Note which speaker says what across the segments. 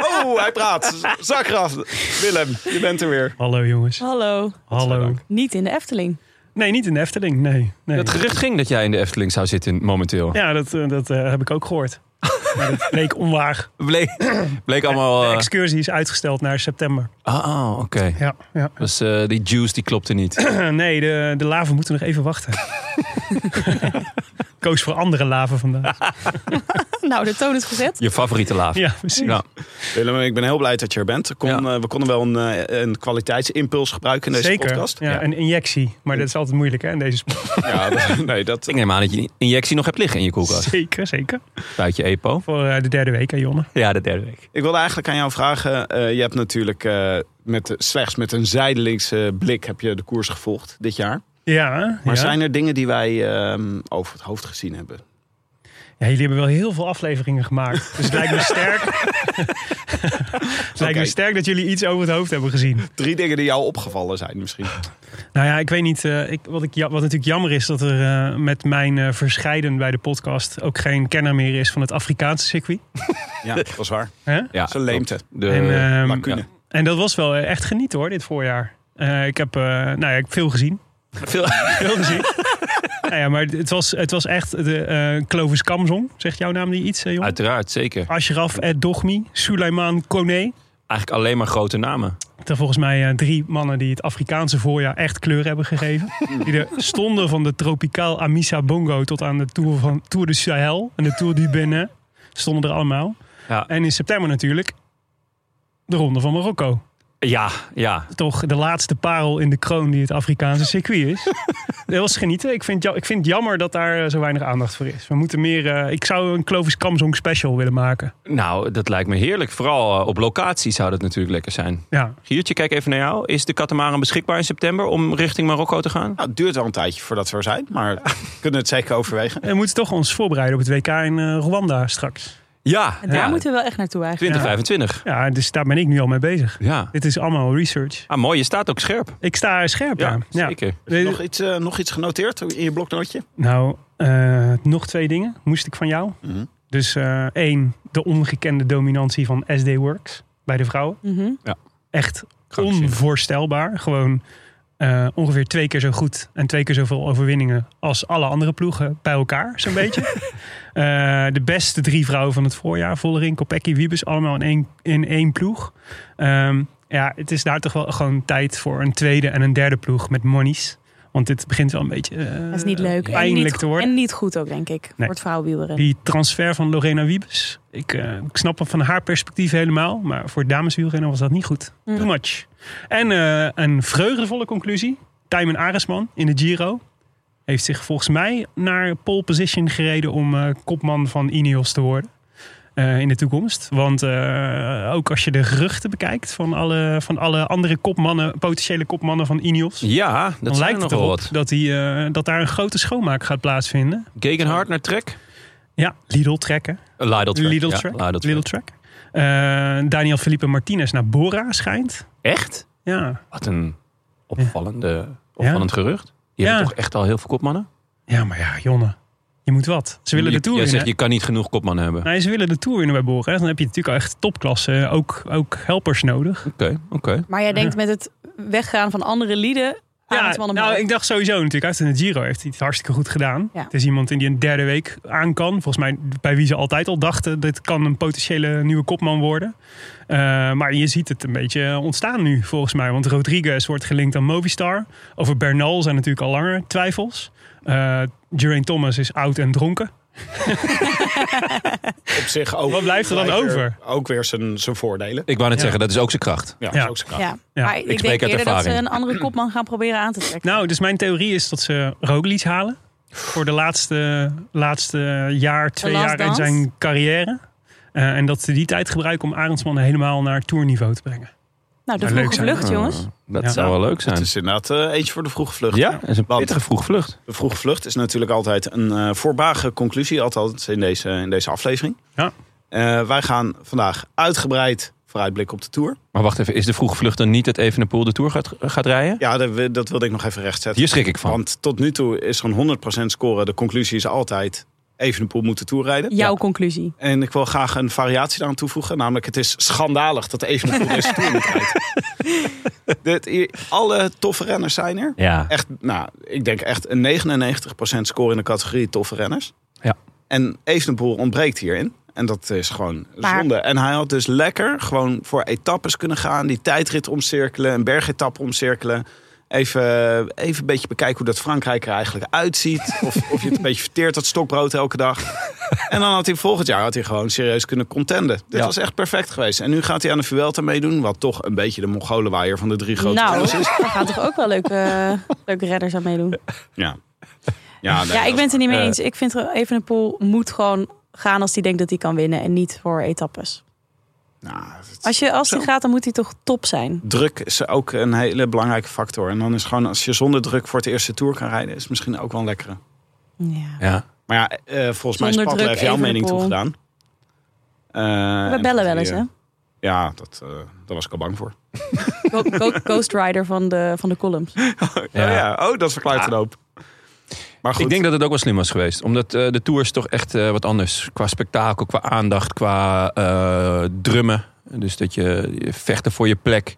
Speaker 1: Oh, hij praat. Zak eraf. Willem, je bent er weer.
Speaker 2: Hallo jongens.
Speaker 3: Hallo.
Speaker 2: Hallo.
Speaker 3: Niet in de Efteling.
Speaker 2: Nee, niet in de Efteling. Nee. nee.
Speaker 4: Het gerucht ging dat jij in de Efteling zou zitten momenteel.
Speaker 2: ja, dat, eh, dat eh, heb ik ook gehoord. maar dat bleek onwaar.
Speaker 4: Bleek, bleek allemaal...
Speaker 2: De
Speaker 4: eh,
Speaker 2: excursie is uitgesteld naar september.
Speaker 4: Ah, ah, oké.
Speaker 2: Ja, ja.
Speaker 4: Dus eh, die juice die klopte niet.
Speaker 2: nee, de, de laven moeten nog even wachten. Ik Koos voor andere laven vandaag.
Speaker 3: Nou, de toon is gezet.
Speaker 4: Je favoriete laaf.
Speaker 2: Ja, precies.
Speaker 4: Ja.
Speaker 1: Willem, ik ben heel blij dat je er bent. Kon,
Speaker 4: Ja.
Speaker 1: eh, we konden wel een, eh, een kwaliteitsimpuls gebruiken in deze
Speaker 2: Zeker.
Speaker 1: podcast.
Speaker 2: Ja, Een injectie. Maar dat is altijd moeilijk hè, in deze sport.
Speaker 1: Ja, dat- nee, dat...
Speaker 4: Ik neem aan dat je die injectie nog hebt liggen in je koelkast.
Speaker 2: Zeker, zeker.
Speaker 4: Buit je EPO.
Speaker 2: Voor eh, de derde week hè, Jonne.
Speaker 4: Ja, de derde week.
Speaker 1: Ik wilde eigenlijk aan jou vragen. eh, je hebt natuurlijk eh, met, slechts met een zijdelingse blik heb je de koers gevolgd dit jaar.
Speaker 2: Ja,
Speaker 1: Maar
Speaker 2: ja.
Speaker 1: zijn er dingen die wij ehm, over het hoofd gezien hebben?
Speaker 2: ja, jullie hebben wel heel veel afleveringen gemaakt. Dus het lijkt me sterk. het lijkt me
Speaker 1: Oké.
Speaker 2: sterk dat jullie iets over het hoofd hebben gezien.
Speaker 1: Drie dingen die jou opgevallen zijn misschien.
Speaker 2: Nou ja, ik weet niet. eh, ik, wat, ik, ja- wat natuurlijk jammer is, dat er eh, met mijn eh, verscheiden bij de podcast ook geen kenner meer is van het Afrikaanse circuit.
Speaker 1: Ja, dat is waar.
Speaker 2: Hè?
Speaker 4: Ja,
Speaker 1: Zijn leemte.
Speaker 4: De,
Speaker 2: En, ehm,
Speaker 1: lacune.
Speaker 4: ja.
Speaker 2: En dat was wel eh, echt genieten hoor, dit voorjaar. Eh, ik, heb, eh, nou ja, ik heb veel gezien.
Speaker 4: Veel-
Speaker 2: veel gezien. nou ja, maar het was, het was echt de eh Clovis Kamzong. Zegt jouw naam die iets, eh, jong?
Speaker 4: Uiteraard, zeker.
Speaker 2: Ashraf Dogmi, Suleiman Kone.
Speaker 4: Eigenlijk alleen maar grote namen.
Speaker 2: Het zijn volgens mij eh, drie mannen die het Afrikaanse voorjaar echt kleur hebben gegeven. Die er stonden van de tropicaal Amisa Bongo tot aan de Tour, van, tour de Sahel en de Tour du Benin. Stonden er allemaal.
Speaker 4: Ja.
Speaker 2: En in september natuurlijk de Ronde van Marokko.
Speaker 4: Ja, ja.
Speaker 2: toch de laatste parel in de kroon die het Afrikaanse circuit is. Dat was genieten. Ik vind, ja- ik vind het jammer dat daar eh, zo weinig aandacht voor is. We moeten meer. eh, ik zou een Clovis Kamzong special willen maken.
Speaker 4: Nou, dat lijkt me heerlijk. Vooral eh, op locatie zou dat natuurlijk lekker zijn.
Speaker 2: Ja.
Speaker 4: Giertje, kijk even naar jou. Is de katamaran beschikbaar in september om richting Marokko te gaan?
Speaker 1: Nou, het duurt wel een tijdje voordat we er zijn, maar we kunnen het zeker overwegen.
Speaker 2: En we moeten toch ons voorbereiden op het WK in eh, Rwanda straks.
Speaker 4: Ja,
Speaker 3: En daar
Speaker 4: ja.
Speaker 3: moeten we wel echt naartoe eigenlijk.
Speaker 4: 2025.
Speaker 2: Ja, dus daar ben ik nu al mee bezig.
Speaker 4: Ja.
Speaker 2: Dit is allemaal research.
Speaker 4: Ah, mooi. Je staat ook scherp.
Speaker 2: Ik sta scherp
Speaker 4: Ja,
Speaker 2: aan. Ja.
Speaker 4: zeker.
Speaker 2: Nee,
Speaker 1: Nog iets, eh, nog iets genoteerd in je bloknootje?
Speaker 2: Nou, eh, nog twee dingen moest ik van jou.
Speaker 1: Mhm.
Speaker 2: Dus eh, één, de ongekende dominantie van SD Works bij de vrouwen.
Speaker 3: Mhm.
Speaker 2: echt
Speaker 4: Krankzinnig.
Speaker 2: onvoorstelbaar. Gewoon eh, ongeveer twee keer zo goed en twee keer zoveel overwinningen als alle andere ploegen bij elkaar, zo'n beetje. Eh, de beste drie vrouwen van het voorjaar, Vollering, Kopecky, Wiebes, allemaal in één, in één ploeg. Ehm, ja, het is daar toch wel gewoon tijd voor een tweede en een derde ploeg met monies. Want dit begint wel een beetje eh,
Speaker 3: Dat is niet leuk. En
Speaker 2: pijnlijk
Speaker 3: niet,
Speaker 2: te worden.
Speaker 3: En niet goed ook, denk ik. Voor het vrouwenwielrennen.
Speaker 2: Die transfer van Lorena Wiebes. Ik, eh, ik snap hem van haar perspectief helemaal. Maar voor het dameswielrennen was dat niet goed.
Speaker 3: Mm.
Speaker 2: Too much. En eh, een vreugdevolle conclusie. Tijmen Aresman in de Giro. Heeft zich volgens mij naar pole position gereden om eh, kopman van Ineos te worden. eh, in de toekomst. Want eh, ook als je de geruchten bekijkt van alle, van alle andere kopmannen, potentiële kopmannen van Ineos.
Speaker 4: Ja, dat
Speaker 2: dan
Speaker 4: zijn er
Speaker 2: lijkt
Speaker 4: nog
Speaker 2: het
Speaker 4: wel
Speaker 2: erop
Speaker 4: wat.
Speaker 2: dat, die, eh, dat daar een grote schoonmaak gaat plaatsvinden.
Speaker 4: Gegenhard naar Trek.
Speaker 2: Ja, Lidl trekken.
Speaker 4: Eh, Lidl Trek.
Speaker 2: Lidl
Speaker 4: ja, Ah,
Speaker 2: Trek.
Speaker 4: Lidl Trek.
Speaker 2: Little Track. Eh, Daniel Felipe Martinez naar Bora schijnt.
Speaker 4: Echt?
Speaker 2: Ja,
Speaker 4: Wat een opvallende, opvallend gerucht. Je
Speaker 2: Ja.
Speaker 4: hebt toch echt al heel veel kopmannen?
Speaker 2: ja maar ja, Jonne. Je moet wat. Ze willen
Speaker 4: je,
Speaker 2: de Tour
Speaker 4: jij
Speaker 2: winnen.
Speaker 4: zegt, je kan niet genoeg kopmannen hebben.
Speaker 2: Nee, ze willen de Tour winnen bij Bora. hè. Dan heb je natuurlijk al echt topklasse. Ook, ook helpers nodig.
Speaker 4: Oké, oké.
Speaker 3: Maar jij denkt met het weggaan van andere lieden aan het
Speaker 2: Ja,
Speaker 3: van de
Speaker 2: nou,
Speaker 3: markt.
Speaker 2: ik dacht sowieso natuurlijk. Uit in de Giro heeft hij het hartstikke goed gedaan.
Speaker 3: Ja.
Speaker 2: Het is iemand die een derde week aan kan. Volgens mij bij wie ze altijd al dachten... dit kan een potentiële nieuwe kopman worden. Eh, maar je ziet het een beetje ontstaan nu, volgens mij. Want Rodriguez wordt gelinkt aan Movistar. Over Bernal zijn natuurlijk al langer twijfels. Eh Geraint Thomas is oud en dronken.
Speaker 1: Op zich ook.
Speaker 2: Wat blijft er dan
Speaker 1: gelijk weer-
Speaker 2: over?
Speaker 1: Ook weer zijn, zijn voordelen.
Speaker 4: Ik wou net
Speaker 2: Ja.
Speaker 4: zeggen, dat is ook zijn kracht.
Speaker 1: Ja,
Speaker 2: Ja.
Speaker 1: Is ook zijn kracht.
Speaker 3: ja. Maar ik,
Speaker 4: spreek
Speaker 3: denk
Speaker 4: uit
Speaker 3: eerder dat ze
Speaker 4: ervaring.
Speaker 3: een andere kopman gaan proberen aan te trekken.
Speaker 2: Nou, dus mijn theorie is dat ze Roglic halen. Voor de laatste, laatste jaar, twee
Speaker 3: last
Speaker 2: jaar in
Speaker 3: dance?
Speaker 2: zijn carrière. Eh, en dat ze die tijd gebruiken om Arendsman helemaal naar tourniveau te brengen.
Speaker 3: Nou, de
Speaker 2: Nou, leuk
Speaker 3: vroege vlucht,
Speaker 4: Ah,
Speaker 3: jongens.
Speaker 4: Dat
Speaker 2: Ja.
Speaker 4: zou wel leuk
Speaker 1: Het
Speaker 4: zijn.
Speaker 1: is inderdaad eh, eentje voor de vroege vlucht.
Speaker 4: Ja, dat is een
Speaker 1: Want-
Speaker 4: pittige vroege vlucht.
Speaker 1: De vroege vlucht is natuurlijk altijd een eh voorbage conclusie, althans in deze, in deze aflevering.
Speaker 2: Ja.
Speaker 1: Eh, wij gaan vandaag uitgebreid vooruitblik op de Tour.
Speaker 4: Maar wacht even, is de vroege vlucht dan niet dat Evenepoel de Tour gaat, gaat rijden?
Speaker 1: Ja, dat, wi- dat wilde ik nog even rechtzetten.
Speaker 4: Hier schrik ik van.
Speaker 1: Want tot nu toe is er een 100% score. De conclusie is altijd Evenepoel moet de Tour rijden.
Speaker 3: Jouw conclusie.
Speaker 1: En ik wil graag een variatie daaraan toevoegen. Namelijk, het is schandalig dat Evenepoel deze Tour niet rijdt. Dit, hier- alle toffe renners zijn er.
Speaker 4: Ja,
Speaker 1: Echt, nou, ik denk echt een 99% score in de categorie toffe renners.
Speaker 4: Ja.
Speaker 1: En Evenepoel ontbreekt hierin. En dat is gewoon
Speaker 3: Maar-
Speaker 1: zonde. En hij had dus lekker gewoon voor etappes kunnen gaan. Die tijdrit omcirkelen, een bergetap omcirkelen. Even, even een beetje bekijken hoe dat Frankrijk er eigenlijk uitziet. Of, of je het een beetje verteert, dat stokbrood elke dag. En dan had hij volgend jaar had hij gewoon serieus kunnen contenden. Dit
Speaker 4: Ja.
Speaker 1: was echt perfect geweest. En nu gaat hij aan de Vuelta meedoen. Wat toch een beetje de Mongolenwaaier van de drie grote
Speaker 3: Nou,
Speaker 1: renners is.
Speaker 3: daar gaan toch ook wel leuke, eh, leuke redders aan meedoen.
Speaker 1: Ja. Ja, nee,
Speaker 3: Ja, ik
Speaker 1: dat-
Speaker 3: ben het er niet mee
Speaker 4: Eh.
Speaker 3: eens. Ik vind er- Evenepoel moet gewoon gaan als hij denkt dat hij kan winnen. En niet voor etappes.
Speaker 1: Nou, het-
Speaker 3: Als, je, als die
Speaker 1: Zo.
Speaker 3: gaat, dan moet hij toch top zijn.
Speaker 1: Druk is ook een hele belangrijke factor. En dan is gewoon, als je zonder druk voor het eerste tour kan rijden, is misschien ook wel een lekkere.
Speaker 3: Ja.
Speaker 4: Ja.
Speaker 1: Maar ja, eh, volgens mij is
Speaker 3: Zonder
Speaker 1: Padlef
Speaker 3: druk,
Speaker 1: jouw
Speaker 3: even
Speaker 1: mening Eh,
Speaker 3: de pool.
Speaker 1: toegedaan. gedaan.
Speaker 2: eh,
Speaker 3: We bellen wel eens, hè?
Speaker 1: Ja, dat, eh, daar was ik al bang voor.
Speaker 3: Go- go- Ghost Rider van de, van de columns.
Speaker 1: Ja. Oh, ja. oh, dat verklaart een hoop. Maar goed,
Speaker 4: Ik denk dat het ook wel slim was geweest. Omdat eh, de Tour is toch echt eh, wat anders. Qua spektakel, qua aandacht, qua eh, drummen. Dus dat je, je vechten voor je plek.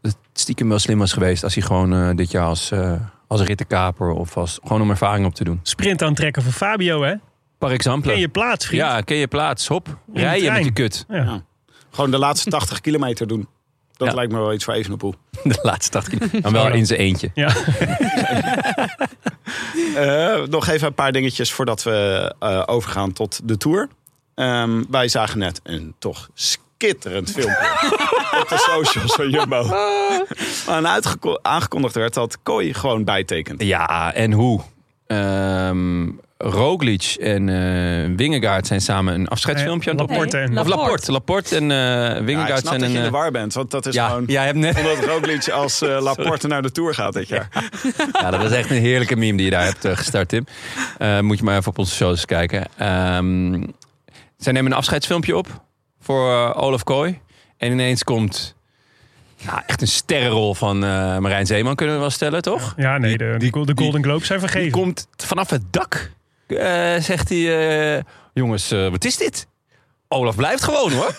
Speaker 4: Dat het stiekem wel slim was geweest als hij gewoon eh, dit jaar als, eh als rittenkaper of als, gewoon om ervaring op te doen.
Speaker 2: Sprint aantrekken voor Fabio, hè?
Speaker 4: Par exemple.
Speaker 2: Ken je plaats, vriend?
Speaker 4: ja, ken je plaats. Hop,
Speaker 2: de
Speaker 4: rij je
Speaker 2: trein.
Speaker 4: met die kut.
Speaker 2: Ja.
Speaker 1: gewoon de laatste 80 kilometer doen. Dat
Speaker 4: Ja.
Speaker 1: lijkt me wel iets voor Evenepoel.
Speaker 4: De laatste dag. Dan wel in zijn eentje.
Speaker 1: Eh, nog even een paar dingetjes voordat we eh, overgaan tot de tour. Ehm, wij zagen net een toch skitterend filmpje op de socials van Jumbo. Waarin uitgeko- aangekondigd werd dat Kooi gewoon bijtekent.
Speaker 4: Ja, en hoe? Ehm Roglic en eh Wingegaard zijn samen een afscheidsfilmpje aan het opnemen.
Speaker 2: Laporte en...
Speaker 3: Nee.
Speaker 4: Of Laporte. Laporte en eh
Speaker 1: Ja, ik
Speaker 4: Wingegaard
Speaker 1: snap
Speaker 4: zijn
Speaker 1: dat
Speaker 4: een...
Speaker 1: je in de
Speaker 4: eh,
Speaker 1: war bent, want dat is
Speaker 4: ja,
Speaker 1: gewoon...
Speaker 4: ja, je hebt net-
Speaker 1: Omdat Roglic als eh, Laporte naar de Tour gaat dit jaar.
Speaker 4: ja, dat was echt een heerlijke meme die je daar hebt eh, gestart, Tim. Eh, moet je maar even op onze socials kijken. Ehm, zij nemen een afscheidsfilmpje op voor eh, Olaf Kooi. En ineens komt nou, echt een sterrenrol van eh, Marijn Zeeman, kunnen we wel stellen, toch?
Speaker 2: Ja, nee, de, de Golden Globes zijn vergeven.
Speaker 4: Die komt vanaf het dak. Eh, zegt hij, eh, jongens, eh, wat is dit? Olaf blijft gewoon hoor.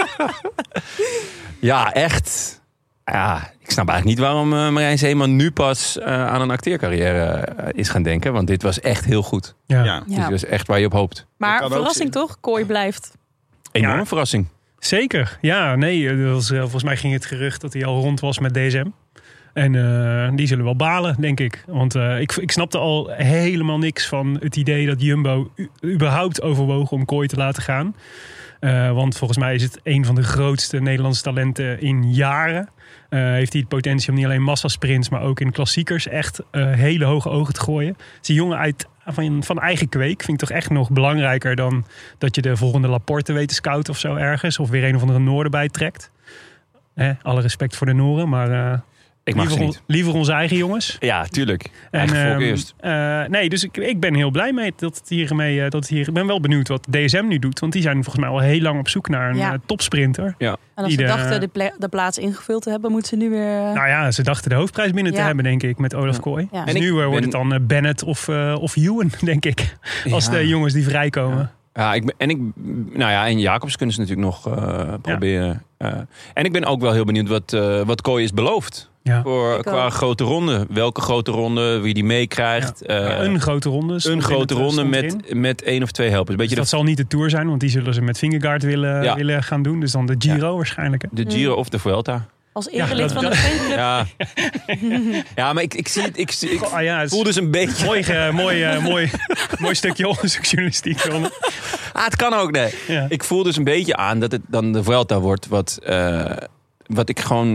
Speaker 4: ja, echt. Ja, ik snap eigenlijk niet waarom eh, Marijn Zeeman nu pas eh, aan een acteercarrière eh, is gaan denken. Want dit was echt heel goed.
Speaker 2: ja.
Speaker 1: Ja.
Speaker 4: Dit was echt waar je op hoopt.
Speaker 1: Dat
Speaker 3: Maar
Speaker 1: kan ook
Speaker 3: verrassing
Speaker 1: zien.
Speaker 3: toch? Kooi blijft.
Speaker 4: Enorme
Speaker 2: Ja.
Speaker 4: verrassing.
Speaker 2: Zeker. Ja, nee. eh, dat was, eh, volgens mij ging het gerucht dat hij al rond was met DSM. En eh, die zullen wel balen, denk ik. Want eh, ik, ik snapte al helemaal niks van het idee dat Jumbo u- überhaupt overwoog om Kooi te laten gaan. Eh, want volgens mij is het een van de grootste Nederlandse talenten in jaren. Eh, heeft hij het potentie om niet alleen massasprints, maar ook in klassiekers echt eh, hele hoge ogen te gooien. Het is een jongen uit, van, van eigen kweek. Vind ik toch echt nog belangrijker dan dat je de volgende Laporte weet te scouten of zo ergens. Of weer een of andere Noorden bijtrekt. Hè, alle respect voor de Noren, maar eh,
Speaker 4: Ik mag
Speaker 2: liever,
Speaker 4: ze
Speaker 2: on-
Speaker 4: niet.
Speaker 2: liever onze eigen jongens.
Speaker 4: Ja, tuurlijk. Eigen
Speaker 2: En,
Speaker 4: volk
Speaker 2: ehm,
Speaker 4: eerst.
Speaker 2: eh, nee, dus ik, ik ben heel blij mee dat het hiermee. eh, dat het hier, ik ben wel benieuwd wat DSM nu doet. Want die zijn volgens mij al heel lang op zoek naar een
Speaker 3: Ja.
Speaker 2: eh, topsprinter.
Speaker 3: En als
Speaker 2: Die
Speaker 3: ze
Speaker 2: de-
Speaker 3: dachten de, pla- de plaats ingevuld te hebben, moeten ze nu weer... eh,
Speaker 2: Nou ja, ze dachten de hoofdprijs binnen te
Speaker 3: Ja.
Speaker 2: hebben, denk ik, met Olaf
Speaker 4: Ja.
Speaker 2: Kooi.
Speaker 3: Ja.
Speaker 2: Dus
Speaker 4: En ik
Speaker 2: nu eh, wordt
Speaker 4: ben-
Speaker 2: het dan eh, Bennett of, eh of Ewan, denk ik. Als
Speaker 4: Ja.
Speaker 2: de jongens die vrijkomen.
Speaker 4: Ja, ik ben, en ik, nou ja, en Jacobs kunnen ze natuurlijk nog eh, proberen. Eh, en ik ben ook wel heel benieuwd wat, eh wat Kooi is beloofd.
Speaker 2: Ja.
Speaker 4: Voor,
Speaker 3: Ik
Speaker 4: qua
Speaker 3: ook.
Speaker 4: grote ronde. Welke grote ronde, wie die meekrijgt. eh,
Speaker 2: Maar
Speaker 4: een,
Speaker 2: een grote ronde. stond in het,
Speaker 4: grote
Speaker 2: eh,
Speaker 4: ronde
Speaker 2: stond erin.
Speaker 4: met, met één of twee helpers. Beetje
Speaker 2: Dus dat zal niet de Tour zijn, want die zullen ze met Fingerguard willen,
Speaker 4: Ja.
Speaker 2: willen gaan doen. Dus dan de Giro waarschijnlijk. hè?
Speaker 4: de, de Giro of de Vuelta.
Speaker 3: Als
Speaker 2: Ja,
Speaker 3: erelid
Speaker 2: dat-
Speaker 3: van de fanclub.
Speaker 4: Ja, ja maar ik, ik zie het. Ik, zie, ik
Speaker 2: Oh, ja, het is
Speaker 4: voel dus een beetje...
Speaker 2: mooi, ge- mooi, eh, mooi, mooi stukje onderzoeksjournalistiek. Ron.
Speaker 4: Ah, het kan ook, nee.
Speaker 2: Ja.
Speaker 4: Ik voel dus een beetje aan dat het dan de Vuelta wordt wat, eh, wat ik gewoon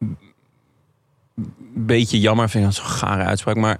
Speaker 4: een beetje jammer vind. Dat is een gare uitspraak, maar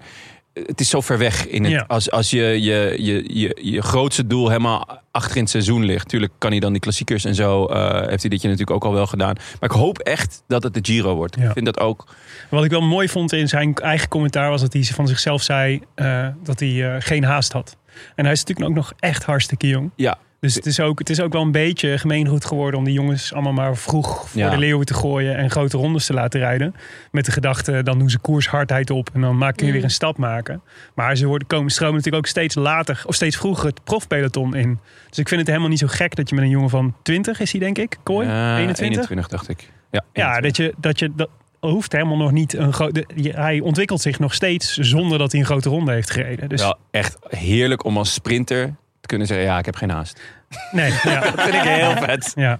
Speaker 4: het is zo ver weg. In het,
Speaker 2: Ja.
Speaker 4: Als, als je, je, je, je, je grootste doel helemaal achter in het seizoen ligt. Tuurlijk kan hij dan die klassiekers en zo, eh, heeft hij dit jaar natuurlijk ook al wel gedaan. Maar ik hoop echt dat het de Giro wordt.
Speaker 2: Ja.
Speaker 4: Ik vind dat ook...
Speaker 2: Wat ik wel mooi vond in zijn eigen commentaar was dat hij van zichzelf zei eh, dat hij eh, geen haast had. En hij is natuurlijk ook nog echt hartstikke jong.
Speaker 4: Ja,
Speaker 2: Dus het is, ook, het is ook wel een beetje gemeengoed geworden om die jongens allemaal maar vroeg voor
Speaker 4: Ja.
Speaker 2: de leeuwen te gooien en grote rondes te laten rijden. Met de gedachte, dan doen ze koershardheid op en dan maken je
Speaker 3: Mm.
Speaker 2: weer een stap maken. Maar ze worden, komen stromen natuurlijk ook steeds later of steeds vroeger het profpeloton in. Dus ik vind het helemaal niet zo gek dat je met een jongen van 20 is hij denk ik, Kooi,
Speaker 4: Ja,
Speaker 2: 21.
Speaker 4: 21 dacht ik. Ja,
Speaker 2: Ja, dat je dat je dat hoeft helemaal nog niet een grote. Hij ontwikkelt zich nog steeds zonder dat hij een grote ronde heeft gereden. Dus
Speaker 4: Wel echt heerlijk om als sprinter te kunnen zeggen... ja, ik heb geen haast.
Speaker 2: nee, ja,
Speaker 4: Dat vind ik heel vet.
Speaker 2: ja,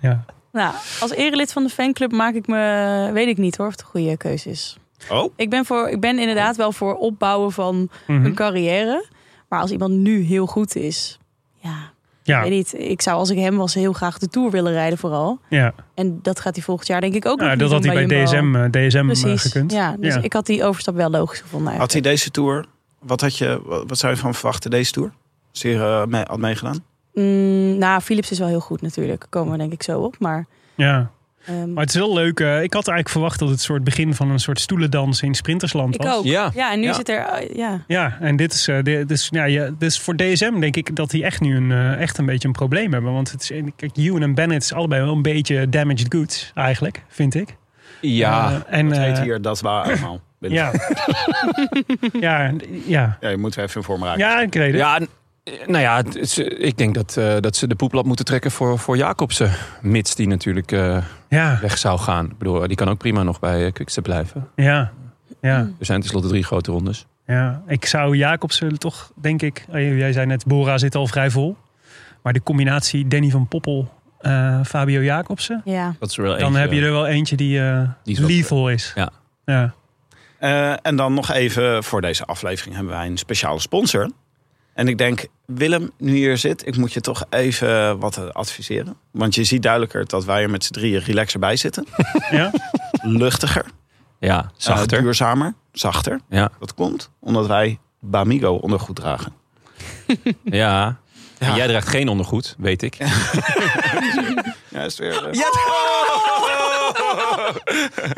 Speaker 2: ja.
Speaker 3: Nou, als erelid van de fanclub maak ik me... Weet ik niet hoor, of het een goede keuze is.
Speaker 1: Oh,
Speaker 3: Ik ben, voor, ik ben inderdaad wel voor opbouwen van
Speaker 2: Mhm.
Speaker 3: een carrière. Maar als iemand nu heel goed is... Ja,
Speaker 2: ja,
Speaker 3: weet niet. Ik zou als ik hem was heel graag de Tour willen rijden vooral.
Speaker 2: ja.
Speaker 3: En dat gaat hij volgend jaar denk ik ook nog
Speaker 2: Nou,
Speaker 3: niet
Speaker 2: dat had
Speaker 3: doen
Speaker 2: hij bij
Speaker 3: Jumbo.
Speaker 2: DSM, eh, DSM
Speaker 3: Precies.
Speaker 2: gekund.
Speaker 3: Ja, dus
Speaker 2: Ja.
Speaker 3: ik had die overstap wel logisch gevonden.
Speaker 1: had
Speaker 3: eigenlijk.
Speaker 1: hij deze Tour... Wat, eh, had je, wat zou je van verwachten deze Tour? Zeer mee, had meegedaan?
Speaker 3: Mm, nou, Philips is wel heel goed natuurlijk. Daar Komen we denk ik zo op. Maar,
Speaker 2: Ja,
Speaker 3: ehm,
Speaker 2: maar het is wel leuk. eh, ik had eigenlijk verwacht dat het soort begin van een soort stoelendans in Sprintersland
Speaker 3: ik
Speaker 2: was.
Speaker 3: ook.
Speaker 4: Ja.
Speaker 3: Ja, en nu
Speaker 4: Ja.
Speaker 3: zit er... eh, ja.
Speaker 2: Ja, en dit is, eh, dit is, ja, ja, dus voor DSM denk ik dat die echt nu een, eh, echt een beetje een probleem hebben. Want het is, eh, kijk, Ewan en Bennett is allebei wel een beetje damaged goods eigenlijk, vind ik.
Speaker 4: Ja,
Speaker 2: Eh, en,
Speaker 1: Het heet
Speaker 2: eh,
Speaker 1: hier dat waar allemaal.
Speaker 2: Ja. ja, ja.
Speaker 1: Ja, je moet er even in vorm raken.
Speaker 2: Ja, ik weet het.
Speaker 4: ja, n- eh, nou ja, het is, eh, ik denk dat, eh, dat ze de poeplap moeten trekken voor, voor Jacobsen. Mits die natuurlijk eh,
Speaker 2: Ja,
Speaker 4: weg zou gaan. Ik bedoel, die kan ook prima nog bij eh, Quickstep blijven.
Speaker 2: ja, ja.
Speaker 4: Er zijn tenslotte drie grote rondes.
Speaker 2: ja. Ik zou Jacobsen toch, denk ik... eh, Jij zei net, Bora zit al vrij vol. Maar de combinatie Danny van Poppel, eh, Fabio Jacobsen...
Speaker 3: ja.
Speaker 4: Dat is er wel
Speaker 2: Dan heb je er wel eentje die, eh
Speaker 4: eh, Die is wel-
Speaker 2: lethal is.
Speaker 4: Ja.
Speaker 2: ja.
Speaker 1: Eh, en dan nog even, voor deze aflevering hebben wij een speciale sponsor. En ik denk, Willem, nu je hier zit, ik moet je toch even wat eh, adviseren. Want je ziet duidelijker dat wij er met z'n drieën relaxer bij zitten.
Speaker 2: Ja?
Speaker 1: Luchtiger, eh,
Speaker 4: Ja, zachter.
Speaker 1: duurzamer, zachter.
Speaker 4: Ja.
Speaker 1: Dat komt omdat wij Bamigo ondergoed dragen.
Speaker 4: ja. En
Speaker 1: Ja.
Speaker 4: jij draagt geen ondergoed, weet ik.
Speaker 1: Ja, is weer... eh,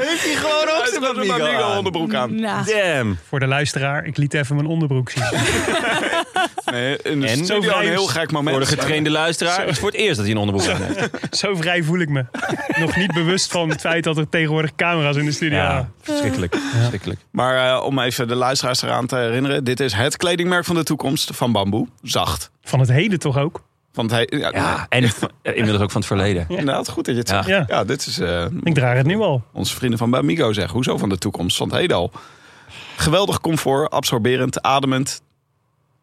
Speaker 4: Heeft hij gewoon ook
Speaker 1: Hij staat met Bamigo onderbroek aan.
Speaker 3: Nou,
Speaker 4: Damn.
Speaker 2: Voor de luisteraar, ik liet even mijn onderbroek zien.
Speaker 1: Nee, in de
Speaker 4: En?
Speaker 1: studio
Speaker 2: Zo vrij-
Speaker 1: een heel gek moment.
Speaker 4: Voor de getrainde luisteraar is het voor het eerst dat hij een onderbroek aan heeft.
Speaker 2: Zo vrij voel ik me. Nog niet bewust van het feit dat er tegenwoordig camera's in de studio
Speaker 4: Ja,
Speaker 2: hangen.
Speaker 4: verschrikkelijk. verschrikkelijk.
Speaker 1: Maar eh, om even de luisteraars eraan te herinneren. Dit is het kledingmerk van de toekomst van bamboe. Zacht.
Speaker 2: Van het heden toch ook?
Speaker 1: Want hij, ja,
Speaker 4: Ja, en van- eh, inmiddels ook van het verleden.
Speaker 1: inderdaad, goed dat je het zegt.
Speaker 2: Ja.
Speaker 1: Ja. dit is eh,
Speaker 2: Ik draag het nu al.
Speaker 1: onze vrienden van Bamigo zeggen. Hoezo van de toekomst? Van het heden al. Geweldig comfort, absorberend, ademend.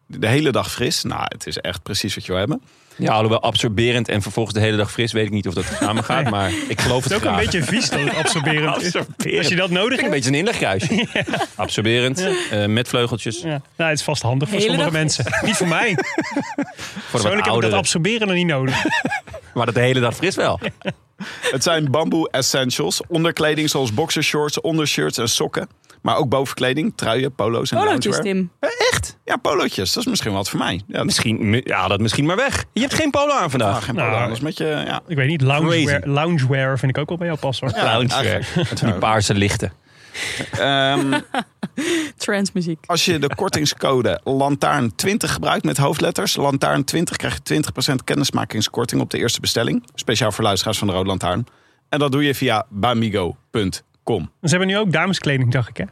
Speaker 1: De hele dag fris. Nou, het is echt precies wat je wil hebben.
Speaker 4: Ja, alhoewel absorberend en vervolgens de hele dag fris. Weet ik niet of dat samen gaat, maar ik geloof
Speaker 2: Het
Speaker 4: het
Speaker 2: is ook een
Speaker 4: graag.
Speaker 2: beetje vies dat het absorberend is.
Speaker 4: Absorberend.
Speaker 2: Als je dat nodig
Speaker 4: Een
Speaker 2: hebt.
Speaker 4: beetje een inlegkruisje. Absorberend, eh, met vleugeltjes.
Speaker 2: Ja. Nou, het is vast handig voor
Speaker 3: Hele
Speaker 2: sommige
Speaker 3: dag
Speaker 2: mensen. Niet voor mij.
Speaker 4: Voor de wat
Speaker 2: Persoonlijk heb ik dat
Speaker 4: ouderen.
Speaker 2: absorberen niet nodig.
Speaker 4: Maar dat de hele dag fris wel.
Speaker 1: Het zijn bamboe essentials. Onderkleding zoals boxershorts, ondershirts en sokken. Maar ook bovenkleding, truien, polo's en
Speaker 3: polootjes,
Speaker 1: loungewear.
Speaker 3: Tim.
Speaker 1: Echt? Ja, polootjes. Dat is misschien wat voor mij. Ja,
Speaker 4: Misschien, ja, dat misschien maar weg. Je hebt geen polo aan
Speaker 1: Ah,
Speaker 4: vandaag.
Speaker 1: geen
Speaker 2: Nou,
Speaker 1: polo, anders met je... Ja.
Speaker 2: Ik weet niet, loungewear, loungewear vind ik ook wel bij jou passen. hoor.
Speaker 4: Loungewear. Met van die paarse lichten.
Speaker 1: Ehm,
Speaker 3: Transmuziek.
Speaker 1: als je de kortingscode LANTAARN20 gebruikt met hoofdletters, LANTAARN20 krijg je 20% kennismakingskorting op de eerste bestelling. Speciaal voor luisteraars van de Rode Lantaarn. En dat doe je via bamigo.com.
Speaker 2: Ze hebben nu ook dameskleding, dacht ik, hè?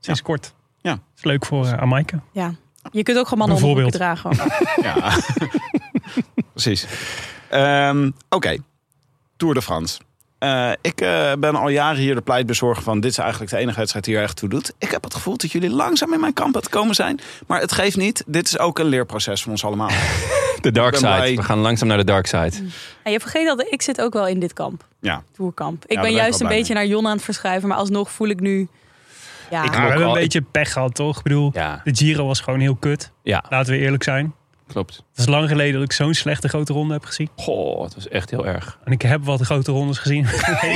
Speaker 2: Sinds kort.
Speaker 1: Ja.
Speaker 2: Dat is leuk voor eh Amaike.
Speaker 3: Ja. Je kunt ook gewoon mannen onderbroeken dragen. hoor.
Speaker 1: Ja, precies. Ehm, Oké, Tour de France. Eh, ik eh, ben al jaren hier de pleitbezorger van dit is eigenlijk de enige wedstrijd die er echt toe doet. Ik heb het gevoel dat jullie langzaam in mijn kamp aan het komen zijn. Maar het geeft niet. Dit is ook een leerproces voor ons allemaal.
Speaker 4: De dark
Speaker 1: Ik ben
Speaker 4: side.
Speaker 1: blij.
Speaker 4: We gaan langzaam naar de dark side.
Speaker 3: En je vergeet dat ik zit ook wel in dit kamp.
Speaker 1: Ja.
Speaker 3: Tourkamp.
Speaker 1: daar
Speaker 3: Ik
Speaker 1: ben
Speaker 3: ben
Speaker 1: ik
Speaker 3: juist
Speaker 1: wel
Speaker 3: een
Speaker 1: blij
Speaker 3: beetje naar Jon aan het verschuiven. Maar alsnog voel ik nu... Ja,
Speaker 4: Ik-
Speaker 2: Ja,
Speaker 4: Ook
Speaker 2: we hebben een
Speaker 4: al-
Speaker 2: beetje pech gehad, toch? Ik bedoel,
Speaker 4: Ja,
Speaker 2: de Giro was gewoon heel kut.
Speaker 4: ja
Speaker 2: Laten we eerlijk zijn.
Speaker 4: klopt.
Speaker 2: Het is lang geleden dat ik zo'n slechte grote ronde heb gezien.
Speaker 4: Goh, het was echt heel erg.
Speaker 2: En ik heb wat grote rondes gezien.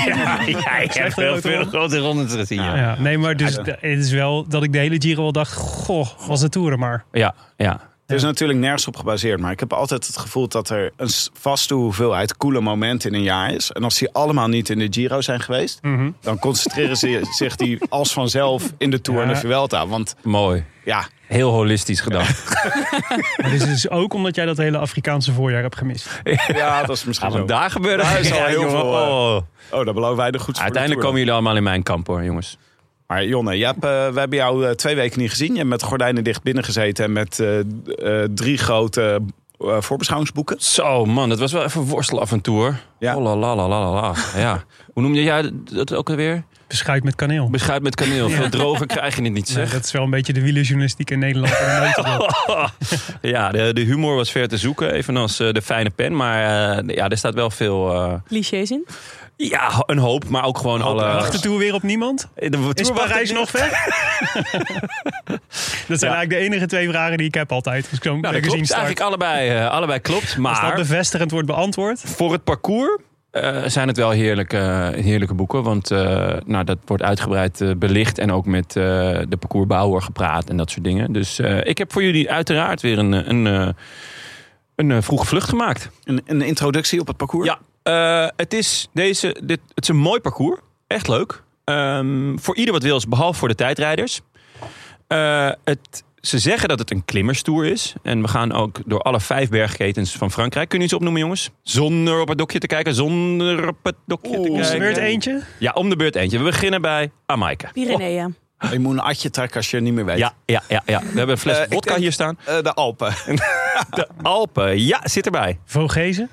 Speaker 2: ja, Slechte grote ronde.
Speaker 4: grote rondes gezien. Ja. Ja.
Speaker 2: Ja, nee, maar dus,
Speaker 1: Ja,
Speaker 2: het is wel dat ik de hele Giro wel dacht... Goh, was de Tour er maar.
Speaker 4: Ja,
Speaker 1: Het is natuurlijk nergens op gebaseerd, maar ik heb altijd het gevoel dat er een s- vaste hoeveelheid coole momenten in een jaar is. En als die allemaal niet in de Giro zijn geweest, dan concentreren ze zich die als vanzelf in de Tour en de
Speaker 2: Ja.
Speaker 1: Vuelta. Want
Speaker 4: Mooi.
Speaker 1: ja,
Speaker 4: Heel holistisch gedacht.
Speaker 2: Maar dit is dus ook omdat jij dat hele Afrikaanse voorjaar hebt gemist.
Speaker 1: ja dat is misschien
Speaker 4: Gaat
Speaker 1: zo.
Speaker 4: het daar gebeuren?
Speaker 1: Daar is al
Speaker 4: Ja,
Speaker 1: heel
Speaker 4: jongen.
Speaker 1: veel, eh, Oh, dat beloven wij de goeds voor de
Speaker 4: Uiteindelijk
Speaker 1: Tour.
Speaker 4: komen jullie allemaal in mijn kamp hoor, jongens.
Speaker 1: Maar Jonne, je hebt, eh, we hebben jou eh, twee weken niet gezien. Je hebt met gordijnen dicht binnen gezeten en met eh, d- eh, drie grote eh, voorbeschouwingsboeken.
Speaker 4: Zo man, dat was wel even worstel af en toe hoor.
Speaker 1: Ja.
Speaker 4: Oh, la, la, la, la, la, la. Ja. Hoe noemde jij dat ook alweer?
Speaker 2: Beschuit met kaneel.
Speaker 4: Beschuit met kaneel. Veel droger krijg je het niet
Speaker 2: Nee,
Speaker 4: zeg.
Speaker 2: dat is wel een beetje de wielerjournalistiek in Nederland. En een notendop.
Speaker 4: Ja, de, de humor was ver te zoeken, evenals eh, de fijne pen. Maar eh, ja, er staat wel veel... eh,
Speaker 3: clichés in.
Speaker 4: ja, ho- een hoop, maar ook gewoon alle...
Speaker 2: Wacht de Tour weer op niemand?
Speaker 4: De
Speaker 2: Is
Speaker 4: tour- Nou,
Speaker 2: Parijs nog ver? dat zijn
Speaker 4: Ja.
Speaker 2: eigenlijk de enige twee vragen die ik heb altijd. Dus ik zo'n
Speaker 4: Nou, dat
Speaker 2: magazine
Speaker 4: klopt.
Speaker 2: start.
Speaker 4: Eigenlijk allebei, eh, allebei klopt.
Speaker 2: Als dat
Speaker 4: Maar
Speaker 2: bevestigend wordt beantwoord...
Speaker 4: voor het parcours eh, zijn het wel heerlijke, heerlijke boeken. Want eh, nou, dat wordt uitgebreid eh, belicht en ook met eh, de parcoursbouwer gepraat en dat soort dingen. Dus eh, ik heb voor jullie uiteraard weer een, eh, een, eh, een eh, vroege vlucht gemaakt.
Speaker 1: Een, een introductie op het parcours?
Speaker 4: Ja, eh, het, is deze, dit, het is een mooi parcours. Echt leuk. Ehm, voor ieder wat wil, is, behalve voor de tijdrijders. Eh, het, ze zeggen dat het een klimmerstoer is. En we gaan ook door alle vijf bergketens van Frankrijk. Kunnen jullie ze opnoemen, jongens? Zonder op het dokje te kijken. Zonder op het dokje te
Speaker 2: Is
Speaker 4: kijken.
Speaker 2: er weer het eentje?
Speaker 4: Ja, om de beurt eentje. We beginnen bij Amaika.
Speaker 3: Pyreneeën.
Speaker 1: Je moet een atje trekken als je het niet meer weet.
Speaker 4: Ja, ja, ja, ja. We hebben een fles
Speaker 1: Eh, ik
Speaker 4: vodka
Speaker 1: denk-
Speaker 4: hier staan.
Speaker 1: Eh, de Alpen.
Speaker 4: De Alpen. Ja, zit erbij.
Speaker 2: Vogezen?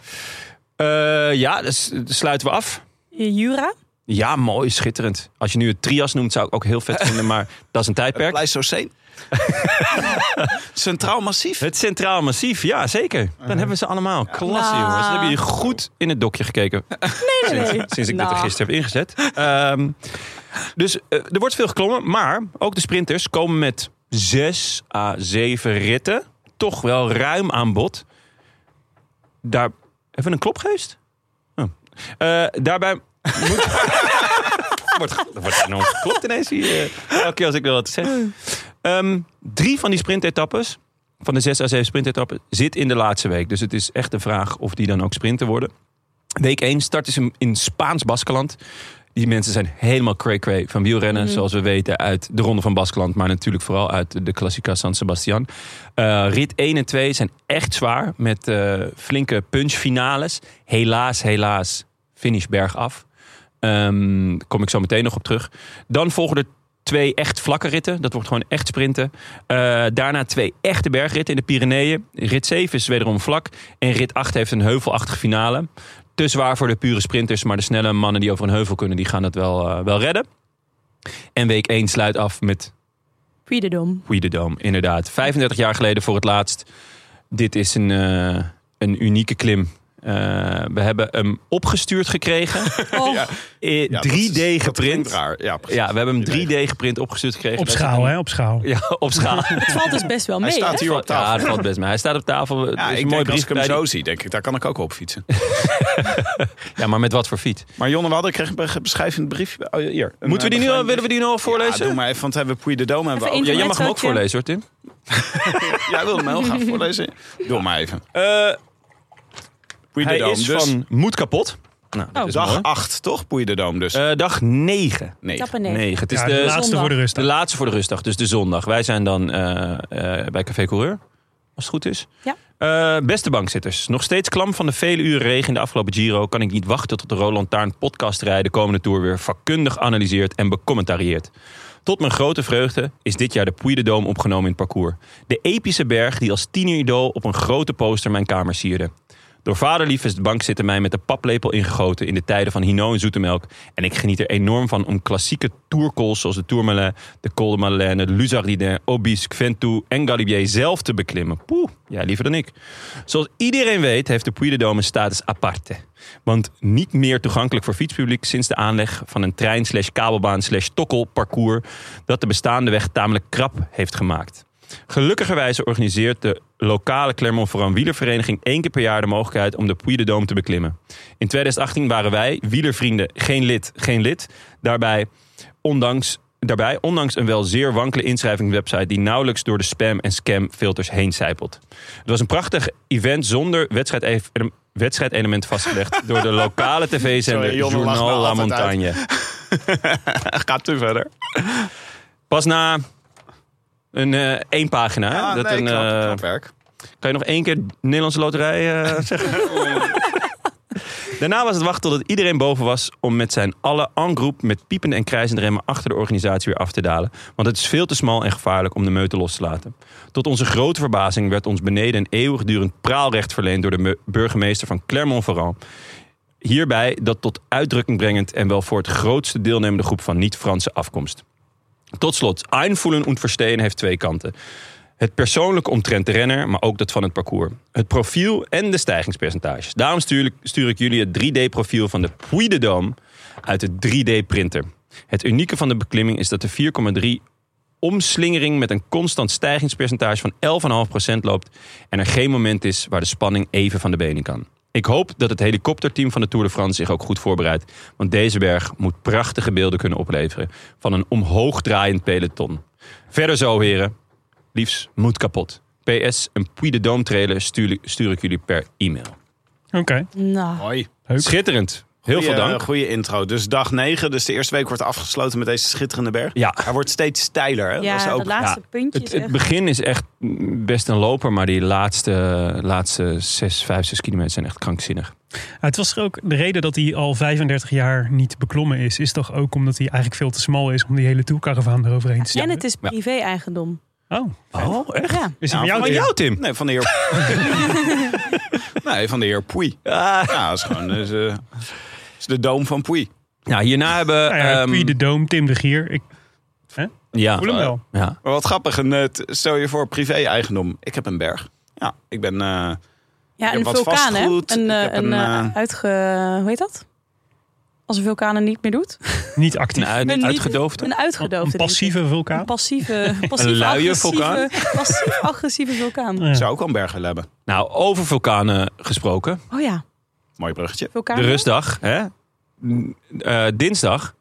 Speaker 4: Eh, ja, dus eh, sluiten we af.
Speaker 1: Oh.
Speaker 3: Jura.
Speaker 4: Ja, mooi, schitterend. Als je nu het trias noemt, zou ik ook heel vet vinden, maar dat is een tijdperk.
Speaker 1: Pleistoceen. Centraal massief.
Speaker 4: Het Centraal Massief, ja, zeker. Dan hebben we ze allemaal. Klasse,
Speaker 3: Nou.
Speaker 4: jongens. Dan hebben jullie goed in het dokje gekeken.
Speaker 3: Nee, nee.
Speaker 4: Sinds, sinds ik
Speaker 3: Nou.
Speaker 4: dat er gisteren heb ingezet. Ehm, dus eh, er wordt veel geklommen, maar ook de sprinters komen met zes à zeven ritten. Toch wel ruim aan bod. Daar... Even een klopgeest? Oh. Eh, daarbij... moet- wordt, er wordt enorm geklopt ineens hier. eh, Elke keer als ik wil wat zeggen. Ehm, drie van die sprintetappes, van de zes à zeven sprintetappen, zit in de laatste week. Dus het is echt de vraag of die dan ook sprinten worden. Week 1 start is in- in Spaans Baskeland. Die mensen zijn helemaal cray-cray van wielrennen, zoals we weten uit de Ronde van Baskeland, maar natuurlijk vooral uit de Classica San Sebastian. Eh, rit 1 en 2 zijn echt zwaar met eh, flinke punchfinales. Helaas, helaas, finish bergaf. Ehm, daar kom ik zo meteen nog op terug. Dan volgen er twee echt vlakke ritten. Dat wordt gewoon echt sprinten. Eh, daarna twee echte bergritten in de Pyreneeën. Rit 7 is wederom vlak. En rit 8 heeft een heuvelachtige finale te zwaar voor de pure sprinters. Maar de snelle mannen die over een heuvel kunnen, die gaan het wel, eh, wel redden. En week 1 sluit af met
Speaker 3: Piederdom.
Speaker 4: Quiedendam, inderdaad. 35 jaar geleden voor het laatst. Dit is een, eh, een unieke klim. Eh, we hebben hem opgestuurd gekregen.
Speaker 3: Oh,
Speaker 4: Eh,
Speaker 1: Ja, dat is-
Speaker 4: 3D
Speaker 1: dat klinkt
Speaker 4: geprint.
Speaker 1: Raar. Ja, precies.
Speaker 4: Ja, we hebben hem
Speaker 1: 3D.
Speaker 4: 3D geprint opgestuurd gekregen.
Speaker 2: Op schaal, hè? Op schaal.
Speaker 4: Ja, op schaal.
Speaker 3: het valt dus best wel mee.
Speaker 1: Hij staat
Speaker 3: hè?
Speaker 1: hier op
Speaker 4: Ja,
Speaker 1: tafel.
Speaker 4: dat valt best mee. Hij staat op tafel.
Speaker 1: Ja,
Speaker 4: Ja, is
Speaker 1: ik
Speaker 4: een mooi
Speaker 1: denk als
Speaker 4: brief
Speaker 1: ik hem zo
Speaker 4: bij
Speaker 1: zie, denk ik, daar kan ik ook op fietsen.
Speaker 4: die- Ja, maar met wat voor fiets?
Speaker 1: Maar Jonne Wadden kreeg een beschrijvend briefje. Oh, hier. Een,
Speaker 4: Moeten we die nu al,
Speaker 1: begrijpend
Speaker 4: willen we die nu al
Speaker 1: briefje. Ja,
Speaker 4: voorlezen?
Speaker 1: doe maar even, want we hebben Puy de Dome. Hebben we
Speaker 3: Even
Speaker 1: ook.
Speaker 4: Ja, jij mag hem ook
Speaker 3: Zoutje.
Speaker 4: voorlezen hoor, Tim.
Speaker 1: Jij wilde hem heel graag voorlezen. Doe maar even.
Speaker 4: Eh,
Speaker 1: Puy de
Speaker 4: Hij
Speaker 1: Dome.
Speaker 4: is
Speaker 1: dus
Speaker 4: van Moed kapot. Nou, dat
Speaker 3: Oh.
Speaker 4: is mooi.
Speaker 1: dag 8, toch? Puy de Dome dus.
Speaker 4: Eh, dag 9.
Speaker 1: nee.
Speaker 3: Tappen nee.
Speaker 4: 9. Het is
Speaker 2: Ja,
Speaker 4: de,
Speaker 2: de laatste
Speaker 3: zondag.
Speaker 2: voor de rust.
Speaker 4: de laatste voor de rustdag, dus de zondag. Wij zijn dan eh, eh, bij Café Coureur, als het goed is.
Speaker 3: Ja.
Speaker 4: Eh, beste bankzitters, nog steeds klam van de vele uren regen in de afgelopen Giro... kan ik niet wachten tot de Roland Taarn podcastrij de komende Tour... weer vakkundig analyseert en becommentarieert. Tot mijn grote vreugde is dit jaar de Puy de Dôme opgenomen in het parcours. De epische berg die als tieneridool op een grote poster mijn kamer sierde. Door vaderlief is de bank zitten mij met de paplepel ingegoten in de tijden van Hino en Zoetemelk. En ik geniet er enorm van om klassieke tourcalls zoals de Tourmalet, de Col de Madeleine, de Luzardin, Obis, Ventoux en Galibier zelf te beklimmen. Poeh, ja, liever dan ik. Zoals iedereen weet heeft de Puy de Dôme een status aparte. Want niet meer toegankelijk voor fietspubliek sinds de aanleg van een trein slash kabelbaan slash tokkelparcours dat de bestaande weg tamelijk krap heeft gemaakt. Gelukkigerwijze organiseert de lokale Clermont-Ferrand wielervereniging één keer per jaar de mogelijkheid om de Puy de Dôme te beklimmen. In 2018 waren wij, wielervrienden, geen lid, geen lid. Daarbij ondanks, daarbij ondanks een wel zeer wankele inschrijvingswebsite die nauwelijks door de spam- en scamfilters heen zijpelt. Het was een prachtig event zonder wedstrijd e- wedstrijdelement vastgelegd door de lokale tv-zender
Speaker 1: Sorry, Jonne lacht me
Speaker 4: Journal La
Speaker 1: altijd uit.
Speaker 4: Montagne.
Speaker 1: Gaat u verder.
Speaker 4: Pas na een eh, één pagina. hè?
Speaker 1: Ja,
Speaker 4: dat
Speaker 1: nee,
Speaker 4: een,
Speaker 1: knap,
Speaker 4: eh,
Speaker 1: knap werk.
Speaker 4: Kan je nog één keer Nederlandse loterij eh, zeggen? Daarna was het wachten totdat iedereen boven was om met zijn alle en groep met piepen en krijzende remmen achter de organisatie weer af te dalen. Want het is veel te smal en gevaarlijk om de meute los te laten. Tot onze grote verbazing werd ons beneden een eeuwigdurend praalrecht verleend door de me- burgemeester van Clermont-Ferrand. Hierbij dat tot uitdrukking brengend en wel voor het grootste deelnemende groep van niet-Franse afkomst. Tot slot, aanvoelen en verstehen heeft twee kanten. Het persoonlijke omtrent de renner, maar ook dat van het parcours. Het profiel en de stijgingspercentages. Daarom stuur ik, stuur ik jullie het 3D-profiel van de Puy de Dôme uit de 3D-printer. Het unieke van de beklimming is dat de 4,3 omslingering met een constant stijgingspercentage van 11,5% loopt en er geen moment is waar de spanning even van de benen kan. Ik hoop dat het helikopterteam van de Tour de France zich ook goed voorbereidt, want deze berg moet prachtige beelden kunnen opleveren van een omhoog draaiend peloton. Verder zo, heren. Liefs, moed kapot. PS, een Puy de Dome trailer stuur, ik- stuur ik jullie per e-mail.
Speaker 2: Oké.
Speaker 3: Nou,
Speaker 1: Hoi.
Speaker 2: Leuk.
Speaker 4: Schitterend. Heel veel dank.
Speaker 1: Goede intro. Dus dag 9, dus de eerste week wordt afgesloten met deze schitterende berg.
Speaker 4: Ja,
Speaker 1: Hij wordt steeds steiler. Hè? Dat was
Speaker 3: ja,
Speaker 1: ook-
Speaker 3: dat laatste puntje
Speaker 4: het,
Speaker 3: is
Speaker 4: het
Speaker 3: echt...
Speaker 4: begin is echt mm, best een loper, maar die laatste, laatste 6, 5, 6 kilometer zijn echt krankzinnig.
Speaker 2: Ja, Nou, het was er ook de reden dat hij al 35 jaar niet beklommen is, is toch ook omdat hij eigenlijk veel te smal is om die hele toerkaravaan eroverheen te
Speaker 3: En
Speaker 2: stellen.
Speaker 3: het is
Speaker 4: Ja.
Speaker 3: privé-eigendom.
Speaker 2: Oh,
Speaker 4: Oh, echt?
Speaker 3: Ja.
Speaker 2: is hij
Speaker 1: Ja,
Speaker 2: van jou?
Speaker 4: Van
Speaker 2: Tim?
Speaker 4: jou, Tim.
Speaker 1: Nee, van de heer... nee, van de heer Poei. Ja, dat is gewoon... Dat is, eh, dat is de doom van Poei.
Speaker 4: Nou, hierna hebben...
Speaker 2: Nou ja,
Speaker 4: ehm, nou,
Speaker 2: Puy de Doom, Tim de Gier. Ik
Speaker 4: ja,
Speaker 2: voel hem wel.
Speaker 4: ja.
Speaker 1: Maar wat grappig, een, eh, t- stel je voor privé-eigendom. Ik heb een berg. Ja, ik ben... eh,
Speaker 3: Ja,
Speaker 1: Ik
Speaker 3: een
Speaker 1: heb wat
Speaker 3: vulkaan, hè?
Speaker 1: vastgoed.
Speaker 3: Een, eh,
Speaker 1: Ik heb
Speaker 3: een,
Speaker 1: een,
Speaker 3: eh,
Speaker 1: eh,
Speaker 3: uitge... Hoe heet dat? Als een vulkaan het niet meer doet.
Speaker 2: Niet actief.
Speaker 4: Nou, niet
Speaker 3: niet-
Speaker 4: uitgedoofd.
Speaker 3: Een uitgedoofde.
Speaker 2: een
Speaker 3: denk ik.
Speaker 2: passieve
Speaker 3: Een
Speaker 2: vulkaan.
Speaker 3: passieve, passieve
Speaker 4: luie
Speaker 3: agressieve-
Speaker 4: vulkaan?
Speaker 3: Passief-agressieve vulkaan.
Speaker 2: Ja.
Speaker 1: zou ook wel een berg willen hebben.
Speaker 4: Nou, over vulkanen gesproken.
Speaker 3: Oh ja,
Speaker 1: Mooi bruggetje.
Speaker 3: vulkaan.
Speaker 4: De rustdag, hè? N- eh, dinsdag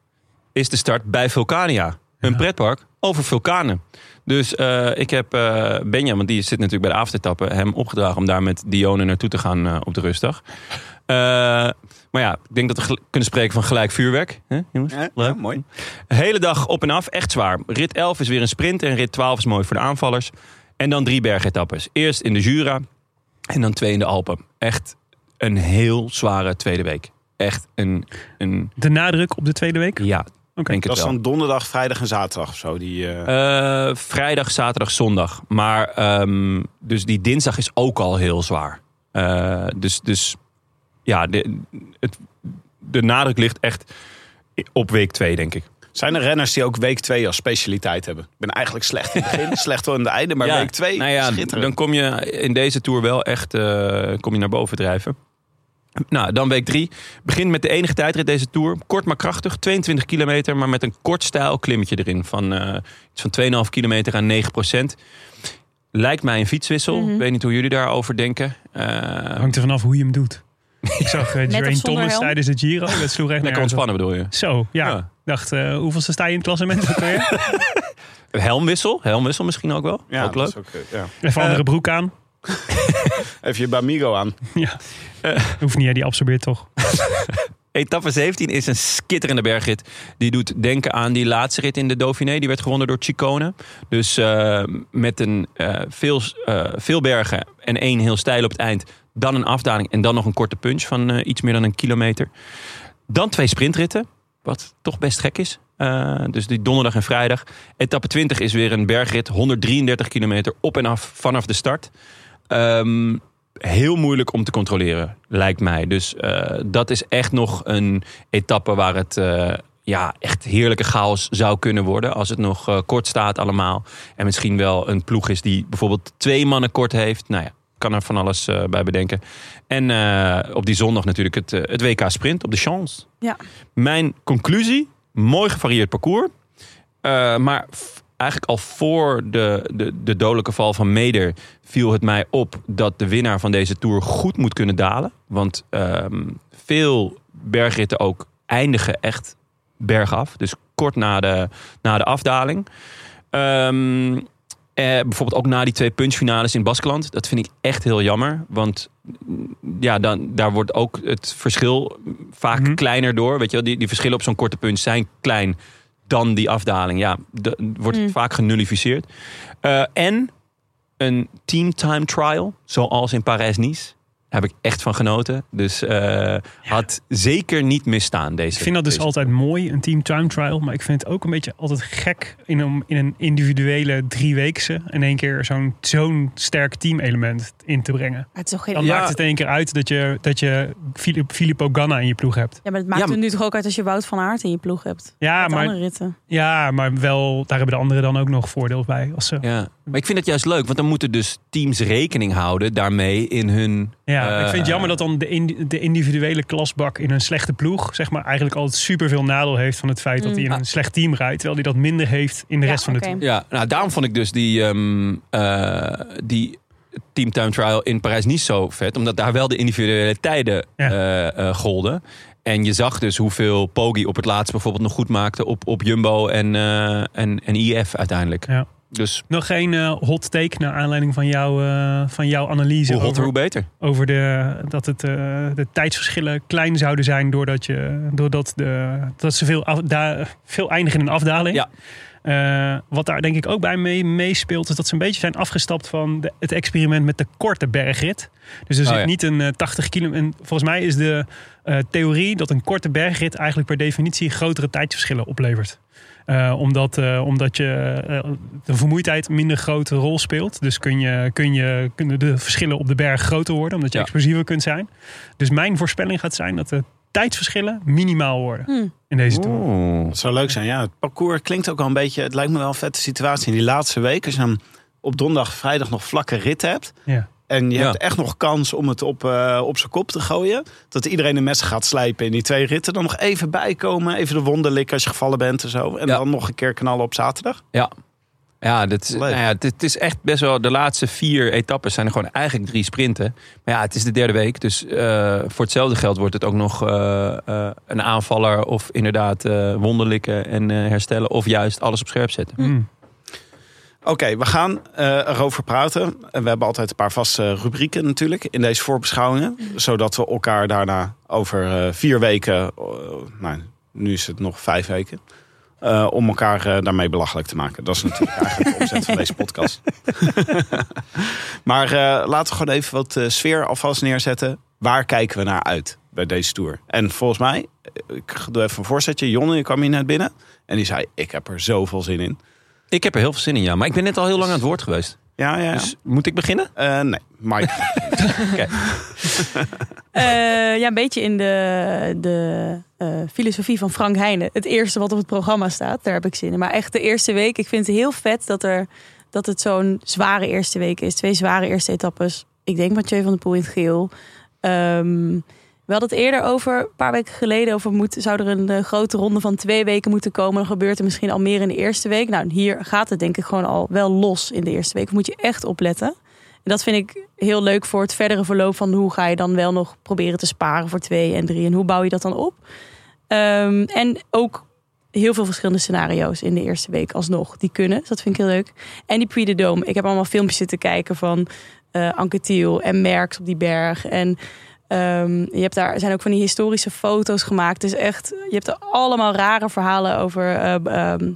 Speaker 4: is de start bij Vulcania. Een pretpark over vulkanen. Dus eh, ik heb eh Benjamin, die zit natuurlijk bij de aftertappen, hem opgedragen om daar met Dione naartoe te gaan eh, op de rustdag. Eh, maar ja, ik denk dat we gel- kunnen spreken van gelijk vuurwerk. Hè, jongens?
Speaker 1: Ja,
Speaker 4: Leuk.
Speaker 1: ja, mooi.
Speaker 4: Hele dag op en af, echt zwaar. Rit 11 is weer een sprint en rit 12 is mooi voor de aanvallers. En dan drie bergetappes. Eerst in de Jura en dan twee in de Alpen. Echt een heel zware tweede week. Echt een, een
Speaker 2: De nadruk op de tweede week.
Speaker 4: ja,
Speaker 2: Oké.
Speaker 4: denk
Speaker 1: Dat
Speaker 4: het
Speaker 1: is
Speaker 4: wel.
Speaker 1: dan donderdag, vrijdag en zaterdag of zo. Die, eh,
Speaker 4: Eh, vrijdag, zaterdag, zondag. Maar ehm, dus die dinsdag is ook al heel zwaar. Eh, dus, dus ja, de, het, de nadruk ligt echt op week 2, denk ik.
Speaker 1: Zijn er renners die ook week 2 als specialiteit hebben? Ik ben eigenlijk slecht in het begin, slecht wel in het einde, maar
Speaker 4: Ja,
Speaker 1: week 2
Speaker 4: nou ja,
Speaker 1: schitterend.
Speaker 4: Dan kom je in deze tour wel echt eh, kom je naar boven drijven. Nou, dan week drie. Begint met de enige tijdrit deze tour. Kort maar krachtig, 22 kilometer, maar met een kort stijl klimmetje erin. Van, eh, iets van 2,5 kilometer aan 9 procent. Lijkt mij een fietswissel.
Speaker 3: Mhm.
Speaker 4: Ik weet niet hoe jullie daarover denken. Eh,
Speaker 2: Hangt er vanaf hoe je hem doet. Ik zag eh, Geraint
Speaker 3: of zonder
Speaker 2: Thomas
Speaker 3: helm?
Speaker 2: tijdens de Giro. Dat sloeg echt
Speaker 4: lekker
Speaker 2: nergens op.
Speaker 4: ontspannen bedoel je?
Speaker 2: Zo, ja.
Speaker 4: Ja.
Speaker 2: Dacht, eh, hoeveelste sta je in het klassement? ook weer?
Speaker 4: Helmwissel, helmwissel misschien ook wel.
Speaker 1: ja,
Speaker 4: ook
Speaker 1: dat
Speaker 4: leuk.
Speaker 1: is ook, eh, ja.
Speaker 2: Even andere broek aan.
Speaker 1: Even je Bamigo aan.
Speaker 2: Ja. Hoeft niet, hè, die absorbeert toch.
Speaker 4: Etappe 17 is een skitterende bergrit. Die doet denken aan die laatste rit in de Dauphiné. Die werd gewonnen door Chicone. Dus eh, met een, eh, veel, eh, veel bergen en één heel steil op het eind. Dan een afdaling en dan nog een korte punch van eh, iets meer dan een kilometer. Dan twee sprintritten. Wat toch best gek is. Eh, dus die donderdag en vrijdag. Etappe 20 is weer een bergrit. 133 kilometer op en af vanaf de start. Ehm, heel moeilijk om te controleren, lijkt mij. Dus eh, dat is echt nog een etappe waar het eh, ja, echt heerlijke chaos zou kunnen worden. Als het nog eh, kort staat allemaal. En misschien wel een ploeg is die bijvoorbeeld twee mannen kort heeft. Nou ja, kan er van alles eh, bij bedenken. En eh, op die zondag natuurlijk het, eh, het WK Sprint op de Chance.
Speaker 3: Ja.
Speaker 4: Mijn conclusie, mooi gevarieerd parcours. Eh, maar f- eigenlijk al voor de, de, de dodelijke val van Meder viel het mij op dat de winnaar van deze Tour goed moet kunnen dalen. Want ehm, veel bergritten ook eindigen echt bergaf. Dus kort na de, na de afdaling. Ehm, eh, bijvoorbeeld ook na die twee punchfinales in Baskeland. Dat vind ik echt heel jammer. Want mm, ja, dan, daar wordt ook het verschil vaak
Speaker 2: Mhm.
Speaker 4: kleiner door. Weet je wel, die, die verschillen op zo'n korte punch zijn klein dan die afdaling. Ja, de- wordt
Speaker 3: Mm.
Speaker 4: vaak genullificeerd. Eh, en een team time trial, zoals in Parijs-Nice. Daar heb ik echt van genoten. Dus eh, had zeker niet misstaan deze.
Speaker 2: Ik vind dat dus
Speaker 4: deze-
Speaker 2: altijd mooi, een team time trial. Maar ik vind het ook een beetje altijd gek in een, in een individuele drieweekse... in één keer zo'n zo'n sterk team element in te brengen.
Speaker 3: Maar het is toch geen...
Speaker 2: Dan
Speaker 3: Ja,
Speaker 2: maakt het in één keer uit dat je, dat je Filip- Filippo Ganna in je ploeg hebt.
Speaker 3: maar het maakt
Speaker 4: Ja,
Speaker 3: het nu toch ook uit als je Wout van Aert in je ploeg hebt.
Speaker 2: Ja,
Speaker 3: Met
Speaker 2: maar
Speaker 3: andere ritten.
Speaker 2: Ja, maar wel, daar hebben de anderen dan ook nog voordeel bij. Als ze, ja,
Speaker 4: Ja, maar ik vind dat juist leuk, want dan moeten dus teams rekening houden daarmee in hun. eh,
Speaker 2: ik vind het jammer dat dan de, in- de individuele klasbak in een slechte ploeg... zeg maar eigenlijk altijd superveel nadeel heeft van het feit dat
Speaker 3: Mm.
Speaker 2: hij in een slecht team rijdt... terwijl hij dat minder heeft in de
Speaker 3: Ja,
Speaker 2: rest van de
Speaker 3: oké.
Speaker 2: team.
Speaker 4: Ja, nou daarom vond ik dus die, ehm, eh, die Team Time Trial in Parijs niet zo vet, omdat daar wel de individuele tijden
Speaker 2: Ja.
Speaker 4: eh, eh, golden. En je zag dus hoeveel Poggi op het laatst bijvoorbeeld nog goed maakte op, op Jumbo en, eh, en, en IF uiteindelijk.
Speaker 2: Ja.
Speaker 4: Dus
Speaker 2: Nog geen eh, hot take naar aanleiding van, jou, eh, van jouw analyse
Speaker 4: hoe hotter,
Speaker 2: over,
Speaker 4: hoe beter.
Speaker 2: over de, dat het, eh, de tijdsverschillen klein zouden zijn doordat, je, doordat de, dat ze veel, af, da- veel eindigen in een afdaling.
Speaker 4: Ja.
Speaker 2: Eh, wat daar denk ik ook bij mee- meespeelt, is dat ze een beetje zijn afgestapt van de- het experiment met de korte bergrit. Dus er
Speaker 4: Oh
Speaker 2: zit
Speaker 4: ja.
Speaker 2: niet een eh, 80 kilometer. en Volgens mij is de eh, theorie dat een korte bergrit eigenlijk per definitie grotere tijdsverschillen oplevert. Eh, omdat, eh, omdat je, eh, de vermoeidheid minder grote rol speelt. Dus kun je, kun je, kunnen de verschillen op de berg groter worden, omdat je
Speaker 4: Ja.
Speaker 2: explosiever kunt zijn. Dus mijn voorspelling gaat zijn dat de tijdsverschillen minimaal worden in deze tour.
Speaker 1: Dat zou leuk zijn. Ja, het parcours klinkt ook al een beetje. Het lijkt me wel een vette situatie in die laatste week. Als je dan op donderdag, vrijdag nog vlakke rit hebt.
Speaker 2: Ja.
Speaker 1: En je
Speaker 4: Ja.
Speaker 1: hebt echt nog kans om het op, eh, op zijn kop te gooien. Dat iedereen de messen gaat slijpen in die twee ritten. Dan nog even bijkomen. Even de wonden likken als je gevallen bent en zo. En
Speaker 4: Ja.
Speaker 1: dan nog een keer knallen op zaterdag.
Speaker 4: Ja, dit, is-
Speaker 1: Leuk.
Speaker 4: nou ja, dit is echt best wel. De laatste vier etappes zijn er gewoon eigenlijk drie sprinten. Maar ja, het is de derde week. Dus eh, voor hetzelfde geld wordt het ook nog eh, eh, een aanvaller. Of inderdaad eh wonden likken en eh, herstellen. Of juist alles op scherp zetten.
Speaker 2: Mm.
Speaker 1: Oké, we gaan eh, erover praten. En we hebben altijd een paar vaste rubrieken natuurlijk in deze voorbeschouwingen. Zodat we elkaar daarna over eh, vier weken, eh, nou, nu is het nog vijf weken, eh, om elkaar eh, daarmee belachelijk te maken. Dat is natuurlijk eigenlijk de opzet van deze podcast. maar eh, laten we gewoon even wat eh, sfeer alvast neerzetten. Waar kijken we naar uit bij deze tour? En volgens mij, eh, ik doe even een voorzetje. Jonne, je kwam hier net binnen en die zei, ik heb er zoveel zin in.
Speaker 4: Ik heb er heel veel zin in, ja. Maar ik ben net al heel lang aan het woord geweest.
Speaker 1: Ja, ja, ja.
Speaker 4: Dus moet ik beginnen?
Speaker 1: Eh, nee, Mike.
Speaker 3: Eh, ja, een beetje in de, de eh, filosofie van Frank Heijnen. Het eerste wat op het programma staat, daar heb ik zin in. Maar echt de eerste week, ik vind het heel vet dat, er, dat het zo'n zware eerste week is. Twee zware eerste etappes. Ik denk Mathieu van der Poel in het geel. Ehm, we hadden het eerder over, een paar weken geleden, over moet, zou er een eh, grote ronde van twee weken moeten komen. Dan gebeurt er misschien al meer in de eerste week. Nou, hier gaat het denk ik gewoon al wel los in de eerste week. Moet je echt opletten. En dat vind ik heel leuk voor het verdere verloop van hoe ga je dan wel nog proberen te sparen voor twee en drie en hoe bouw je dat dan op. Ehm, en ook heel veel verschillende scenario's in de eerste week alsnog. Die kunnen, dus dat vind ik heel leuk. En die Puy de Dome. Ik heb allemaal filmpjes zitten kijken van eh Anke Thiel en Merks op die berg. En ehm, je hebt daar er zijn ook van die historische foto's gemaakt. Dus echt, je hebt er allemaal rare verhalen over eh, ehm,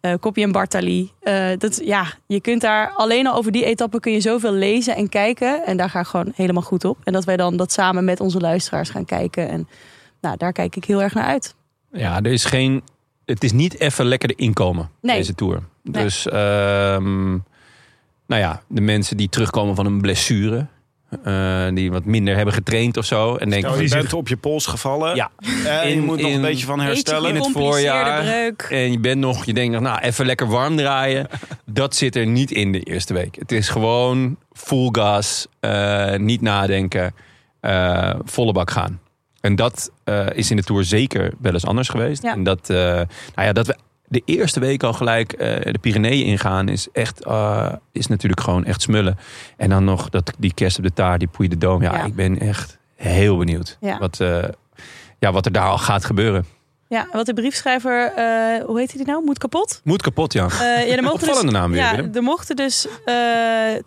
Speaker 3: eh Koppie en Bartali. Eh, dat, ja, je kunt daar alleen al over die etappen kun je zoveel lezen en kijken. En daar ga ik gewoon helemaal goed op. En dat wij dan dat samen met onze luisteraars gaan kijken. En nou, daar kijk ik heel erg naar uit.
Speaker 4: Ja, er is geen. Het is niet even lekker de inkomen,
Speaker 3: Nee.
Speaker 4: deze tour.
Speaker 3: Nee.
Speaker 4: Dus, ehm, nou ja, de mensen die terugkomen van een blessure. eh, die wat minder hebben getraind of zo. En denken
Speaker 1: Nou,
Speaker 4: van,
Speaker 1: je bent op je pols gevallen.
Speaker 4: Ja.
Speaker 1: Eh, je
Speaker 4: In-
Speaker 1: moet nog
Speaker 4: in-
Speaker 1: een beetje van
Speaker 3: Beetje
Speaker 1: herstellen.
Speaker 4: in het
Speaker 3: gecompliceerde
Speaker 4: voorjaar.
Speaker 3: breuk.
Speaker 4: En je bent nog, je denkt nog, nou, even lekker warm draaien. Dat zit er niet in de eerste week. Het is gewoon full gas, eh, niet nadenken, eh, volle bak gaan. En dat eh, is in de Tour zeker wel eens anders geweest.
Speaker 3: Ja.
Speaker 4: En dat, eh, nou ja, dat we de eerste week al gelijk eh, de Pyreneeën ingaan, is, echt, eh, is natuurlijk gewoon echt smullen. En dan nog dat, die kerst op de taart, die Puy de Dome. Ja,
Speaker 3: Ja.
Speaker 4: ik ben echt heel benieuwd
Speaker 3: Ja.
Speaker 4: wat, eh, ja, wat er daar al gaat gebeuren.
Speaker 3: Ja, wat de briefschrijver, eh, hoe heet hij die nou? Moet kapot?
Speaker 4: Moet kapot, ja.
Speaker 3: Eh, ja, er mochten dus,
Speaker 4: Opvallende naam weer,
Speaker 3: ja,
Speaker 4: Willem.
Speaker 3: er mochten dus eh,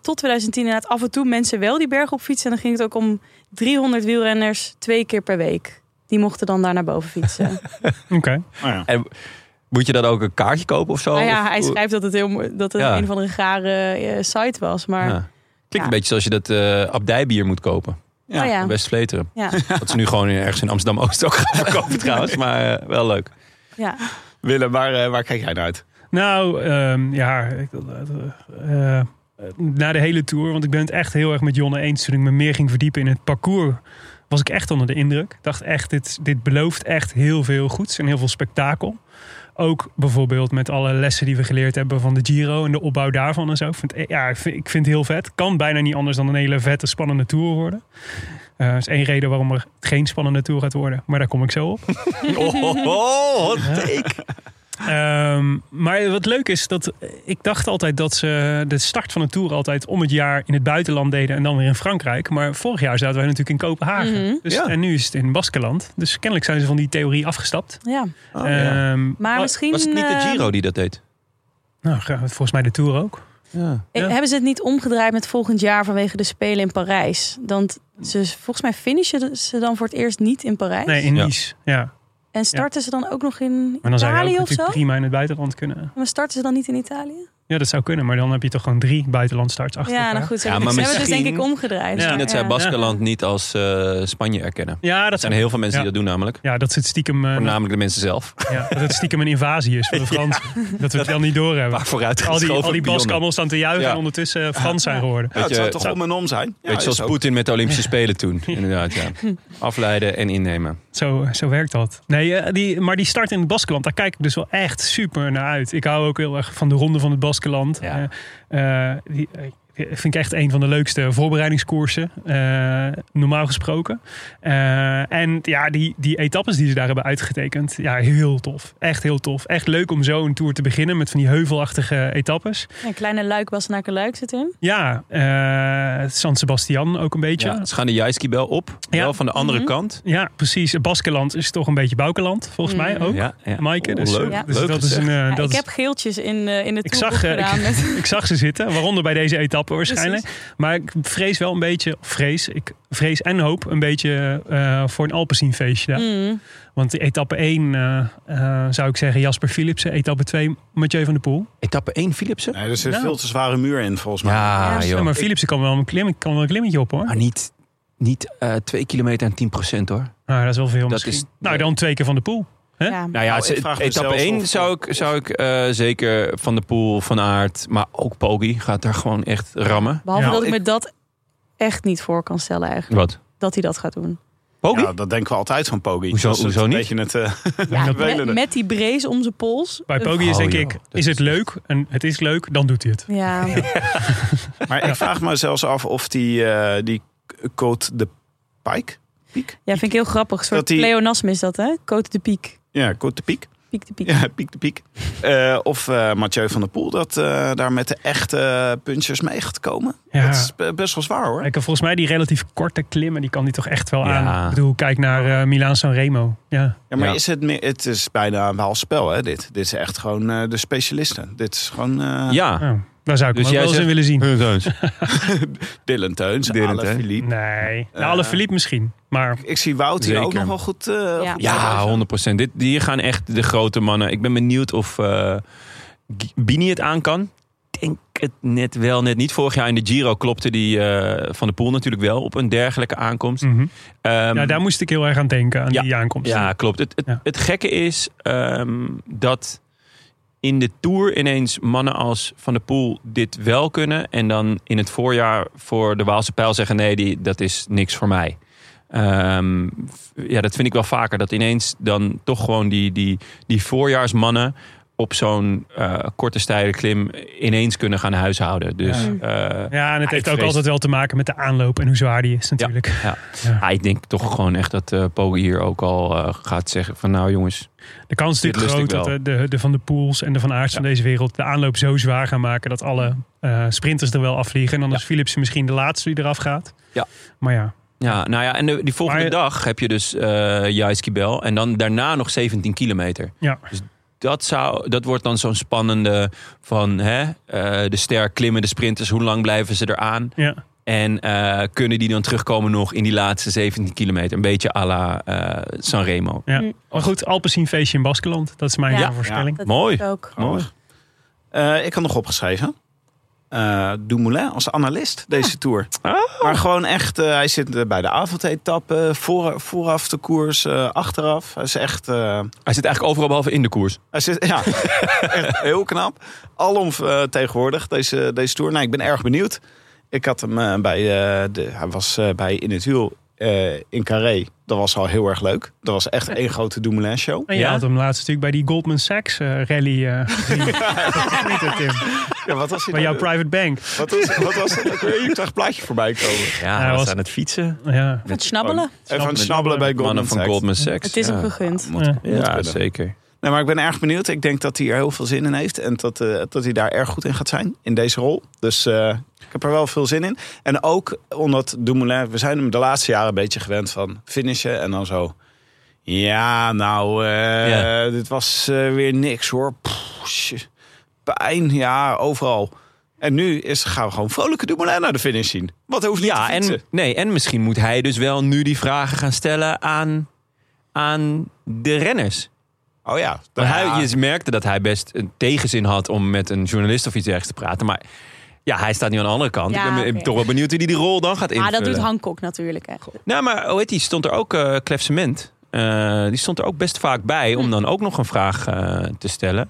Speaker 3: tot 2010 inderdaad af en toe mensen wel die berg op fietsen. En dan ging het ook om 300 wielrenners twee keer per week. Die mochten dan daar naar boven fietsen.
Speaker 2: Oké.
Speaker 1: Oh ja.
Speaker 4: Moet je dan ook een kaartje kopen of zo?
Speaker 3: Nou ja,
Speaker 4: Oh, Of-
Speaker 3: hij schrijft dat het, heel, mo- dat het
Speaker 4: Ja.
Speaker 3: een van de rare eh, site was. Maar
Speaker 4: Ja.
Speaker 3: ja.
Speaker 4: Klinkt een beetje zoals je dat eh abdijbier moet kopen.
Speaker 1: Ja.
Speaker 3: Oh ja.
Speaker 4: Best vleteren.
Speaker 3: Ja.
Speaker 4: Dat ze nu gewoon in- ergens in Amsterdam-Oost ook gaan verkopen trouwens. Maar eh, wel leuk.
Speaker 3: Ja.
Speaker 1: Willem, waar, eh, waar kijk jij naar uit?
Speaker 2: Nou, ehm, ja, ik, eh, eh, na de hele tour, want ik ben het echt heel erg met Jonne eens. Toen ik me meer ging verdiepen in het parcours, was ik echt onder de indruk. Ik dacht echt, dit, dit belooft echt heel veel goeds en heel veel spektakel. Ook bijvoorbeeld met alle lessen die we geleerd hebben van de Giro en de opbouw daarvan en zo. Ik vind, ja, ik vind, ik vind het heel vet. Kan bijna niet anders dan een hele vette, spannende tour worden. Eh, dat is één reden waarom er geen spannende tour gaat worden. Maar daar kom ik zo op.
Speaker 4: Oh, oh, oh, hot take.
Speaker 2: Ehm, maar wat leuk is, dat ik dacht altijd dat ze de start van de tour altijd om het jaar in het buitenland deden en dan weer in Frankrijk. Maar vorig jaar zaten wij natuurlijk in Kopenhagen.
Speaker 3: Mhm.
Speaker 2: dus,
Speaker 4: Ja.
Speaker 2: En nu is het in Baskeland. Dus kennelijk zijn ze van die theorie afgestapt.
Speaker 3: ja.
Speaker 4: Oh, ja.
Speaker 2: Ehm,
Speaker 3: Maar
Speaker 2: wa-
Speaker 3: misschien...
Speaker 4: Was het niet de
Speaker 3: eh,
Speaker 4: Giro die dat deed?
Speaker 2: Nou, gra- volgens mij de Tour ook.
Speaker 1: Ja.
Speaker 3: Eh,
Speaker 2: Ja.
Speaker 3: Hebben ze het niet omgedraaid met volgend jaar vanwege de Spelen in Parijs? Want ze, volgens mij finishen ze dan voor het eerst niet in Parijs.
Speaker 2: Nee, in
Speaker 4: Ja.
Speaker 2: Nice. Ja.
Speaker 3: en starten ze dan ook nog in
Speaker 2: Maar dan zou je ook
Speaker 3: Italië of
Speaker 2: natuurlijk
Speaker 3: zo?
Speaker 2: prima in het buitenland kunnen.
Speaker 3: Maar starten ze dan niet in Italië?
Speaker 2: Ja, dat zou kunnen. Maar dan heb je toch gewoon drie buitenlandstarts achter
Speaker 3: ja,
Speaker 2: elkaar.
Speaker 3: nou goed. Ze
Speaker 4: Ja,
Speaker 3: hebben
Speaker 4: maar
Speaker 3: het- ze hebben het
Speaker 4: misschien-
Speaker 3: denk ik omgedraaid.
Speaker 2: Ja.
Speaker 4: Misschien dat zij
Speaker 3: Ja.
Speaker 4: Baskeland niet als eh, Spanje erkennen.
Speaker 2: Ja,
Speaker 4: Er zijn
Speaker 2: dat zijn
Speaker 4: heel veel mensen
Speaker 2: Ja.
Speaker 4: die dat doen namelijk.
Speaker 2: Ja, dat ze het stiekem, eh,
Speaker 4: Voornamelijk de mensen zelf.
Speaker 2: ja, dat het stiekem een invasie is voor de Fransen. Dat we het wel niet doorhebben.
Speaker 4: Maar vooruit
Speaker 2: Al die, al die
Speaker 4: pionnen.
Speaker 2: baskammels staan te juichen
Speaker 4: Ja.
Speaker 2: en ondertussen eh, Frans zijn geworden.
Speaker 1: Ja, het
Speaker 4: je,
Speaker 1: zou
Speaker 4: het
Speaker 1: toch
Speaker 4: zou-
Speaker 1: om en om zijn? Ja,
Speaker 4: Weet je,
Speaker 1: is
Speaker 4: zoals
Speaker 1: ook-
Speaker 4: Poetin met de Olympische Spelen toen. Inderdaad, ja. Afleiden en innemen.
Speaker 2: Zo, zo werkt dat. Nee, eh, die, maar die start in het Baskeland, daar kijk ik dus wel echt super naar uit. Ik hou ook heel erg van de ronde van het Baskeland.
Speaker 4: Ja.
Speaker 2: Eh, eh, die, eh, vind ik echt een van de leukste voorbereidingskoersen, eh, normaal gesproken. Eh, en ja, die, die etappes die ze daar hebben uitgetekend, ja, heel tof. Echt heel tof. Echt leuk om zo een tour te beginnen met van die heuvelachtige etappes.
Speaker 3: Een kleine luik Bassenaken luik zit in.
Speaker 2: Ja, eh, San Sebastian ook een beetje.
Speaker 4: Ja. Ze gaan de Jaisky-bel op.
Speaker 2: Ja.
Speaker 4: Wel van de andere
Speaker 3: Mhm.
Speaker 4: kant.
Speaker 2: Ja, precies. Baskeland is toch een beetje Boukenland, volgens
Speaker 3: Mm.
Speaker 2: mij ook.
Speaker 4: Ja, ja.
Speaker 2: Maaike,
Speaker 4: Oh,
Speaker 2: dus,
Speaker 4: leuk.
Speaker 2: eh,
Speaker 3: Ja.
Speaker 2: dus
Speaker 4: Leuk
Speaker 2: dat is een.
Speaker 4: gezegd.
Speaker 2: eh,
Speaker 3: Ja,
Speaker 2: dat
Speaker 3: ik
Speaker 2: is-
Speaker 3: heb geeltjes in, eh, in de
Speaker 2: Ik
Speaker 3: troep
Speaker 2: zag, eh,
Speaker 3: gedaan. met,
Speaker 2: ik zag ze zitten, waaronder bij deze etappe waarschijnlijk. Maar ik vrees wel een beetje, of vrees, ik vrees en hoop een beetje eh, voor een Alpensienfeestje. daar.
Speaker 3: Mm.
Speaker 2: Want die etappe 1 eh, eh, zou ik zeggen Jasper Philipsen, etappe 2 Mathieu van der Poel.
Speaker 4: Etappe 1, Philipsen?
Speaker 1: Nee, er zit
Speaker 2: Nou.
Speaker 1: veel te zware muur in, volgens mij.
Speaker 4: Ja, Ah.
Speaker 3: Ja,
Speaker 2: Ja,
Speaker 4: joh.
Speaker 2: maar Philipsen kan wel, een klim, kan wel een klimmetje op hoor.
Speaker 4: Maar niet, niet eh, twee kilometer en 10 procent hoor.
Speaker 2: Nou, dat is wel veel
Speaker 4: Dat
Speaker 2: misschien.
Speaker 4: is-
Speaker 2: nou, dan twee keer van der Poel. Hè?
Speaker 3: Ja.
Speaker 4: Nou ja,
Speaker 1: Nou, ik
Speaker 4: ze-
Speaker 1: vraag me
Speaker 4: etappe
Speaker 1: zelfs
Speaker 4: 1
Speaker 1: of-
Speaker 4: zou ik, zou ik eh, zeker Van de Poel, Van Aert, maar ook Poggi gaat daar gewoon echt rammen.
Speaker 3: Behalve
Speaker 2: Ja.
Speaker 3: dat ik
Speaker 1: Ik-
Speaker 3: me dat echt niet voor kan stellen eigenlijk.
Speaker 4: Wat?
Speaker 3: Dat hij dat gaat doen.
Speaker 4: Poggi?
Speaker 1: Ja, dat denken we altijd van Poggi.
Speaker 4: Hoezo-
Speaker 1: Dat is het
Speaker 4: hoezo
Speaker 1: een
Speaker 4: niet?
Speaker 1: beetje het, eh,
Speaker 3: Ja,
Speaker 2: dat-
Speaker 3: met, met die brace om zijn pols.
Speaker 2: Bij Poggi is
Speaker 4: Oh,
Speaker 2: denk
Speaker 4: joh.
Speaker 2: ik,
Speaker 4: Dat
Speaker 2: is het
Speaker 4: is-
Speaker 2: leuk? En het is leuk, dan doet hij het.
Speaker 3: Ja.
Speaker 1: maar ik vraag me zelfs af of die, eh die Cote de Pike... Piek?
Speaker 3: ja, vind ik heel grappig. Een soort
Speaker 1: Dat die-
Speaker 3: pleonasme is dat, hè? Cote de piek.
Speaker 1: Ja, Cote de Piek.
Speaker 3: Piek de piek.
Speaker 1: Ja, Piek de Piek. Eh, of eh, Mathieu van der Poel, dat eh, daar met de echte punchers mee gaat komen.
Speaker 2: Ja.
Speaker 1: Dat is eh, best wel zwaar, hoor.
Speaker 2: Kijk, volgens mij die relatief korte klimmen, die kan hij toch echt wel
Speaker 4: Ja.
Speaker 2: aan. Ik bedoel, kijk naar eh, Milaan San Remo. Ja.
Speaker 1: Ja, maar
Speaker 4: Ja.
Speaker 1: Is het, meer, het is bijna een waalspel, hè, dit. Dit is echt gewoon eh, de specialisten. Dit is gewoon eh
Speaker 4: Ja.
Speaker 2: Nou, daar zou ik
Speaker 4: Dus
Speaker 2: hem ook
Speaker 4: jij
Speaker 2: wel eens in
Speaker 4: zegt-
Speaker 2: willen zien.
Speaker 1: Dylan Teuns,
Speaker 4: Dylan
Speaker 1: Alain
Speaker 4: Teuns. Mm.
Speaker 1: Philippe.
Speaker 2: Nee, nou,
Speaker 1: Eh,
Speaker 2: alle verliep misschien. Maar
Speaker 1: Ik zie Wout hier
Speaker 4: Zeker.
Speaker 1: ook nog wel goed... eh,
Speaker 3: Ja.
Speaker 1: goed
Speaker 4: Ja,
Speaker 1: bij.
Speaker 4: 100%. Dit, hier gaan echt de grote mannen. Ik ben benieuwd of eh, G- Bini het aan kan. Ik denk het net wel, net niet. Vorig jaar in de Giro klopte die eh, Van de Poel natuurlijk wel op een dergelijke aankomst.
Speaker 2: mhm.
Speaker 4: Ehm,
Speaker 2: ja, daar moest ik heel erg aan denken, aan
Speaker 4: ja,
Speaker 2: die aankomst.
Speaker 4: Ja, klopt. Het, het,
Speaker 2: Ja.
Speaker 4: het gekke is ehm, dat in de Tour ineens mannen als Van der Poel dit wel kunnen. En dan in het voorjaar voor de Waalse Pijl zeggen... nee, die, dat is niks voor mij. Ehm, f- ja, dat vind ik wel vaker. Dat ineens dan toch gewoon die, die, die voorjaarsmannen... op zo'n eh, korte steile klim ineens kunnen gaan huishouden. Dus
Speaker 2: Ja.
Speaker 4: eh,
Speaker 2: Ja, en het
Speaker 4: Ja,
Speaker 2: heeft
Speaker 4: ik
Speaker 2: ook
Speaker 4: vrees-
Speaker 2: altijd wel te maken met de aanloop en hoe zwaar die is natuurlijk.
Speaker 4: ja.
Speaker 2: Ja.
Speaker 4: ah, ik denk toch gewoon echt dat eh Poggi hier ook al eh, gaat zeggen... van nou jongens,
Speaker 2: De kans is
Speaker 4: Dit
Speaker 2: natuurlijk
Speaker 4: lust
Speaker 2: groot
Speaker 4: ik
Speaker 2: dat de, de, de Van de Poels en de Van Aerts van deze wereld de aanloop zo zwaar gaan maken dat alle eh, sprinters er wel afvliegen. En dan is Philips misschien de laatste die eraf gaat.
Speaker 4: Ja.
Speaker 2: Maar ja,
Speaker 4: Ja, nou ja, en de- die volgende
Speaker 2: Maar-
Speaker 4: dag heb je dus eh Jaisky Bel en dan daarna nog 17 kilometer.
Speaker 2: Ja.
Speaker 4: Dus dat, zou, dat wordt dan zo'n spannende van hè, eh, de ster klimmen, de sprinters, hoe lang blijven ze eraan?
Speaker 2: ja.
Speaker 4: En eh, kunnen die dan terugkomen nog in die laatste 17 kilometer? Een beetje à la eh, Sanremo.
Speaker 2: ja.
Speaker 3: Mm.
Speaker 2: Maar goed, Alpecin feestje in Baskeland. Dat is mijn
Speaker 3: Ja.
Speaker 2: voorspelling.
Speaker 3: Dat
Speaker 4: Mooi.
Speaker 3: is ook.
Speaker 4: Mooi.
Speaker 1: Eh, ik had nog opgeschreven. eh Dumoulin als analist deze Tour.
Speaker 4: Oh.
Speaker 1: Maar gewoon echt, eh, hij zit eh, bij de avondetappe, voor, vooraf de koers, eh, achteraf. Hij is echt, eh,
Speaker 4: Hij zit eigenlijk overal behalve in de koers.
Speaker 1: hij zit, ja, echt heel knap. Alom eh, tegenwoordig deze, deze Tour. Nou, ik ben erg benieuwd. Ik had hem eh, bij, eh, de, hij was eh, bij In het Wiel eh, in Carré. Dat was al heel erg leuk. Dat was echt één grote Dumoulin show.
Speaker 2: En je
Speaker 4: Ja?
Speaker 2: had hem laatst natuurlijk bij die Goldman Sachs eh, rally eh, gezien. Dat is Tim.
Speaker 1: Ja, wat was hij
Speaker 2: Bij jouw
Speaker 1: nou?
Speaker 2: private bank.
Speaker 1: Wat was, wat was dat? ook weer? Ik zag het plaatje voorbij komen.
Speaker 4: Ja,
Speaker 2: hij was
Speaker 4: aan het fietsen.
Speaker 2: Ja.
Speaker 3: Het snabbelen.
Speaker 1: Even aan het snabbelen bij Goldman
Speaker 4: Mannen van
Speaker 1: Sachs.
Speaker 4: Goldman Sachs.
Speaker 3: Het is
Speaker 4: ja.
Speaker 3: hem gegund.
Speaker 1: Moet-
Speaker 2: Ja.
Speaker 1: moet
Speaker 4: Ja,
Speaker 1: kunnen.
Speaker 4: zeker.
Speaker 1: Nee, maar ik ben erg benieuwd. Ik denk dat hij er heel veel zin in heeft. En dat, eh, dat hij daar erg goed in gaat zijn. In deze rol. Dus eh, ik heb er wel veel zin in. En ook omdat Dumoulin... We zijn hem de laatste jaren een beetje gewend van finishen. En dan zo... Ja, nou, eh,
Speaker 4: Ja.
Speaker 1: dit was eh, weer niks hoor. Pff, shit. pijn, ja, overal. En nu is, gaan we gewoon vrolijke Dumoulin naar de finish zien. Wat hoeft niet
Speaker 4: Ja,
Speaker 1: te fietsen.
Speaker 4: en, nee, en misschien moet hij dus wel nu die vragen gaan stellen aan, aan de renners.
Speaker 1: Oh ja.
Speaker 4: Want
Speaker 1: Ja.
Speaker 4: hij, je merkte dat hij best een tegenzin had om met een journalist of iets ergs te praten. Maar ja, hij staat nu aan de andere kant.
Speaker 3: Ja,
Speaker 4: ik ben
Speaker 3: oké.
Speaker 4: toch wel benieuwd hoe hij die rol dan gaat
Speaker 3: Maar
Speaker 4: invullen.
Speaker 3: dat doet Hancock natuurlijk echt.
Speaker 4: Nou, maar hoe heet die? Stond er ook eh Clement. die stond er ook best vaak bij
Speaker 3: Hm.
Speaker 4: om dan ook nog een vraag eh, te stellen.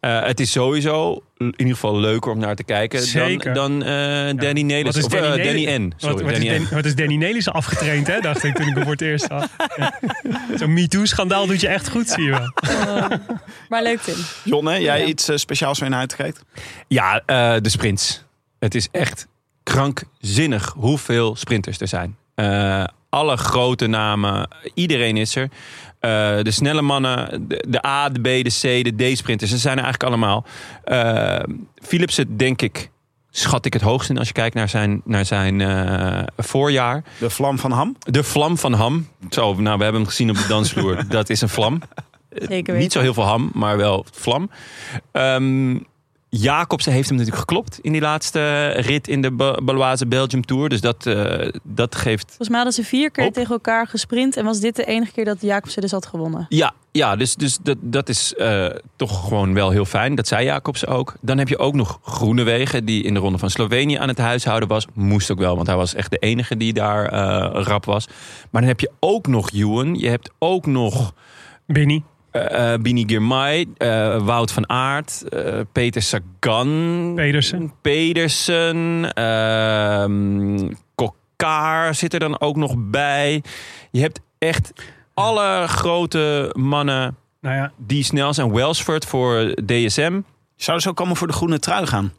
Speaker 4: Eh, het is sowieso in ieder geval leuker om naar te kijken
Speaker 2: Zeker.
Speaker 4: dan, dan eh, Danny Nelis. Of eh, Danny, N.
Speaker 2: Nelissen-
Speaker 4: Sorry,
Speaker 2: Wat, wat,
Speaker 4: Danny
Speaker 2: is
Speaker 4: N.
Speaker 2: Dan- wat is Danny Nelissen afgetraind, hè? Dacht ik toen ik hem voor het eerst zag. Ja. Zo'n MeToo-schandaal doet je echt goed, zie je wel.
Speaker 3: Maar leuk, Tim.
Speaker 1: Jonne, jij
Speaker 3: Ja.
Speaker 1: iets eh, speciaals mee naar uitkijkt?
Speaker 4: Ja, eh, de sprints. Het is echt krankzinnig hoeveel sprinters er zijn. Eh, alle grote namen, iedereen is er. Eh, de snelle mannen, de, de A, de B, de C, de D-sprinters, ze zijn er eigenlijk allemaal. Eh Philipsen, denk ik, schat ik het hoogst in als je kijkt naar zijn, naar zijn eh, voorjaar.
Speaker 1: De vlam van Ham?
Speaker 4: De vlam van ham. Zo, nou, we hebben hem gezien op de dansvloer. Dat is een vlam.
Speaker 3: Zeker
Speaker 4: Niet
Speaker 3: weten.
Speaker 4: zo heel veel ham, maar wel vlam. Ehm Jacobsen heeft hem natuurlijk geklopt in die laatste rit in de Ba- Baloise Belgium Tour. Dus dat, eh, dat geeft...
Speaker 3: Volgens mij hadden ze vier keer
Speaker 4: Hop.
Speaker 3: tegen elkaar gesprint. En was dit de enige keer dat Jacobsen dus had gewonnen.
Speaker 4: Ja, ja dus, dus dat, dat is eh, toch gewoon wel heel fijn. Dat zei Jacobsen ook. Dan heb je ook nog Groenewegen, die in de Ronde van Slovenië aan het huishouden was. Moest ook wel, want hij was echt de enige die daar eh, rap was. Maar dan heb je ook nog Ewan. Je hebt ook nog...
Speaker 2: Benny.
Speaker 4: eh eh, Bini Girmay, eh, Wout van Aert, eh, Peter Sagan,
Speaker 2: Pedersen.
Speaker 4: Pedersen, ehm, Kokkaar zit er dan ook nog bij. Je hebt echt alle grote mannen
Speaker 2: Nou ja,
Speaker 4: die snel zijn. Welsford voor DSM.
Speaker 1: Zouden ze ook allemaal voor de groene trui gaan?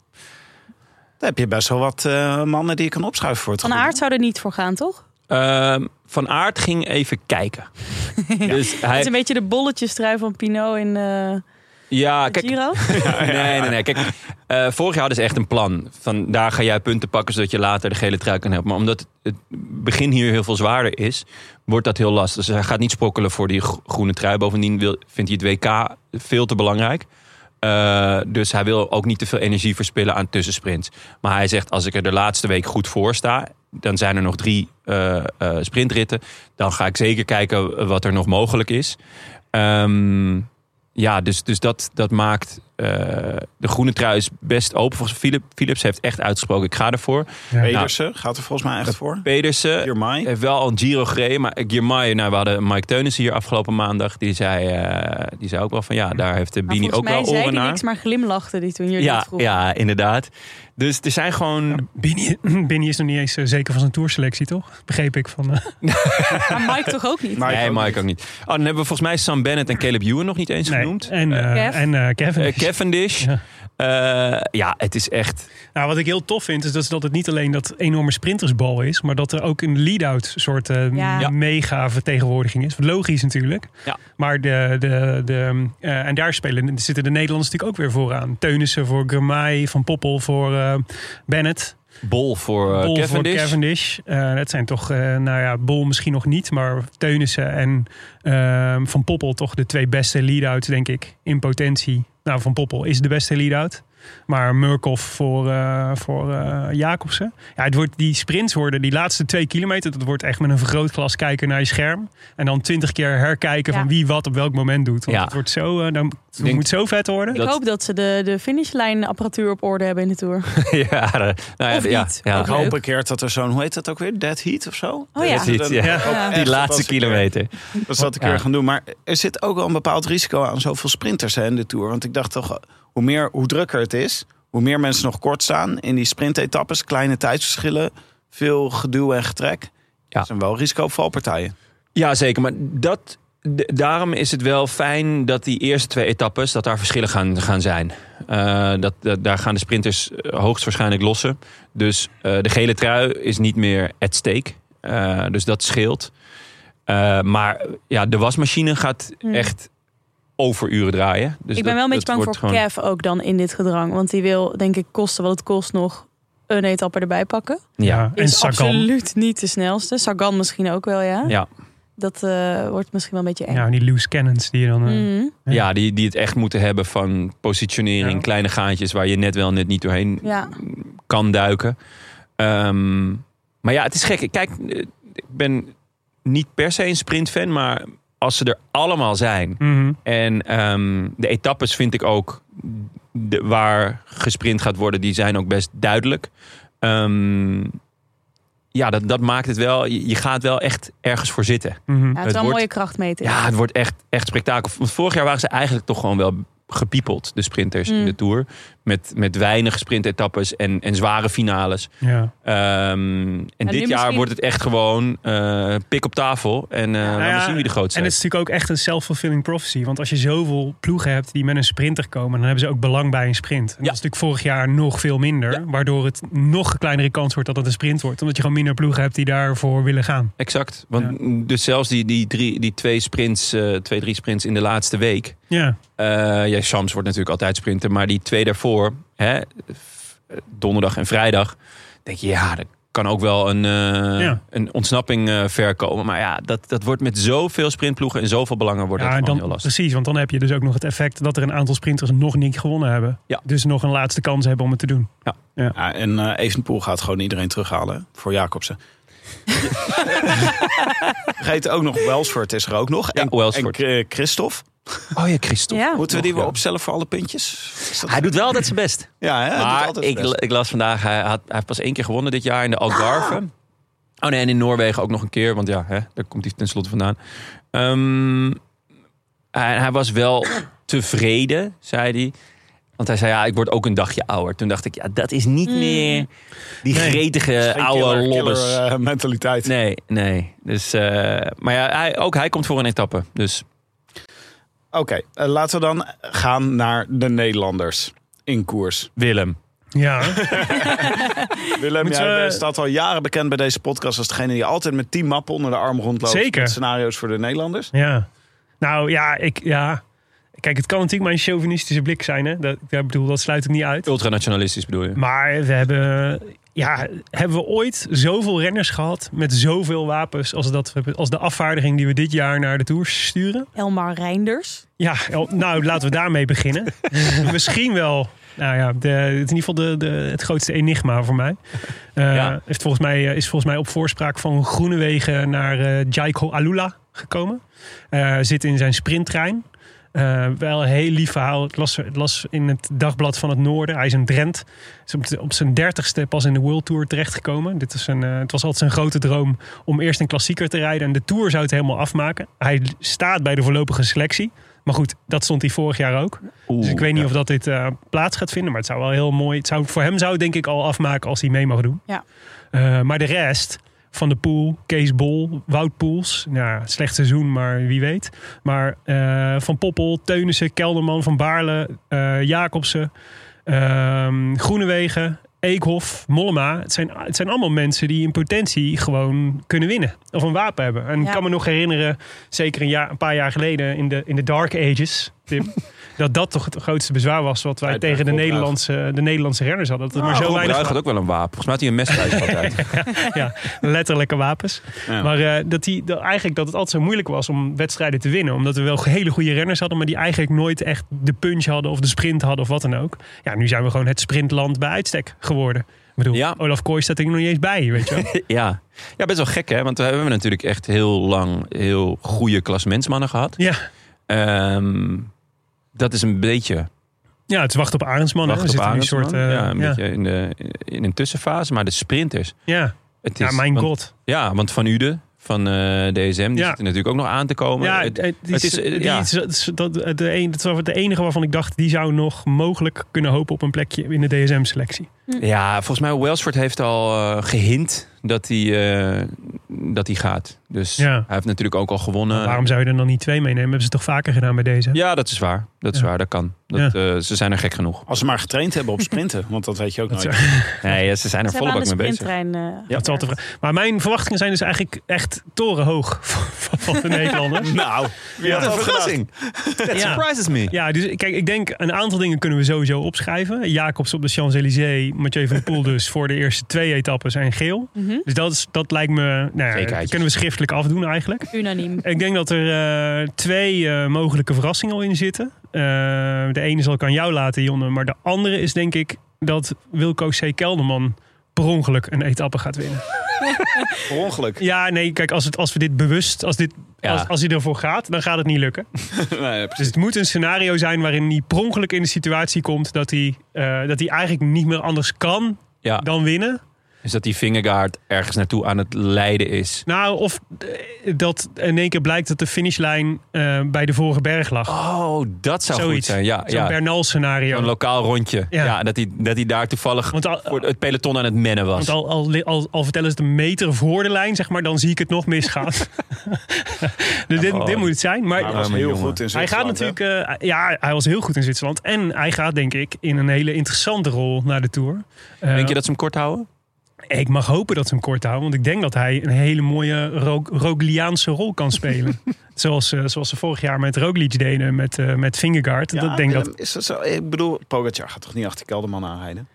Speaker 1: Dan heb je best wel wat eh, mannen die je kan opschuiven voor het
Speaker 3: Van
Speaker 1: groene.
Speaker 3: Aert zou er niet voor gaan, toch?
Speaker 4: Ehm, van Aert ging even kijken. Dus
Speaker 3: Het is een
Speaker 4: hij,
Speaker 3: beetje de bolletjestrui van Pinot in eh
Speaker 4: ja,
Speaker 3: de
Speaker 4: Ah, kijk,
Speaker 3: Giro.
Speaker 4: Nee, nee, nee. Kijk, eh, vorig jaar hadden ze echt een plan. Van daar ga jij punten pakken zodat je later de gele trui kan hebben. Maar omdat het begin hier heel veel zwaarder is, wordt dat heel lastig. Dus hij gaat niet sprokkelen voor die gro- groene trui. Bovendien wil, vindt hij het WK veel te belangrijk. Eh, dus hij wil ook niet te veel energie verspillen aan tussensprints. Maar hij zegt, als ik er de laatste week goed voor sta... dan zijn er nog drie eh, eh, sprintritten. Dan ga ik zeker kijken wat er nog mogelijk is. Ehm, ja, dus, dus dat, dat maakt eh, de groene trui is best open. Volgens Philip, Philips heeft echt uitgesproken, ik ga ervoor.
Speaker 1: Pedersen gaat er volgens mij echt voor.
Speaker 4: Pedersen
Speaker 1: Jermaine.
Speaker 4: heeft wel al een Giro gereden. Maar Girmay, nou, we hadden Mike Teunissen hier afgelopen maandag. Die zei, eh, die zei ook wel van ja, daar heeft de
Speaker 3: Maar
Speaker 4: Bini
Speaker 3: volgens
Speaker 4: ook
Speaker 3: mij
Speaker 4: wel
Speaker 3: zei
Speaker 4: oren
Speaker 3: hij
Speaker 4: naar.
Speaker 3: niks, maar glimlachte die toen jullie
Speaker 4: Ja,
Speaker 3: het vroegen.
Speaker 4: ja, inderdaad. Dus er zijn gewoon.
Speaker 2: Benny, Benny is nog niet eens eh, zeker van zijn tourselectie, toch? Begreep ik van... eh,
Speaker 3: Maar Mike toch ook niet?
Speaker 1: Maar-
Speaker 4: Eh, nee,
Speaker 1: ook
Speaker 4: Mike
Speaker 1: niet.
Speaker 4: ook niet. Oh, dan hebben we volgens mij Sam Bennett en Caleb Ewan nog niet eens
Speaker 2: nee.
Speaker 4: genoemd.
Speaker 2: En, eh,
Speaker 3: Kev.
Speaker 2: en eh, Kevin.
Speaker 4: Eh, Cavendish.
Speaker 2: Ja.
Speaker 4: Ja. ja, het is echt.
Speaker 2: Nou, wat ik heel tof vind, is dat, dat het niet alleen dat enorme sprintersbal is, maar dat er ook een lead-out soort eh,
Speaker 3: Ja. Ja.
Speaker 2: mega vertegenwoordiging is. Logisch natuurlijk.
Speaker 4: Ja.
Speaker 2: Maar de, de, de, eh, en daar spelen, zitten de Nederlanders natuurlijk ook weer vooraan. Teunissen voor Gramai, Van Poppel voor eh, Bennett,
Speaker 4: Bol voor eh,
Speaker 2: Bol
Speaker 4: Cavendish.
Speaker 2: voor Cavendish. Eh, dat zijn toch, eh, nou ja, Bol misschien nog niet, maar Teunissen en eh, Van Poppel toch de twee beste lead-outs, denk ik, in potentie. Nou, Van Poppel is de beste lead-out. Maar Murkoff voor, eh, voor eh, Jacobsen. Ja, het wordt, die sprints worden, die laatste twee kilometer, dat wordt echt met een vergrootglas kijken naar je scherm. En dan twintig keer herkijken
Speaker 3: Ja.
Speaker 2: van wie wat op welk moment doet. Want
Speaker 4: Ja.
Speaker 2: het wordt zo, eh, dan, het
Speaker 4: Denk-
Speaker 2: moet zo vet worden.
Speaker 3: Ik
Speaker 4: Dat-
Speaker 3: hoop dat ze de, de finishlijn-apparatuur op orde hebben in de Tour.
Speaker 4: ja, eh, nou ja,
Speaker 3: Of
Speaker 4: ja,
Speaker 3: niet.
Speaker 4: ja.
Speaker 1: Ik hoop een keer dat er zo'n, hoe heet dat ook weer? Dead Heat of zo?
Speaker 3: Oh ja.
Speaker 4: Dat is iets, ja.
Speaker 2: Ja.
Speaker 1: Ook echt
Speaker 4: Die
Speaker 1: dat
Speaker 4: laatste
Speaker 1: als ik-
Speaker 4: kilometer.
Speaker 1: Dat zat ik
Speaker 4: Ja.
Speaker 1: keer gaan doen. Maar er zit ook wel een bepaald risico aan zoveel sprinters hè, in de Tour. Want ik dacht toch, hoe, meer, hoe drukker het is, hoe meer mensen nog kort staan in die sprintetappes. Kleine tijdsverschillen, veel geduw en getrek.
Speaker 4: Ja.
Speaker 1: Dat zijn wel risico op valpartijen.
Speaker 4: Ja, zeker. Maar dat, d- daarom is het wel fijn dat die eerste twee etappes, dat daar verschillen gaan, gaan zijn. Eh, dat, dat- daar gaan de sprinters eh, hoogstwaarschijnlijk lossen. Dus eh, de gele trui is niet meer at stake. Eh, dus dat scheelt. Eh, maar eh, ja, de wasmachine gaat
Speaker 3: Hmm.
Speaker 4: echt overuren draaien. Dus
Speaker 3: ik
Speaker 4: dat-
Speaker 3: ben wel een beetje
Speaker 4: dat
Speaker 3: bang voor
Speaker 4: wordt gewoon-
Speaker 3: Kev ook dan in dit gedrang. Want die wil, denk ik, kosten wat het kost nog een etappe erbij pakken.
Speaker 4: Ja.
Speaker 2: en
Speaker 3: Is
Speaker 2: Sagan.
Speaker 3: absoluut niet de snelste. Sagan misschien ook wel, ja.
Speaker 4: Ja.
Speaker 3: Dat eh, wordt misschien wel een beetje eng.
Speaker 2: Ja, die loose cannons die je dan... eh,
Speaker 3: Mhm.
Speaker 4: Ja, die, die het echt moeten hebben van positionering,
Speaker 2: Ja.
Speaker 4: kleine gaatjes waar je net wel net niet doorheen
Speaker 3: ja.
Speaker 4: kan duiken. Ehm, maar ja, het is gek. Kijk, eh, ik ben niet per se een sprintfan, maar als ze er allemaal zijn.
Speaker 2: mhm.
Speaker 4: En ehm, de etappes vind ik ook de, waar gesprint gaat worden, die zijn ook best duidelijk. Ehm, ja, dat, dat maakt het wel. Je, je gaat wel echt ergens voor zitten.
Speaker 2: Mhm.
Speaker 3: Ja, het
Speaker 4: Het
Speaker 3: is wel een
Speaker 4: wordt-
Speaker 3: mooie krachtmeter.
Speaker 4: Ja, het wordt echt, echt spektakel. Want vorig jaar waren ze eigenlijk toch gewoon wel gepiepeld, de sprinters in
Speaker 3: Mm.
Speaker 4: de Tour. Met, met weinig sprintetappes en, en zware finales.
Speaker 2: Ja.
Speaker 4: Ehm, en dit
Speaker 3: nu
Speaker 4: jaar
Speaker 3: misschien-
Speaker 4: wordt het echt gewoon eh, pik op tafel. En eh laten we
Speaker 2: Nou ja,
Speaker 4: zien wie de grootste
Speaker 2: En
Speaker 4: is.
Speaker 2: het is natuurlijk ook echt een self-fulfilling prophecy. Want als je zoveel ploegen hebt die met een sprinter komen, dan hebben ze ook belang bij een sprint. En
Speaker 4: Ja.
Speaker 2: dat is natuurlijk vorig jaar nog veel minder.
Speaker 4: Ja.
Speaker 2: Waardoor het nog een kleinere kans wordt dat het een sprint wordt. Omdat je gewoon minder ploegen hebt die daarvoor willen gaan.
Speaker 4: Exact. Want dus zelfs die, die, drie, die twee sprints, eh, twee, drie sprints in de laatste week.
Speaker 2: Ja,
Speaker 4: Eh, ja, Shams wordt natuurlijk altijd sprinter. Maar die twee daarvoor, hè, f- donderdag en vrijdag, denk je, ja, dat kan ook wel een, eh,
Speaker 2: Ja.
Speaker 4: een ontsnapping eh, ver komen. Maar ja, dat, dat wordt met zoveel sprintploegen en zoveel belangen wordt dat
Speaker 2: ja
Speaker 4: gewoon
Speaker 2: dan,
Speaker 4: heel lastig.
Speaker 2: precies. Want dan heb je dus ook nog het effect dat er een aantal sprinters nog niet gewonnen hebben.
Speaker 4: Ja.
Speaker 2: Dus nog een laatste kans hebben om het te doen.
Speaker 1: Ja, en eh Evenepoel gaat gewoon iedereen terughalen hè, voor Jacobsen. Vergeet ook nog, Welsford is er ook nog.
Speaker 4: Ja,
Speaker 1: en,
Speaker 4: Welsford.
Speaker 1: en eh, Christophe.
Speaker 4: Oh ja, Christophe.
Speaker 3: Ja.
Speaker 1: Moeten we die
Speaker 4: nog,
Speaker 1: weer
Speaker 4: ja.
Speaker 1: opstellen voor alle puntjes? Is dat-
Speaker 4: Hij doet wel altijd zijn best.
Speaker 1: ja, hè, hij doet
Speaker 4: maar
Speaker 1: altijd
Speaker 4: ik,
Speaker 1: best.
Speaker 4: ik las vandaag, hij, had, hij heeft pas één keer gewonnen dit jaar in de Algarve. Oh nee, en in Noorwegen ook nog een keer, want ja, hè, daar komt hij tenslotte vandaan. Ehm, hij, hij was wel tevreden, zei hij. Want hij zei, ja, ik word ook een dagje ouder. Toen dacht ik, ja, dat is niet meer die
Speaker 2: Nee.
Speaker 4: gretige
Speaker 1: Geen
Speaker 4: eh, oude
Speaker 1: killer-
Speaker 4: lobbes.
Speaker 1: killer, eh, mentaliteit.
Speaker 4: Nee, nee. Dus, eh, maar ja, hij, ook hij komt voor een etappe. Dus
Speaker 1: Oké, eh, laten we dan gaan naar de Nederlanders in koers.
Speaker 4: Willem.
Speaker 2: Ja,
Speaker 1: Willem,
Speaker 2: Moeten
Speaker 1: jij
Speaker 2: we-
Speaker 1: staat al jaren bekend bij deze podcast als degene die altijd met tien mappen onder de arm rondloopt.
Speaker 2: Zeker.
Speaker 1: Met scenario's voor de Nederlanders.
Speaker 2: ja. Nou ja, ik... Ja. Kijk, het kan natuurlijk mijn chauvinistische blik zijn. Hè? Dat, ik bedoel, dat sluit ik niet uit.
Speaker 4: Ultranationalistisch bedoel je?
Speaker 2: Maar we hebben, ja, hebben we ooit zoveel renners gehad met zoveel wapens als, dat, we- als de afvaardiging die we dit jaar naar de Tour sturen?
Speaker 3: Elmar Reinders.
Speaker 2: Ja, el- nou laten we daarmee beginnen. Misschien wel, nou ja, de, het is in ieder geval de, de, het grootste enigma voor mij. Eh,
Speaker 4: Ja.
Speaker 2: heeft volgens mij, eh, is volgens mij op voorspraak van Groenewegen naar eh Jaiko Alula gekomen. Eh, zit in zijn sprinttrein. Eh, wel een heel lief verhaal. Het las, het las in het dagblad van het Noorden. Hij is een Drent. Is op, de- op zijn dertigste pas in de World Tour terechtgekomen. Dit is een, eh, het was altijd zijn grote droom om eerst een klassieker te rijden. En de Tour zou het helemaal afmaken. Hij staat bij de voorlopige selectie. Maar goed, dat stond hij vorig jaar ook. dus ik weet niet of dat dit eh, plaats gaat vinden. Maar het zou wel heel mooi... Het zou, voor hem zou het denk ik al afmaken als hij mee mag doen.
Speaker 3: Ja.
Speaker 2: Eh, maar de rest... Van de Poel, Kees Bol, Wout Poels. Ja, slecht seizoen, maar wie weet. Maar eh, Van Poppel, Teunissen, Kelderman, Van Baarle, eh, Jacobsen, ehm, Groenewegen, Eekhof, Mollema. Het zijn, het zijn allemaal mensen die in potentie gewoon kunnen winnen. Of een wapen hebben. En ik
Speaker 3: Ja.
Speaker 2: kan me nog herinneren, zeker een, jaar, een paar jaar geleden in de, in de Dark Ages, Tim. dat dat toch het grootste bezwaar was wat wij
Speaker 1: Uiteraard,
Speaker 2: tegen de
Speaker 1: opdracht.
Speaker 2: Nederlandse, de Nederlandse renners hadden. Dat er maar zo
Speaker 4: Rob
Speaker 2: weinig
Speaker 4: Ruig had ook wel een wapen. Volgens mij had hij een mes thuis altijd.
Speaker 2: ja, letterlijke wapens.
Speaker 1: Ja.
Speaker 2: Maar eh, dat die, dat eigenlijk dat het altijd zo moeilijk was om wedstrijden te winnen. Omdat we wel hele goede renners hadden, maar die eigenlijk nooit echt de punch hadden of de sprint hadden of wat dan ook. Ja, nu zijn we gewoon het sprintland bij uitstek geworden. Ik bedoel,
Speaker 4: Ja.
Speaker 2: Olaf Kooi staat er nog niet eens bij, weet je wel.
Speaker 4: Ja. ja, best wel gek hè. Want we hebben natuurlijk echt heel lang heel goede klasmensmannen gehad.
Speaker 2: ja.
Speaker 4: Ehm, dat is een beetje
Speaker 2: ja, het is wachten op Arendsman. hè.
Speaker 4: wacht
Speaker 2: Oh, We
Speaker 4: op
Speaker 2: zitten nu een
Speaker 4: Arendsman.
Speaker 2: soort... eh,
Speaker 4: ja, een
Speaker 2: ja.
Speaker 4: beetje in, de, in een tussenfase. Maar de sprinters.
Speaker 2: Ja.
Speaker 4: Het
Speaker 2: ja,
Speaker 4: is-
Speaker 2: mijn
Speaker 4: want,
Speaker 2: god.
Speaker 4: Ja, want Van Uden van eh, DSM, die
Speaker 2: Ja.
Speaker 4: zit er natuurlijk ook nog aan te komen.
Speaker 2: Ja,
Speaker 4: Het-
Speaker 2: het, het
Speaker 4: is,
Speaker 2: is,
Speaker 4: eh,
Speaker 2: die
Speaker 4: ja.
Speaker 2: is- het is- dat, het de een, dat was de enige waarvan ik dacht... die zou nog mogelijk kunnen hopen op een plekje in de DSM-selectie.
Speaker 4: ja, volgens mij Welsford heeft al eh, gehint dat hij, eh, dat hij gaat. Dus
Speaker 2: Ja.
Speaker 4: hij heeft natuurlijk ook al gewonnen.
Speaker 2: Waarom zou je er dan niet twee meenemen? Hebben ze toch vaker gedaan bij deze?
Speaker 4: Ja, dat is waar. Dat is
Speaker 2: Ja.
Speaker 4: waar, dat kan. Dat, eh, ze zijn er gek genoeg.
Speaker 1: Als ze maar getraind hebben op sprinten, want dat weet je ook
Speaker 2: Dat
Speaker 1: nooit.
Speaker 2: is-
Speaker 4: Nee, ja, ze zijn er
Speaker 3: Ze
Speaker 4: volle
Speaker 3: hebben aan
Speaker 4: bak
Speaker 3: de
Speaker 4: mee bezig.
Speaker 3: sprinttrein. eh,
Speaker 2: dat is
Speaker 3: gewerkt.
Speaker 2: al te vra- Maar mijn verwachtingen zijn dus eigenlijk echt torenhoog van, van de Nederlanders.
Speaker 1: Nou, wie had dat verrassing.
Speaker 4: That
Speaker 2: Ja.
Speaker 4: surprises me.
Speaker 2: Ja, dus kijk, ik denk een aantal dingen kunnen we sowieso opschrijven. Jacobs op de Champs-Élysées Mathieu van der Poel dus voor de eerste twee etappes zijn geel.
Speaker 3: Mhm.
Speaker 2: Dus dat, is, dat lijkt me, nou ja, dat
Speaker 1: Zekerheidjes.
Speaker 2: kunnen we schriftelijk afdoen eigenlijk.
Speaker 3: Unaniem.
Speaker 2: Ik denk dat er eh, twee eh, mogelijke verrassingen al in zitten. Eh, de ene zal ik aan jou laten, Jonne. Maar de andere is denk ik dat Wilco C. Kelderman per ongeluk een etappe gaat winnen.
Speaker 1: Per ongeluk.
Speaker 2: Ja, nee, kijk, als, het, als we dit bewust, als, dit,
Speaker 4: Ja.
Speaker 2: als, als hij ervoor gaat, dan gaat het niet lukken.
Speaker 1: Nee,
Speaker 2: Dus
Speaker 1: precies.
Speaker 2: het moet een scenario zijn waarin hij per ongeluk in de situatie komt dat hij, eh, dat hij eigenlijk niet meer anders kan
Speaker 4: Ja.
Speaker 2: dan winnen.
Speaker 4: Is dat die vingergaard ergens naartoe aan het leiden is.
Speaker 2: Nou, of eh, dat in één keer blijkt dat de finishlijn eh, bij de vorige berg lag.
Speaker 4: Oh, dat zou goed
Speaker 2: Zoiets.
Speaker 4: zijn. Ja,
Speaker 2: Zo'n
Speaker 4: ja.
Speaker 2: Bernal scenario.
Speaker 4: Een lokaal rondje. Ja.
Speaker 2: Ja.
Speaker 4: dat, hij, dat hij daar toevallig
Speaker 2: Want al,
Speaker 4: voor het peloton aan het mennen was.
Speaker 2: want al, al, al, al vertellen ze het een meter voor de lijn, zeg maar, dan zie ik het nog misgaan. dus dit, dit moet het zijn. Maar
Speaker 1: Maar hij was
Speaker 4: Arme
Speaker 1: heel
Speaker 4: jongen.
Speaker 1: goed in
Speaker 2: hij gaat
Speaker 1: Zwitserland, hè?
Speaker 2: natuurlijk... eh, ja, hij was heel goed in Zwitserland. En hij gaat, denk ik, in een hele interessante rol naar de Tour. Eh,
Speaker 4: Denk je dat ze hem kort houden?
Speaker 2: Ik mag hopen dat ze hem kort houden. Want ik denk dat hij een hele mooie Ro- Rogliaanse rol kan spelen. zoals, eh, zoals ze vorig jaar met Roglic deden, met, eh met Vingegaard.
Speaker 1: Ja,
Speaker 2: dat denk
Speaker 1: Willem,
Speaker 2: dat,
Speaker 1: Is dat zo? Eh, Ik bedoel, Pogacar gaat toch niet achter Kelderman aanrijden?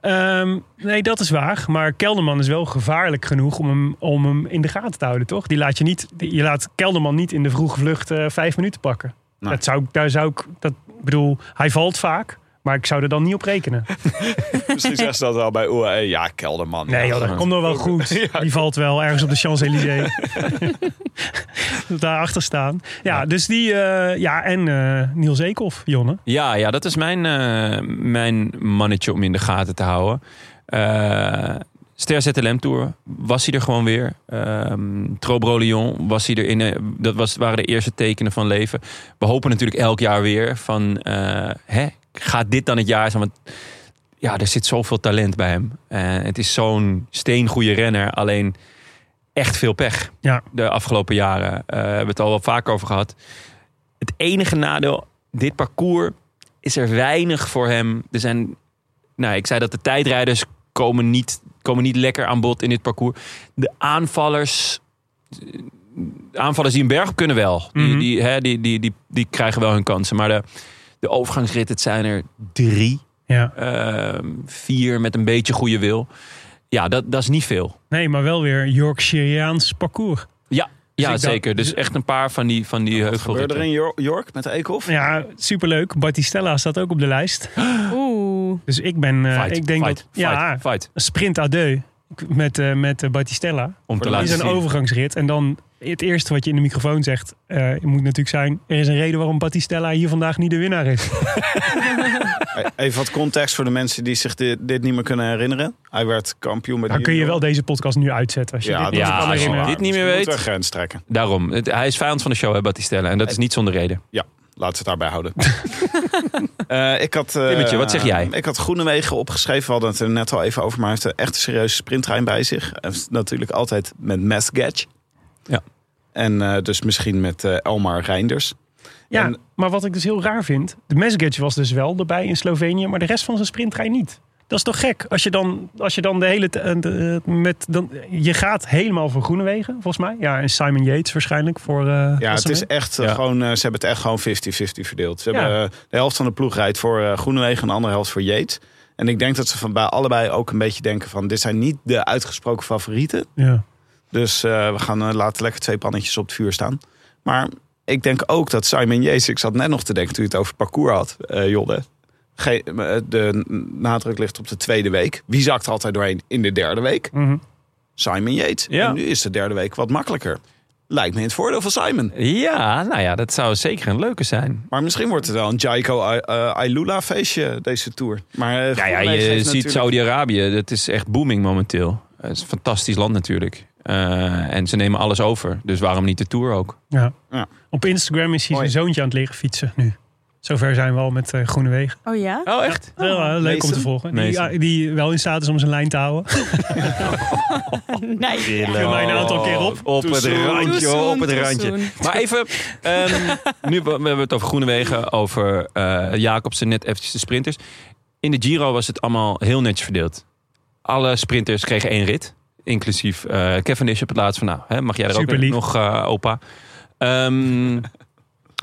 Speaker 2: Ehm, nee, dat is waar. Maar Kelderman is wel gevaarlijk genoeg om hem, om hem in de gaten te houden, toch? Die laat je, niet, die- je laat Kelderman niet in de vroege vlucht eh, vijf minuten pakken.
Speaker 1: Nee.
Speaker 2: Dat zou, ik- daar zou ik, dat ik bedoel, hij valt vaak. Maar ik zou er dan niet op rekenen.
Speaker 1: Misschien zegt ze dat wel bij UAE. Ja, Kelderman. ja.
Speaker 2: Nee, joh, dat komt nog wel goed. Die valt wel ergens op de Champs-Élysées. Daarachter staan. Ja, dus die... eh, ja, en eh, Niels Eekhoff, Jonne.
Speaker 4: Ja, ja dat is mijn, eh, mijn mannetje om in de gaten te houden. Eh, Ster ZLM Tour was hij er gewoon weer. Ehm Trobro Lyon was hij er in. eh, dat was, waren de eerste tekenen van leven. We hopen natuurlijk elk jaar weer van... eh, hè, gaat dit dan het jaar zijn? Want ja, er zit zoveel talent bij hem. Eh, het is zo'n steengoede renner. Alleen echt veel pech
Speaker 2: Ja.
Speaker 4: de afgelopen jaren. Eh, we hebben het al wel vaak over gehad. Het enige nadeel, dit parcours is er weinig voor hem. Er zijn, nou, ik zei dat de tijdrijders komen niet, komen niet lekker aan bod in dit parcours. De aanvallers, de aanvallers die een berg op kunnen wel. Die,
Speaker 2: Mhm.
Speaker 4: die, hè, die, die, die, die krijgen wel hun kansen. Maar de, de overgangsrit, het zijn er drie.
Speaker 2: Ja.
Speaker 4: eh, vier met een beetje goede wil. Ja, dat, dat is niet veel.
Speaker 2: Nee, maar wel weer Yorkshireaans parcours. Dus
Speaker 4: Ja,
Speaker 2: ik dacht-
Speaker 4: zeker. Dus echt een paar van die, van die eh,
Speaker 1: Gebeurde er
Speaker 4: heuvelritten.
Speaker 1: in Jor- York met de Eekhoff?
Speaker 2: Ja, superleuk. Battistella staat ook op de lijst.
Speaker 3: Oeh.
Speaker 2: Dus ik ben, eh,
Speaker 4: Fight,
Speaker 2: ik denk
Speaker 4: fight,
Speaker 2: dat, ja,
Speaker 4: fight, fight.
Speaker 2: een sprint adieu met, eh met eh, Battistella.
Speaker 4: Om te
Speaker 1: de
Speaker 2: Het
Speaker 4: laten
Speaker 2: is een
Speaker 4: zien.
Speaker 2: overgangsrit en dan het eerste wat je in de microfoon zegt, eh, moet natuurlijk zijn, er is een reden waarom Battistella hier vandaag niet de winnaar is.
Speaker 1: Even wat context voor de mensen die zich dit, dit niet meer kunnen herinneren. Hij werd kampioen met
Speaker 2: Dan
Speaker 1: de
Speaker 2: kun je wel
Speaker 1: junior.
Speaker 2: deze podcast nu uitzetten als je dit
Speaker 1: Ja,
Speaker 2: nog
Speaker 4: ja,
Speaker 2: kan
Speaker 4: als je
Speaker 2: herinneren.
Speaker 4: dit niet meer weet.
Speaker 1: Moet grens trekken.
Speaker 4: Daarom. Het- hij is vijand van de show, hè, Battistella. En dat is niet zonder reden.
Speaker 1: Laten we het daarbij houden. Eh, ik had, eh,
Speaker 4: Timmetje, wat zeg jij?
Speaker 1: Ik had Groenewegen opgeschreven. We hadden het er net al even over. Maar hij heeft een echt serieuze sprinttrein bij zich. Hij is natuurlijk altijd met Matt Gage.
Speaker 4: Ja.
Speaker 1: En eh, dus misschien met eh, Elmar Reinders.
Speaker 2: Ja,
Speaker 1: En-
Speaker 2: maar wat ik dus heel raar vind, de Mesgage was dus wel erbij in Slovenië, maar de rest van zijn sprinttrein niet. Dat is toch gek? Als je dan, als je dan de hele t- eh, de- eh, met dan, je gaat helemaal voor Groenewegen, volgens mij. Ja, en Simon Yates waarschijnlijk voor. eh,
Speaker 1: Ja, het
Speaker 2: Asseman.
Speaker 1: is echt eh,
Speaker 4: Ja.
Speaker 1: gewoon, eh, ze hebben het echt gewoon 50-50 verdeeld. Ze
Speaker 2: Ja.
Speaker 1: hebben eh, de helft van de ploeg rijdt voor eh, Groenewegen en de andere helft voor Yates. En ik denk dat ze van bij allebei ook een beetje denken van dit zijn niet de uitgesproken favorieten.
Speaker 2: Ja.
Speaker 1: Dus eh, we gaan eh, laten lekker twee pannetjes op het vuur staan. Maar ik denk ook dat Simon Yates, ik zat net nog te denken toen je het over parcours had, eh Jodde. Ge- eh, de nadruk ligt op de tweede week. Wie zakt er altijd doorheen in de derde week?
Speaker 2: Mhm.
Speaker 1: Simon Yates.
Speaker 4: Ja.
Speaker 1: En nu is de derde week wat makkelijker. Lijkt me in het voordeel van Simon.
Speaker 4: Ja, nou ja, dat zou zeker een leuke zijn.
Speaker 1: Maar misschien wordt het wel een Jaiko eh, Ailula feestje deze tour. Maar eh,
Speaker 4: Ja, ja, je
Speaker 1: Groenewegen heeft
Speaker 4: ziet
Speaker 1: natuurlijk-
Speaker 4: Saudi-Arabië. Dat is echt booming momenteel. Het is een fantastisch land natuurlijk. Eh, en ze nemen alles over. Dus waarom niet de Tour ook?
Speaker 2: Ja.
Speaker 1: Ja.
Speaker 2: Op Instagram is hij
Speaker 1: Mooi.
Speaker 2: zijn zoontje aan het leren fietsen nu. Zover zijn we al met eh, Groenewegen.
Speaker 3: Oh ja?
Speaker 4: Oh, echt?
Speaker 2: Heel eh, leuk om
Speaker 1: Mason?
Speaker 2: te volgen. Die,
Speaker 4: Mason.
Speaker 2: ja, die wel in staat is om zijn lijn te houden.
Speaker 3: Nee.
Speaker 2: viel mij een aantal keer op.
Speaker 4: Op
Speaker 1: Too
Speaker 4: het
Speaker 1: soon.
Speaker 4: randje,
Speaker 3: Too soon,
Speaker 4: op het
Speaker 3: too
Speaker 4: randje.
Speaker 3: soon.
Speaker 4: Maar even, ehm, nu we, we hebben het over Groenewegen, over eh Jacobsen, net eventjes de sprinters. In de Giro was het allemaal heel netjes verdeeld. Alle sprinters kregen één rit, inclusief eh Cavendish op het laatst van nou, hè, mag jij er ook eh,
Speaker 2: Superlief.
Speaker 4: nog, eh, opa. Ehm,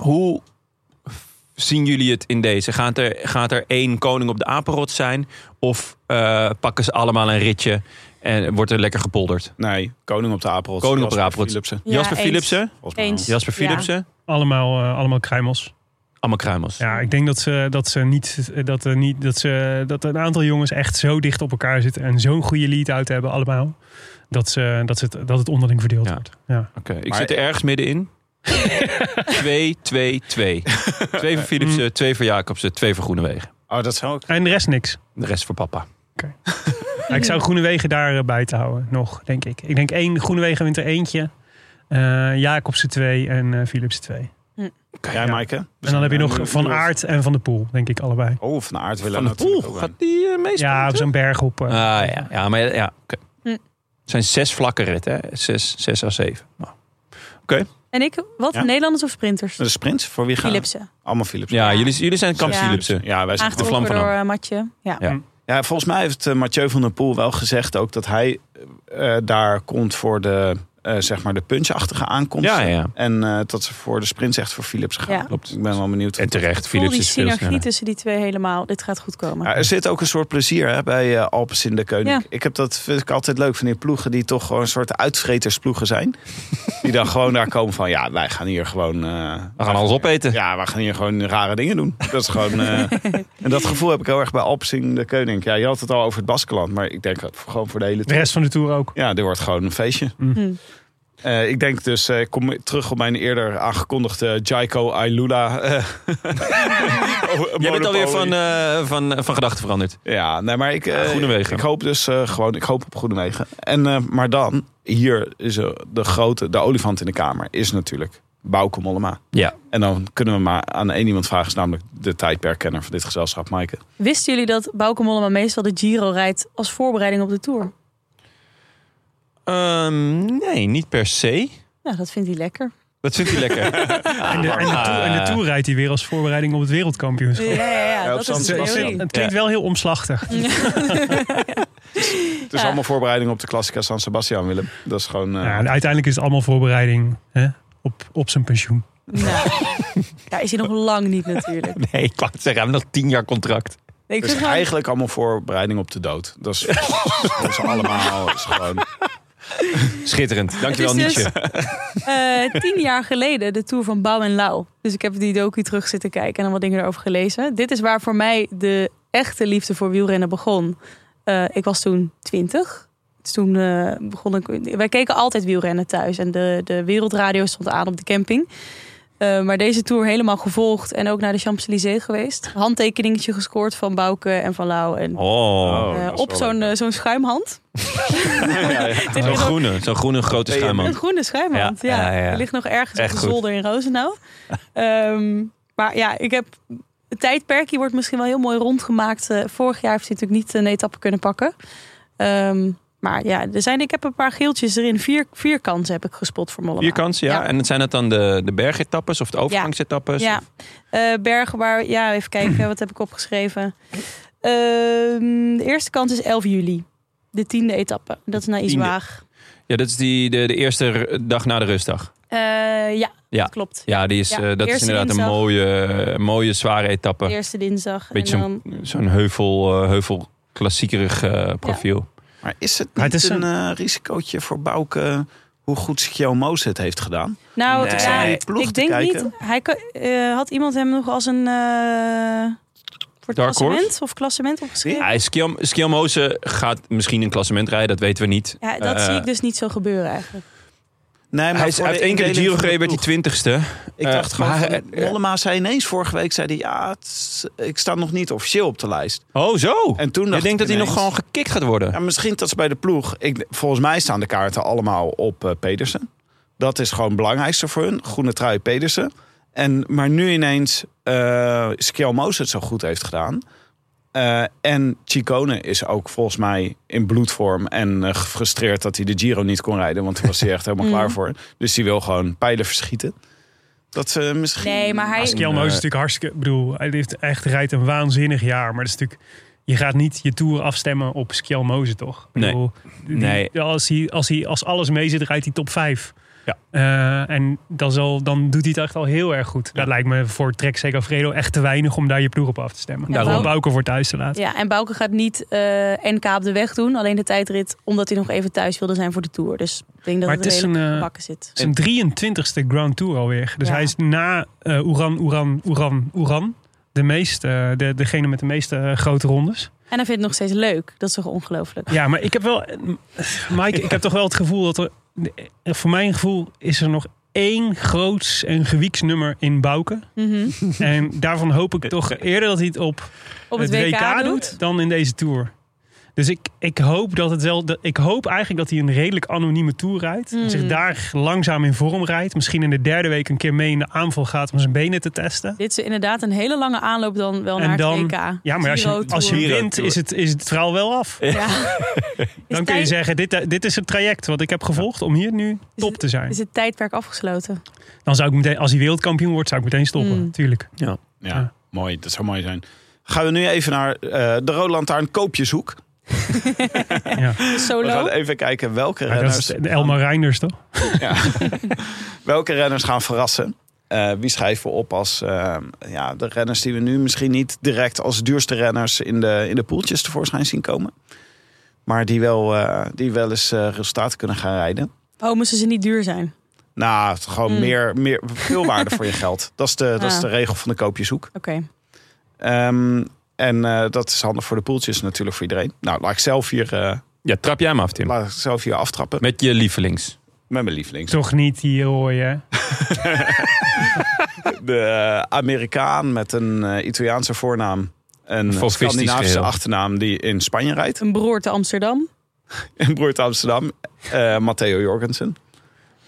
Speaker 4: hoe zien jullie het in deze? Gaat er, gaat er één koning op de apenrot zijn? Of eh, pakken ze allemaal een ritje en wordt er lekker gepolderd?
Speaker 1: Nee, Koning op de Apelrot.
Speaker 4: Koning op de
Speaker 1: Jasper
Speaker 4: Apelrot.
Speaker 1: Philipsen.
Speaker 3: Ja,
Speaker 4: Jasper
Speaker 3: eens.
Speaker 4: Philipsen?
Speaker 1: Volgens mij
Speaker 3: Eens.
Speaker 1: wel.
Speaker 4: Jasper
Speaker 3: Ja.
Speaker 4: Philipsen?
Speaker 2: Allemaal, eh, allemaal kruimels.
Speaker 4: Allemaal kruimels.
Speaker 2: Ja, ik denk dat ze, dat ze niet, eh, dat er niet, dat ze, dat een aantal jongens echt zo dicht op elkaar zitten en zo'n goede lead-out hebben allemaal. Dat, ze, dat, ze het, dat het onderling verdeeld
Speaker 4: Ja.
Speaker 2: wordt. Ja.
Speaker 4: Oké, ik
Speaker 1: Maar-
Speaker 4: zit er ergens middenin. 2, 2, 2. Twee voor Philipsen, twee voor Jacobsen, twee voor Groenewegen.
Speaker 1: Oh, dat zou ook.
Speaker 2: En de rest niks.
Speaker 4: De rest voor papa.
Speaker 2: Ja, ik zou Groenewegen daar eh, bij te houden, nog, denk ik. Ik denk één Groenewegen wint er eentje. eh Jacobsen twee en eh Philipsen twee.
Speaker 1: Jij,
Speaker 2: Ja.
Speaker 1: Maaike?
Speaker 2: En Dus dan heb je nog
Speaker 1: Nu-
Speaker 2: Van
Speaker 1: nu-
Speaker 2: Aert en Van de Poel, denk ik allebei.
Speaker 1: Oh, van Aert willen
Speaker 4: Van de
Speaker 1: natuurlijk
Speaker 4: poel
Speaker 1: ook
Speaker 4: gaat
Speaker 1: aan.
Speaker 4: die eh, meestal.
Speaker 2: Ja, op zo'n berg op. eh,
Speaker 4: Ah, ja, ja, maar ja, ja, oké.
Speaker 3: Hm.
Speaker 4: Het zijn zes vlakke ritten, hè? Zes, zes à zeven. Nou.
Speaker 3: En ik, wat?
Speaker 1: Ja.
Speaker 3: Nederlanders of sprinters?
Speaker 1: De sprints? Voor wie gaan?
Speaker 3: Philipsen.
Speaker 1: Allemaal Philips.
Speaker 4: dus Ja, jullie, jullie zijn eh. kamp
Speaker 3: Ja.
Speaker 4: Philipsen.
Speaker 1: Ja, wij zijn
Speaker 4: vlam
Speaker 3: Aangetrokken
Speaker 4: van
Speaker 3: door
Speaker 4: Am.
Speaker 3: eh, Matje. Ja.
Speaker 4: Ja.
Speaker 1: Ja, volgens mij heeft eh, Mathieu van der Poel wel gezegd ook dat hij eh, daar komt voor de, eh, zeg maar de punchachtige aankomst.
Speaker 4: Ja, ja, ja.
Speaker 1: En eh, dat ze voor de sprints echt voor Philips gaan.
Speaker 3: Ja.
Speaker 4: Klopt.
Speaker 1: Ik ben wel benieuwd.
Speaker 4: En terecht,
Speaker 3: Ik voel
Speaker 4: Philips
Speaker 3: die
Speaker 4: is veel
Speaker 3: synergie
Speaker 4: sneller.
Speaker 3: tussen die twee helemaal. Dit gaat goed komen.
Speaker 1: Ja, er zit ook een soort plezier hè, bij eh, Alpes in de Koning.
Speaker 3: Ja.
Speaker 1: Ik heb dat vind ik altijd leuk van die ploegen die toch gewoon een soort uitvretersploegen zijn. die dan gewoon daar komen van ja, wij gaan hier gewoon. eh,
Speaker 4: We gaan alles opeten.
Speaker 1: Ja, we gaan hier gewoon rare dingen doen. Dat is gewoon. eh, en dat gevoel heb ik heel erg bij Alpes in de Koning. Ja, je had het al over het Baskeland, maar ik denk dat gewoon voor de hele
Speaker 2: De rest van de Tour ook.
Speaker 1: Ja, dit wordt gewoon een feestje.
Speaker 4: Mm.
Speaker 3: Hm.
Speaker 1: Eh, ik denk dus, eh, ik kom terug op mijn eerder aangekondigde Jaiko Ailula. eh,
Speaker 4: Jij bent
Speaker 1: monopolie.
Speaker 4: alweer van, eh, van, van gedachten veranderd.
Speaker 1: Ja, nee, maar ik, eh,
Speaker 4: Groenewegen.
Speaker 1: ik hoop dus eh, gewoon, ik hoop op goede wegen. En, eh, maar dan, hier is eh, de grote, de olifant in de kamer, is natuurlijk Bauke Mollema.
Speaker 4: Ja.
Speaker 1: En dan kunnen we maar aan één iemand vragen, is namelijk de tijdperkenner van dit gezelschap, Maaike.
Speaker 3: Wisten jullie dat Bauke Mollema meestal de Giro rijdt als voorbereiding op de Tour?
Speaker 4: Ehm, nee, niet per se.
Speaker 3: Nou, dat vindt hij lekker.
Speaker 4: Dat vindt hij lekker.
Speaker 2: En de, en,
Speaker 4: Ah.
Speaker 2: de tour, en de Tour rijdt hij weer als voorbereiding op het wereldkampioenschap.
Speaker 3: Ja, ja, ja,
Speaker 1: op
Speaker 3: dat
Speaker 1: San
Speaker 3: is de
Speaker 1: Sebastian.
Speaker 3: theorie.
Speaker 2: Het klinkt wel heel omslachtig.
Speaker 1: Het is allemaal voorbereiding op de Classica San Sebastian, Willem. Dat is gewoon... eh,
Speaker 2: Ja, en uiteindelijk is het allemaal voorbereiding hè, op, op zijn pensioen.
Speaker 3: Nou, daar is hij nog lang niet natuurlijk.
Speaker 4: Nee, ik wou het zeggen, hij heeft nog tien jaar contract.
Speaker 3: Nee, ik
Speaker 1: Het is
Speaker 3: vind gewoon-
Speaker 1: Dus eigenlijk allemaal voorbereiding op de dood. Dat is, dat is allemaal is gewoon.
Speaker 2: Oh.
Speaker 4: Schitterend. Dankjewel,
Speaker 3: Het is dus-
Speaker 4: Nietzsche.
Speaker 3: Eh, tien jaar geleden de tour van Bouw en Lau. Dus ik heb die docu terug zitten kijken en dan wat dingen erover gelezen. Dit is waar voor mij de echte liefde voor wielrennen begon. Eh, ik was toen twintig. Dus toen eh, begon ik. Wij keken altijd wielrennen thuis en de, de wereldradio stond aan op de camping. Eh, maar deze tour helemaal gevolgd en ook naar de Champs-Élysées geweest. Handtekeningetje gescoord van Bouke en van Lau. En,
Speaker 4: Oh,
Speaker 1: Oh,
Speaker 3: eh,
Speaker 1: dat is
Speaker 3: op
Speaker 1: wel
Speaker 3: zo'n
Speaker 1: leuk.
Speaker 3: eh, zo'n schuimhand. Dit
Speaker 4: zo'n
Speaker 3: is ook
Speaker 4: groene. Zo'n groene grote
Speaker 3: een
Speaker 4: schuimhand.
Speaker 3: groene schuimhand,
Speaker 4: Ja,
Speaker 3: ja.
Speaker 4: ja, ja.
Speaker 3: Er ligt nog ergens
Speaker 4: Echt
Speaker 3: op de
Speaker 4: goed.
Speaker 3: zolder in Roosendaal. Ehm, maar ja, ik heb... Het tijdperkje wordt misschien wel heel mooi rondgemaakt. Eh, vorig jaar heeft hij natuurlijk niet eh, een etappe kunnen pakken. Ehm, maar ja, er zijn, ik heb een paar geeltjes erin. Vier, vier kansen heb ik gespot voor Mollema.
Speaker 4: Vier kansen, ja.
Speaker 3: Ja.
Speaker 4: En zijn dat dan de, de bergetappes of de overgangsetappes?
Speaker 3: Ja. Eh, bergen waar... Ja, even kijken. wat heb ik opgeschreven? Ehm, de eerste kans is 11 juli. De tiende etappe. Dat is naar
Speaker 4: Tiende.
Speaker 3: Iswaag.
Speaker 4: Ja, dat is die, de, de eerste dag na de rustdag.
Speaker 3: Eh, ja,
Speaker 4: Ja.
Speaker 3: dat klopt.
Speaker 4: Ja, die is,
Speaker 3: Ja,
Speaker 4: eh, dat is
Speaker 3: eerste
Speaker 4: inderdaad een
Speaker 3: dinsdag.
Speaker 4: mooie, eh, mooie, zware etappe.
Speaker 3: Eerste dinsdag.
Speaker 4: Beetje
Speaker 3: en
Speaker 4: zo'n-
Speaker 3: dan...
Speaker 4: Zo'n heuvel, eh, heuvel klassiekerig eh, profiel.
Speaker 1: Maar is het niet
Speaker 2: Maar het is
Speaker 1: een eh, risicootje voor Bouke hoe goed Sikyo Moos het heeft gedaan?
Speaker 3: Nou,
Speaker 4: Nee.
Speaker 3: ja,
Speaker 4: Zijn
Speaker 1: die ploeg
Speaker 3: ik
Speaker 1: te
Speaker 3: denk
Speaker 1: kijken?
Speaker 3: niet. Hij kan- eh, had iemand hem nog als een eh
Speaker 4: Dark
Speaker 3: voor het
Speaker 4: horse?
Speaker 3: klassement of klassement opgeschreven?
Speaker 4: Ja, Skiam- Skiamose gaat misschien een klassement rijden, dat weten we niet.
Speaker 3: Ja, dat
Speaker 4: Eh,
Speaker 3: zie ik dus niet zo gebeuren eigenlijk.
Speaker 1: Nee,
Speaker 4: Hij is
Speaker 1: voor
Speaker 4: uit één keer de Giro
Speaker 1: indeling van
Speaker 4: gereden, werd hij
Speaker 1: ploeg.
Speaker 4: twintigste.
Speaker 1: Ik dacht
Speaker 4: eh,
Speaker 1: gewoon,
Speaker 4: maar
Speaker 1: van,
Speaker 4: hij- eh,
Speaker 1: Mollema zei ineens vorige week, zei hij, ja, het is- ik sta nog niet officieel op de lijst.
Speaker 4: Oh, zo!
Speaker 1: En toen dacht
Speaker 4: Je denkt dat hij
Speaker 1: ik
Speaker 4: nog
Speaker 1: ineens-
Speaker 4: gewoon gekikt gaat worden?
Speaker 1: Ja, misschien dat ze bij de ploeg, ik, volgens mij staan de kaarten allemaal op eh, Pedersen. Dat is gewoon het belangrijkste voor hun, groene trui Pedersen. En, maar nu ineens eh Skjel Moos het zo goed heeft gedaan. Eh, en Chicone is ook volgens mij in bloedvorm en eh, gefrustreerd dat hij de Giro niet kon rijden. Want daar was hij echt helemaal
Speaker 3: Mm.
Speaker 1: klaar voor. Dus die wil gewoon pijlen verschieten. Dat ze misschien...
Speaker 3: Nee, maar hij-
Speaker 2: Kjell
Speaker 4: eh,
Speaker 2: Moos is natuurlijk hartstikke... Ik bedoel, hij heeft echt rijdt een waanzinnig jaar. Maar dat is natuurlijk... Je gaat niet je tour afstemmen op Kjell Moos, toch? Ik
Speaker 4: Nee.
Speaker 2: bedoel, die-
Speaker 4: Nee.
Speaker 2: Als, hij, als hij als alles mee zit, rijdt hij top 5.
Speaker 4: Ja.
Speaker 2: Eh, en dan, zal, dan doet hij het echt al heel erg goed. Dat lijkt me voor Trek Segafredo echt te weinig om daar je ploeg op af te stemmen.
Speaker 3: Daarom.
Speaker 2: Om Bouke voor thuis te laten.
Speaker 3: Ja, en Bouke gaat niet eh, NK op de weg doen. Alleen de tijdrit, omdat hij nog even thuis wilde zijn voor de Tour. Dus ik denk dat
Speaker 2: Maar
Speaker 3: het,
Speaker 2: het is
Speaker 3: redelijk
Speaker 2: een, eh,
Speaker 3: gebakken zit.
Speaker 2: Zijn 23ste Grand Tour alweer. Dus
Speaker 3: Ja.
Speaker 2: hij is na eh Oeran, Oeran, Oeran, Oeran. De meest, eh, de, degene met de meeste eh, grote rondes.
Speaker 3: En hij vindt het nog steeds leuk. Dat is toch ongelooflijk.
Speaker 2: Ja, maar ik heb wel. Mike, ik heb toch wel het gevoel dat er. Voor mijn gevoel is er nog één groots en gewieks nummer in Bouke.
Speaker 3: Mhm.
Speaker 2: En daarvan hoop ik toch eerder dat hij het op,
Speaker 3: Op het, WK, doet.
Speaker 2: dan in deze tour. Dus ik, ik hoop dat het wel. dat- Ik hoop eigenlijk dat hij een redelijk anonieme tour rijdt. En
Speaker 3: Mm.
Speaker 2: zich daar langzaam in vorm rijdt. Misschien in de derde week een keer mee in de aanval gaat om zijn benen te testen.
Speaker 3: Dit is inderdaad een hele lange aanloop dan wel
Speaker 2: En
Speaker 3: naar
Speaker 2: dan-
Speaker 3: het WK.
Speaker 2: Ja, maar als je,
Speaker 3: Giro-tour.
Speaker 2: als je
Speaker 4: Giro
Speaker 2: wint,
Speaker 4: Tour.
Speaker 2: is het, is het verhaal wel af.
Speaker 3: Ja. Is
Speaker 2: Dan kun je
Speaker 3: tijd-
Speaker 2: zeggen, dit, dit is het traject wat ik heb gevolgd om hier nu top te zijn.
Speaker 3: Is het tijdperk afgesloten?
Speaker 2: Dan zou ik meteen, als hij wereldkampioen wordt, zou ik meteen stoppen.
Speaker 3: Mm.
Speaker 2: Tuurlijk.
Speaker 1: Ja,
Speaker 2: Ja.
Speaker 1: mooi. Dat zou mooi zijn. Gaan we nu even naar eh de Rode Lantaarn Koopjeshoek.
Speaker 2: Ja.
Speaker 1: We gaan
Speaker 3: Solo?
Speaker 1: even kijken welke
Speaker 2: Maar dat is
Speaker 1: renners,
Speaker 2: de Elmar Reinders, toch?
Speaker 1: welke renners gaan verrassen. Eh, wie schrijven we op als eh, ja, de renners die we nu misschien niet direct als duurste renners in de, in de poeltjes tevoorschijn zien komen. Maar die wel, eh, die wel eens eh resultaten kunnen gaan rijden.
Speaker 3: Oh, moesten ze niet duur zijn? Oké.
Speaker 1: Nou, het- gewoon
Speaker 3: Mm.
Speaker 1: meer, meer, veel waarde voor je geld. Dat is de, dat is
Speaker 3: Ja.
Speaker 1: de regel van de koopjeshoek. Ehm, en eh, dat is handig voor de poeltjes natuurlijk voor iedereen. Nou, laat ik zelf hier, eh,
Speaker 4: Ja, trap jij hem af, Tim.
Speaker 1: laat ik zelf hier aftrappen.
Speaker 4: Met je lievelings.
Speaker 1: Met mijn lievelings.
Speaker 2: Toch niet hier hoor je.
Speaker 1: De eh, Amerikaan met een eh, Italiaanse voornaam. Een
Speaker 4: Fascistisch
Speaker 1: Scandinavische
Speaker 4: geheel.
Speaker 1: achternaam die in Spanje rijdt.
Speaker 3: Een broer te Amsterdam.
Speaker 1: In Broert Amsterdam. eh, Matteo Jorgensen.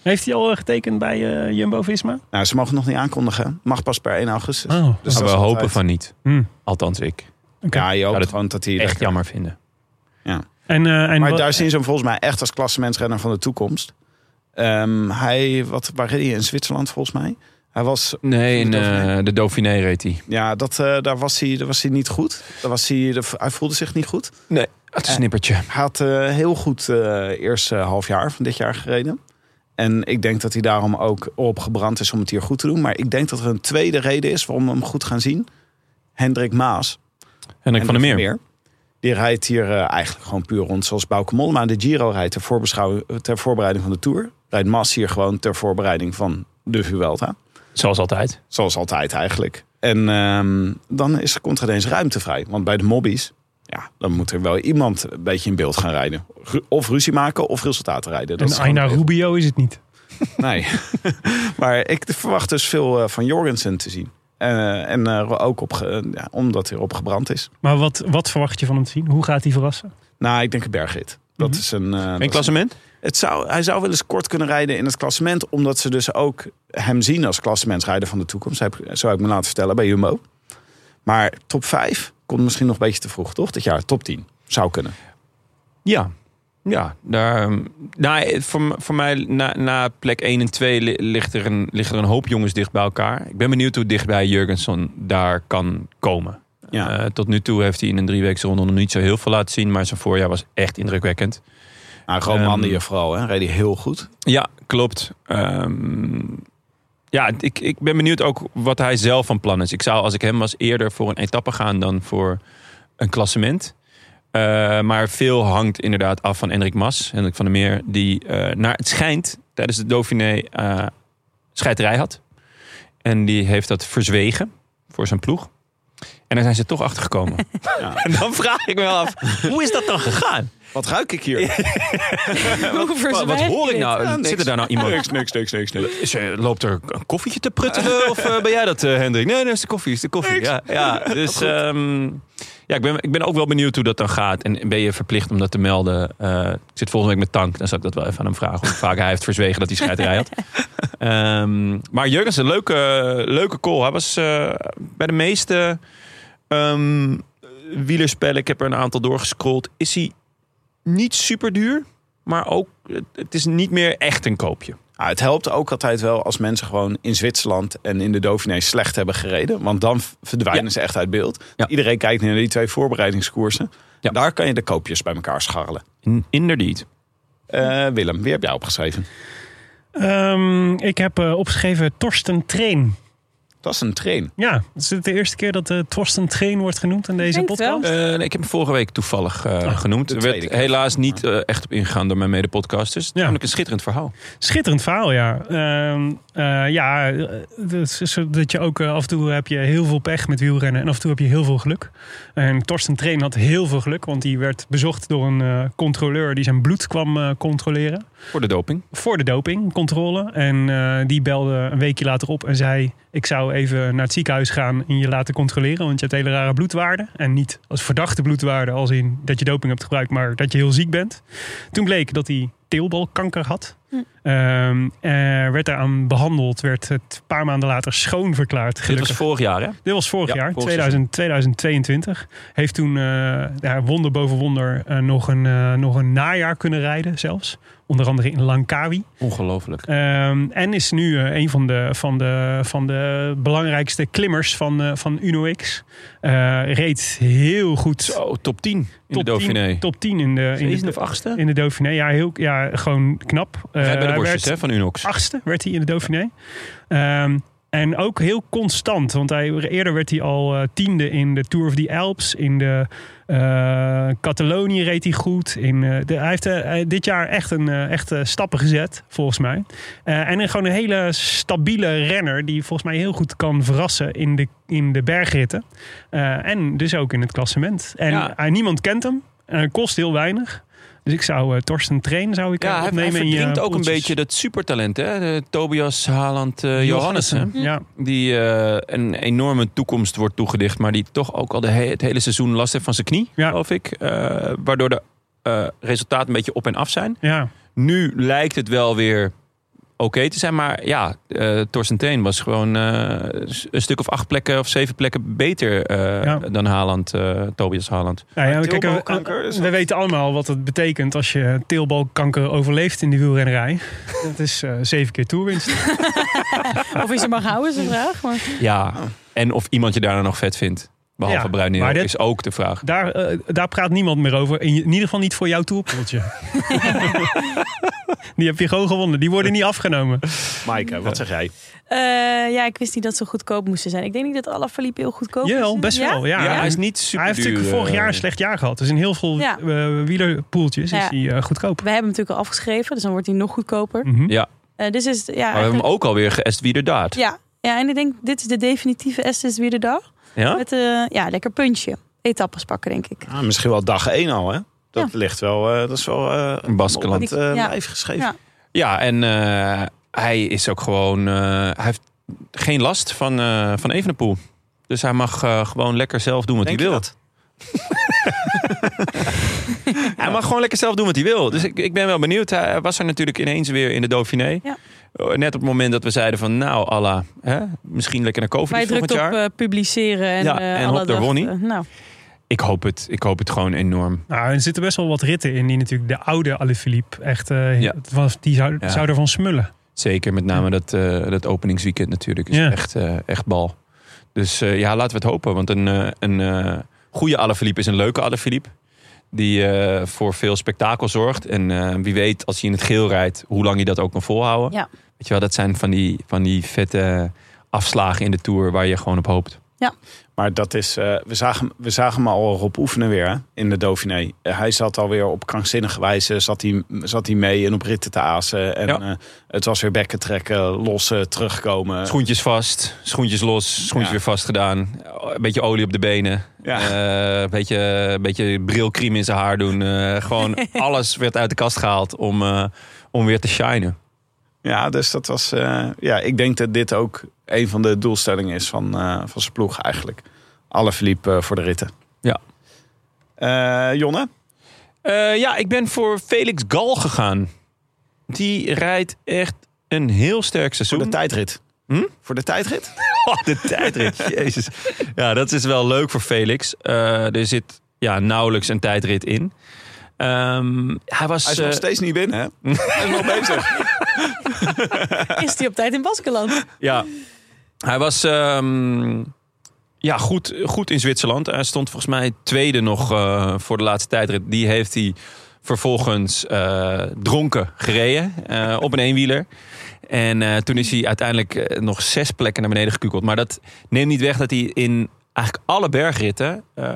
Speaker 2: Heeft hij al eh, getekend bij eh, Jumbo-Visma?
Speaker 1: Nou, ze mogen nog niet aankondigen. Mag pas per 1 augustus.
Speaker 4: Hm.
Speaker 2: Oh,
Speaker 1: Dus
Speaker 4: Maar
Speaker 1: dat
Speaker 4: we
Speaker 1: is
Speaker 4: hopen
Speaker 1: altijd-
Speaker 4: van niet.
Speaker 2: Hm.
Speaker 4: Althans, ik.
Speaker 1: Ja, je hoopt
Speaker 4: Ja, dat-
Speaker 1: gewoon dat hij...
Speaker 4: Echt jammer vinden.
Speaker 2: En, eh, en
Speaker 1: Maar
Speaker 2: wat-
Speaker 1: daar zien ze hem volgens mij echt als klassementsrenner van de toekomst. Ehm, hij, wat, waar reed hij? In Zwitserland volgens mij. Hij was
Speaker 4: Nee,
Speaker 1: in,
Speaker 4: in
Speaker 1: eh,
Speaker 4: de Dauphiné reed hij.
Speaker 1: Ja, dat, eh, daar, was hij, daar was hij niet goed. Daar was hij, daar- hij voelde zich niet goed.
Speaker 4: Het snippertje.
Speaker 1: Hij had eh, heel goed eh eerste half jaar van dit jaar gereden. En ik denk dat hij daarom ook opgebrand is om het hier goed te doen. Maar ik denk dat er een tweede reden is waarom we hem goed gaan zien. Hendrik Maas.
Speaker 4: Hendrik van der Meer.
Speaker 1: Die rijdt hier eh, eigenlijk gewoon puur rond zoals Bauke Mollema. De Giro rijdt ter, voorbeschouwing- ter voorbereiding van de Tour. Rijdt Maas hier gewoon ter voorbereiding van de Vuelta.
Speaker 4: Zoals altijd.
Speaker 1: Zoals altijd eigenlijk. En ehm, dan is, komt er ineens ruimte vrij. Want bij de mobbies, ja, dan moet er wel iemand een beetje in beeld gaan rijden. Ru- Of ruzie maken of resultaten rijden. Dat
Speaker 2: en
Speaker 1: is gewoon-
Speaker 2: Aina Rubio is het niet.
Speaker 1: Nee. maar ik verwacht dus veel eh, van Jorgensen te zien. Eh, en eh, ook op ge- ja, omdat hij erop gebrand is.
Speaker 2: Maar wat, wat verwacht je van hem te zien? Hoe gaat hij verrassen?
Speaker 1: Nou, ik denk een bergrit. Dat
Speaker 2: Mhm.
Speaker 1: is een... eh, dat
Speaker 4: Een
Speaker 1: is-
Speaker 4: klassement?
Speaker 1: het zou, hij zou wel eens kort kunnen rijden in het klassement. Omdat ze dus ook hem zien als klassementsrijder van de toekomst. Heb, zo heb ik me laten vertellen bij Jumbo. Maar top 5 komt misschien nog een beetje te vroeg, toch? Dit jaar top 10 zou kunnen.
Speaker 4: Ja. Ja, daar, ehm, nou, voor, m- voor mij na, na plek 1 en 2 li- ligt er een, liggen er een hoop jongens dicht bij elkaar. Ik ben benieuwd hoe dichtbij Jurgenson daar kan komen.
Speaker 1: Ja.
Speaker 4: Eh, tot nu toe heeft hij in een drieweekse ronde nog niet zo heel veel laten zien. Maar zijn voorjaar was echt indrukwekkend.
Speaker 1: Nou, gewoon
Speaker 4: Ehm,
Speaker 1: mannen hier vooral, hè? Reed hij heel goed.
Speaker 4: Ja, klopt. Ehm, ja, ik, ik ben benieuwd ook wat hij zelf van plan is. Ik zou, als ik hem was, eerder voor een etappe gaan dan voor een klassement. Eh, maar veel hangt inderdaad af van Hendrik Mas, Hendrik van der Meer, die eh, naar het schijnt tijdens de Dauphiné eh scheiterij had. En die heeft dat verzwegen voor zijn ploeg. En daar zijn ze toch achter gekomen.
Speaker 1: Ja.
Speaker 4: En dan vraag ik me wel af, hoe is dat dan gegaan?
Speaker 1: Wat ruik ik hier?
Speaker 3: Hoe
Speaker 4: Wat, wat
Speaker 3: verzwijg je
Speaker 4: hoor ik
Speaker 3: dit?
Speaker 4: nou?
Speaker 1: Ja, niks.
Speaker 4: Zit er daar nou iemand?
Speaker 1: niks, niks, niks, niks. niks.
Speaker 4: Is er- loopt er een koffietje te pruttelen? Of eh, ben jij dat, eh, Hendrik? Nee, nee, is de koffie. Is de koffie. Ja, ja, dus ehm, ja, ik, ben, ik ben ook wel benieuwd hoe dat dan gaat. En ben je verplicht om dat te melden? Eh, ik zit volgende week met Tank. Dan zal ik dat wel even aan hem vragen. Hoe vaak hij heeft verzwegen dat hij scheiterij had. Ehm, maar Jurgens, een leuke, leuke call. Hij was eh, bij de meeste ehm, wielerspellen, ik heb er een aantal doorgescrolld, is hij niet super duur. Maar ook, het- het is niet meer echt een koopje.
Speaker 1: Nou, het helpt ook altijd wel als mensen gewoon in Zwitserland en in de Dauphiné slecht hebben gereden. Want dan v- verdwijnen
Speaker 4: Ja.
Speaker 1: ze echt uit beeld.
Speaker 4: Ja.
Speaker 1: Iedereen kijkt nu naar die twee voorbereidingskoersen.
Speaker 4: Ja.
Speaker 1: Daar kan je de koopjes bij elkaar scharrelen.
Speaker 4: Inderdaad.
Speaker 1: Eh, Willem, wie heb jij opgeschreven?
Speaker 2: Ehm, ik heb eh, opgeschreven Torsten Train.
Speaker 1: Dat is een train.
Speaker 2: Ja, is het de eerste keer dat eh Torsten Train wordt genoemd in deze
Speaker 3: denk het
Speaker 2: podcast?
Speaker 4: Eh, nee, ik heb hem vorige week toevallig eh,
Speaker 2: Ah,
Speaker 4: genoemd.
Speaker 1: de
Speaker 4: Er
Speaker 1: tweede
Speaker 4: werd
Speaker 1: keer.
Speaker 4: helaas niet eh, echt op ingegaan door mijn mede-podcasters. Het is
Speaker 2: Ja.
Speaker 4: Namelijk een schitterend verhaal.
Speaker 2: Schitterend verhaal, ja. Ehm, eh, ja, eh, dus is zo dat je ook eh, af en toe heb je heel veel pech met wielrennen en af en toe heb je heel veel geluk. En Torsten Train had heel veel geluk, want die werd bezocht door een eh, controleur die zijn bloed kwam eh, controleren.
Speaker 4: Voor de doping.
Speaker 2: voor de dopingcontrole. En eh, die belde een weekje later op en zei... ik zou even naar het ziekenhuis gaan en je laten controleren... want je hebt hele rare bloedwaarden. En niet als verdachte bloedwaarden, als in dat je doping hebt gebruikt... maar dat je heel ziek bent. Toen bleek dat hij teelbalkanker had.
Speaker 3: Hm.
Speaker 2: Ehm, eh, werd daaraan behandeld, werd het een paar maanden later schoonverklaard.
Speaker 4: Dit
Speaker 2: Gelukkig.
Speaker 4: was vorig jaar, hè?
Speaker 2: Dit was vorig
Speaker 4: Ja,
Speaker 2: jaar,
Speaker 4: vorig
Speaker 2: 2000, 2022. Heeft toen eh, ja, wonder boven wonder eh, nog, een, eh, nog een najaar kunnen rijden zelfs. Onder andere in Langkawi.
Speaker 4: Ongelooflijk.
Speaker 2: Ehm, en is nu eh, een van de, van, de, van de belangrijkste klimmers van, eh, van UNOX. Eh reed heel goed.
Speaker 4: Zo, top 10 in de Dauphiné.
Speaker 2: 10, top 10 in de, in
Speaker 4: Zevende
Speaker 2: de,
Speaker 4: of achtste?
Speaker 2: in de Dauphiné. Ja, heel, ja gewoon knap. Eh,
Speaker 4: Rijdt bij de
Speaker 2: hij
Speaker 4: borstjes,
Speaker 2: werd
Speaker 4: hè, van Unox.
Speaker 2: achtste werd hij in de Dauphiné. Ehm, en ook heel constant. Want hij, eerder werd hij al eh, tiende in de Tour of the Alps. In de eh, Catalonië reed hij goed. In, eh, de, hij heeft eh, eh, dit jaar echt, een, eh, echt eh, stappen gezet, volgens mij. Eh, en een, gewoon een hele stabiele renner. Die volgens mij heel goed kan verrassen in de, in de bergritten. Eh, en dus ook in het klassement. En
Speaker 4: Ja.
Speaker 2: hij- niemand kent hem. En hij kost heel weinig. Dus ik zou eh, Torsten Train zou ik eh,
Speaker 4: Ja, hij, hij
Speaker 2: opnemen in je
Speaker 4: verdrinkt ook een
Speaker 2: poeltjes.
Speaker 4: beetje dat supertalent, hè? De Tobias Haaland eh, Johannessen.
Speaker 2: Johannessen. Ja,
Speaker 4: Die eh, een enorme toekomst wordt toegedicht, maar die toch ook al de he- het hele seizoen last heeft van zijn knie,
Speaker 2: Ja.
Speaker 4: geloof ik. Eh, waardoor de eh, resultaten een beetje op en af zijn.
Speaker 2: ja.
Speaker 4: Nu lijkt het wel weer oké te zijn, maar ja, eh Torsten Teen was gewoon eh, s- een stuk of acht plekken of zeven plekken beter eh,
Speaker 2: Ja,
Speaker 4: dan Haaland, eh, Tobias Haaland.
Speaker 2: Nou ja, kijk,
Speaker 1: teelbalkanker is
Speaker 2: we, we
Speaker 1: dat-
Speaker 2: weten allemaal wat het betekent als je teelbalkanker overleeft in de wielrennerij. Dat is eh, zeven keer toerwinst.
Speaker 3: Of is er mag houden, is de vraag. Maar
Speaker 4: Ja, en of iemand je daarna nog vet vindt, behalve
Speaker 2: Ja,
Speaker 4: Bruin
Speaker 2: maar dit-
Speaker 4: is ook de vraag.
Speaker 2: Daar, eh, daar praat niemand meer over. In, in ieder geval niet voor jouw toerpoeltje. Die heb je gewoon gewonnen. Die worden niet afgenomen.
Speaker 1: Maaike, wat zeg jij?
Speaker 3: Eh, ja, ik wist niet dat ze goedkoop moesten zijn. Ik denk niet dat Alaphilippe heel goedkoop is.
Speaker 2: Jawel, best wel. Ja,
Speaker 4: Ja, hij is
Speaker 2: En
Speaker 4: niet eh, super
Speaker 2: hij heeft natuurlijk vorig jaar een slecht jaar gehad. Dus in heel veel
Speaker 3: Ja.
Speaker 2: eh, wielerpoeltjes
Speaker 3: Ja.
Speaker 2: is hij eh, goedkoop.
Speaker 3: We hebben hem natuurlijk al afgeschreven, dus dan wordt hij nog goedkoper.
Speaker 2: Mhm.
Speaker 4: Ja,
Speaker 3: Eh, dus is, het- ja,
Speaker 4: Mm. maar we hebben
Speaker 3: eigenlijk-
Speaker 4: hem ook alweer geëst wie er daad.
Speaker 3: ja, ja, en ik denk, dit is de definitieve Estes weer de dag.
Speaker 4: Ja?
Speaker 3: Met eh ja, lekker puntje. Etappes pakken, denk ik.
Speaker 1: Ah, misschien wel dag één al, hè? Dat ligt wel, eh, dat is wel eh,
Speaker 4: Een baskeland.
Speaker 1: op het eh,
Speaker 3: Ja.
Speaker 1: lijf geschreven.
Speaker 3: Ja.
Speaker 4: Ja, en eh, hij is ook gewoon. eh, hij heeft geen last van, eh van Evenepoel. Dus hij mag eh, gewoon lekker zelf doen wat
Speaker 1: Denk
Speaker 4: hij
Speaker 1: je
Speaker 4: wil.
Speaker 1: dat?
Speaker 4: Hij mag gewoon lekker zelf doen wat hij wil. Dus ik, ik ben wel benieuwd. Hij was er natuurlijk ineens weer in de Dauphiné. Eh,
Speaker 3: Ja.
Speaker 4: Net op het moment dat we zeiden van nou, Allah, hè, misschien lekker naar
Speaker 3: Maar je
Speaker 4: COVID volgend
Speaker 3: drukt op
Speaker 4: jaar.
Speaker 3: eh, publiceren en,
Speaker 4: Ja,
Speaker 3: eh,
Speaker 4: en
Speaker 3: alle
Speaker 4: hop, daar
Speaker 3: dag,
Speaker 4: won hij.
Speaker 3: eh, nou,
Speaker 4: Ik hoop het. Ik hoop het gewoon enorm.
Speaker 2: Nou, er zitten best wel wat ritten in die natuurlijk de oude Alaphilippe echt... eh,
Speaker 4: Ja.
Speaker 2: het was- Die zou,
Speaker 4: Ja.
Speaker 2: zou ervan smullen.
Speaker 4: Zeker met name dat, eh, dat openingsweekend natuurlijk. Is
Speaker 2: Ja.
Speaker 4: echt, eh, echt bal. Dus eh, ja, laten we het hopen. Want een, eh, een eh goede Alaphilippe is een leuke Alaphilippe. Die eh, voor veel spektakel zorgt. En eh, wie weet, als hij in het geel rijdt, hoe lang hij dat ook kan volhouden.
Speaker 3: Ja.
Speaker 4: Weet je wel, dat zijn van die, van die vette afslagen in de Tour waar je gewoon op hoopt.
Speaker 1: Maar dat is, eh, we, zagen, hem- we zagen hem al op oefenen weer hè, in de Dauphiné. Eh, hij zat alweer op krankzinnige wijze, zat hij, zat hij mee en op ritten te azen. En
Speaker 4: Ja.
Speaker 1: eh, het was weer bekken trekken, lossen, terugkomen.
Speaker 4: Schoentjes vast, schoentjes los, schoentjes
Speaker 1: Ja.
Speaker 4: weer vast gedaan. Een beetje olie op de benen.
Speaker 1: Ja.
Speaker 4: Eh, een beetje, een beetje brilkriem in zijn haar doen. Eh, gewoon alles werd uit de kast gehaald om, eh, om weer te shinen.
Speaker 1: Ja, dus dat was. eh, ja, ik denk dat dit ook een van de doelstellingen is van, eh, van zijn ploeg eigenlijk. Alle verliep voor de ritten.
Speaker 4: Ja.
Speaker 1: Eh, Jonne?
Speaker 4: Eh, ja, ik ben voor Felix Gal gegaan. Die rijdt echt een heel sterk
Speaker 1: Voor
Speaker 4: seizoen.
Speaker 1: Oh, de tijdrit.
Speaker 4: Hm?
Speaker 1: Voor de tijdrit?
Speaker 4: Oh, de tijdrit, jezus. Ja, dat is wel leuk voor Felix. Eh, er zit ja, nauwelijks een tijdrit in. Ehm, hij was...
Speaker 1: Hij is nog
Speaker 4: eh,
Speaker 1: steeds niet binnen, hè? Hij is nog bezig.
Speaker 3: is hij op tijd in Baskeland?
Speaker 4: Ja, hij was ehm, ja, goed, goed in Zwitserland. Hij stond volgens mij tweede nog eh, voor de laatste tijdrit. Die heeft hij vervolgens eh, dronken gereden eh, op een eenwieler. En eh, toen is hij uiteindelijk eh, nog zes plekken naar beneden gekukeld. Maar dat neemt niet weg dat hij in eigenlijk alle bergritten eh,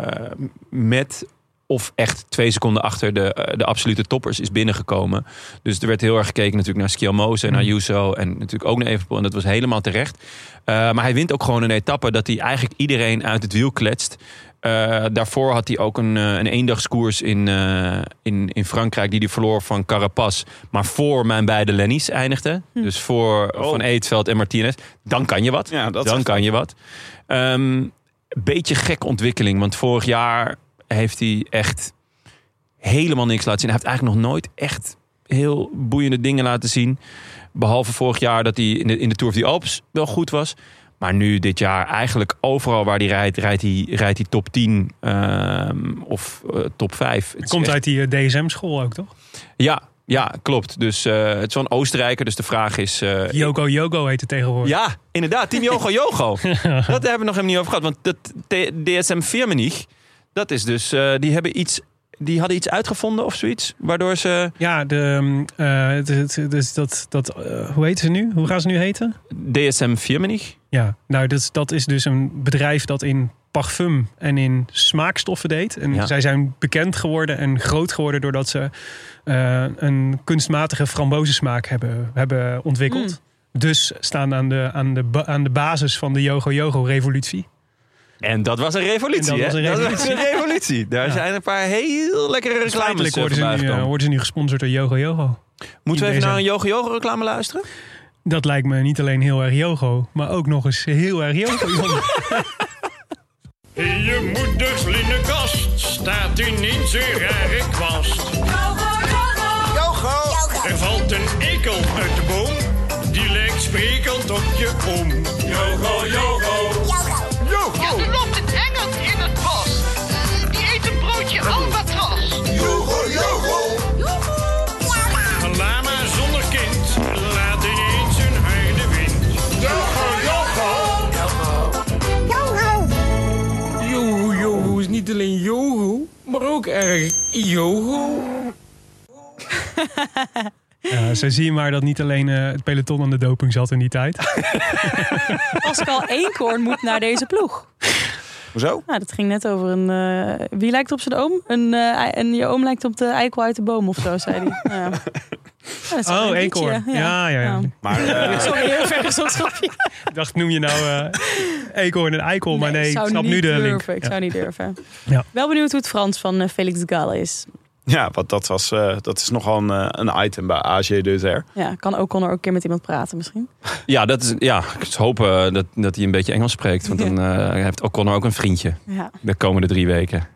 Speaker 4: met of echt twee seconden achter de, eh, de absolute toppers is binnengekomen. Dus er werd heel erg gekeken natuurlijk naar Schiamose en naar Ayuso en natuurlijk ook naar Evenepoel. En dat was helemaal terecht. Eh, maar hij wint ook gewoon een etappe dat hij eigenlijk iedereen uit het wiel kletst. Eh, daarvoor had hij ook een, eh, een eendagskoers in, eh, in, in Frankrijk die hij verloor van Carapaz. Maar voor mijn beide Lennies eindigde. Dus voor
Speaker 1: Oh.
Speaker 4: Van Eetveld en Martinez. Dan kan je wat.
Speaker 1: Ja, dat
Speaker 4: Dan
Speaker 1: is-
Speaker 4: kan je wat. Ehm beetje gek ontwikkeling. Want vorig jaar heeft hij echt helemaal niks laten zien. Hij heeft eigenlijk nog nooit echt heel boeiende dingen laten zien. Behalve vorig jaar dat hij in de, in de Tour of the Alps wel goed was. Maar nu dit jaar eigenlijk overal waar hij rijdt, rijdt hij, rijdt hij top 10 ehm, of eh, top 5. Het is
Speaker 2: Komt
Speaker 4: echt-
Speaker 2: uit die eh, DSM-school ook, toch?
Speaker 4: Ja, ja, klopt. Dus eh, het is wel een Oostenrijker. Dus de vraag is... eh,
Speaker 2: Yoko Yogo heet het tegenwoordig.
Speaker 4: ja, inderdaad. Team Yogo Yogo. dat hebben we nog helemaal niet over gehad. Want dat T- DSM Firmenich, dat is dus... eh, die, hebben iets, die hadden iets uitgevonden of zoiets. Waardoor ze...
Speaker 2: Ja, de, ehm, eh, het- het- dus dat, dat, eh, hoe heet ze nu? Hoe gaan ze nu heten?
Speaker 4: DSM Firmenich?
Speaker 2: Ja, nou dat, is- dat is dus een bedrijf dat in parfum en in smaakstoffen deed. En
Speaker 4: Ja.
Speaker 2: zij zijn bekend geworden en groot geworden doordat ze eh, een kunstmatige frambozensmaak hebben, hebben ontwikkeld.
Speaker 4: Hmm.
Speaker 2: Dus staan aan de, aan, de, ba- aan de basis van de Yogo-Yogo-revolutie.
Speaker 4: En dat was een revolutie,
Speaker 2: En dat
Speaker 4: hè?
Speaker 2: was een revolutie.
Speaker 4: was een revolutie. Daar
Speaker 2: Ja.
Speaker 4: zijn een paar heel lekkere reclames
Speaker 2: Feitelijk
Speaker 4: voor
Speaker 2: worden ze, nu, eh, worden ze nu gesponsord door Yogo-Yogo.
Speaker 4: Moeten we even
Speaker 2: in
Speaker 4: naar een Yogo Yogo reclame luisteren?
Speaker 2: Dat lijkt me niet alleen heel erg Yogo, maar ook nog eens heel erg Yogo.
Speaker 5: In je moeders linnenkast staat ineens een rare kwast. Er valt een ekel uit de boom, die lijkt sprekend op je oom. Yogo, yogo.
Speaker 6: Ja, er loopt een engel in het bos. Eh, Die eet een broodje albatros.
Speaker 5: Een lama zonder kind laat ineens een harde wind. Yogo, yogo.
Speaker 7: Yogo Yogo is niet alleen Yogo, maar ook erg Yogo.
Speaker 2: ja, zo zie je Eh, maar dat niet alleen eh, het peloton aan de doping zat in die tijd.
Speaker 3: Pascal Eenkoorn moet naar deze ploeg.
Speaker 1: Hoezo?
Speaker 3: Nou, dat ging net over een... eh, wie lijkt op zijn oom? Een, eh, ei- en je oom lijkt op de eikel uit de boom of zo, zei hij. Ja. Ja, dat is
Speaker 2: Oh,
Speaker 3: een
Speaker 2: Eenkoorn.
Speaker 3: liedje, Nou.
Speaker 2: Ja, ja, ja.
Speaker 1: Maar eh,
Speaker 3: Sorry, heel ver gezocht grapje.
Speaker 2: Ik dacht, noem je nou eh eekhoorn en eikel, maar nee, ik
Speaker 3: zou
Speaker 2: snap
Speaker 3: niet
Speaker 2: nu de
Speaker 3: durven.
Speaker 2: link.
Speaker 3: Ik zou niet durven.
Speaker 2: Ja.
Speaker 3: Wel benieuwd hoe het Frans van eh, Felix Galle is.
Speaker 1: ja, want dat, was, eh, dat is nogal een, eh, een item bij dus AG Deuzer.
Speaker 3: Ja, kan ook kon er ook een keer met iemand praten misschien.
Speaker 4: Ja, dat is, ja ik hoop eh, dat, dat hij een beetje Engels spreekt. Want dan eh, heeft O'Connor ook een vriendje
Speaker 3: Ja.
Speaker 4: de komende drie weken.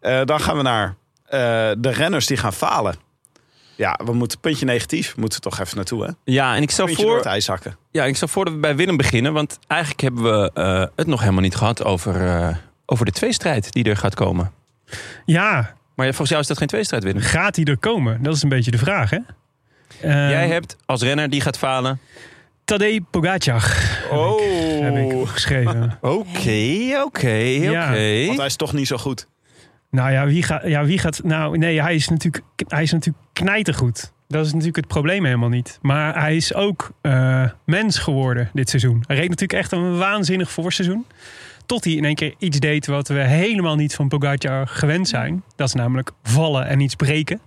Speaker 1: Eh, dan gaan we naar eh, de renners die gaan falen. Ja, we moeten puntje negatief. We moeten toch even naartoe, hè?
Speaker 4: Ja, en ik stel
Speaker 1: Puntje door
Speaker 4: voor...
Speaker 1: het ijs zakken.
Speaker 4: Ja, ik stel voor dat we bij Willem beginnen. Want eigenlijk hebben we eh, het nog helemaal niet gehad over, eh, over de tweestrijd die er gaat komen.
Speaker 2: Ja,
Speaker 4: Maar ja, volgens jou is dat geen tweestrijd, Willem.
Speaker 2: gaat hij er komen? Dat is een beetje de vraag, hè? Eh,
Speaker 4: Jij hebt als renner die gaat falen.
Speaker 2: Tadej Pogacar
Speaker 1: Oh,
Speaker 2: heb ik opgeschreven.
Speaker 4: Oké, oké,
Speaker 2: Ja.
Speaker 1: want hij is toch niet zo goed.
Speaker 2: nou ja wie, gaat, ja, wie gaat... Nou, nee, hij is natuurlijk, hij is natuurlijk knijtergoed. Dat is natuurlijk het probleem helemaal niet. Maar hij is ook eh, mens geworden dit seizoen. Hij reed natuurlijk echt een waanzinnig voorseizoen. Tot hij in één keer iets deed wat we helemaal niet van Pogacar gewend zijn. Dat is namelijk vallen en iets breken.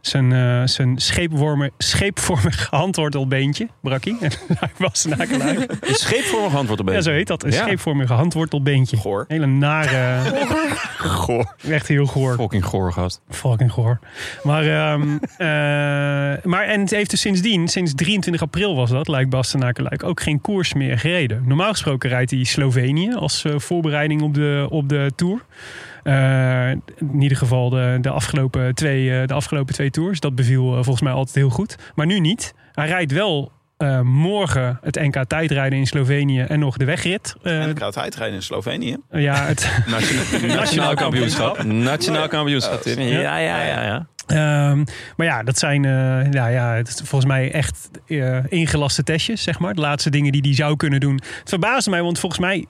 Speaker 2: Zijn, eh zijn scheepworme- scheepvormig handwortelbeentje brak hij. En hij was nakeluik.
Speaker 4: Een scheepvormig antwoord op
Speaker 2: Ja,
Speaker 4: deze.
Speaker 2: zo heet dat. Een
Speaker 4: Ja.
Speaker 2: scheepvormige handwortelbeentje.
Speaker 1: Goor.
Speaker 2: Hele nare...
Speaker 4: Goor.
Speaker 2: Echt heel goor.
Speaker 4: Fucking goor, gast.
Speaker 2: Fucking goor. Maar, ehm, eh, maar en het heeft dus sindsdien, sinds 23 april was dat, lijkt Bastenaken lijkt ook geen koers meer gereden. Normaal gesproken rijdt hij Slovenië als eh, voorbereiding op de, op de tour. Eh, in ieder geval de, de, afgelopen twee, eh, de afgelopen twee tours. Dat beviel eh, volgens mij altijd heel goed. Maar nu niet. Hij rijdt wel eh, morgen het NK tijdrijden in Slovenië en nog de wegrit. Eh,
Speaker 1: En ik gaat uitrijden in Slovenië.
Speaker 2: ja, het,
Speaker 4: Nationaal kampioenschap. Nationaal kampioenschap. Tim. Ja, ja, ja. ja.
Speaker 2: Ehm, maar ja, dat zijn eh, nou ja, het is volgens mij echt eh, ingelaste testjes, zeg maar. De laatste dingen die hij zou kunnen doen. Het verbaasde mij, want volgens mij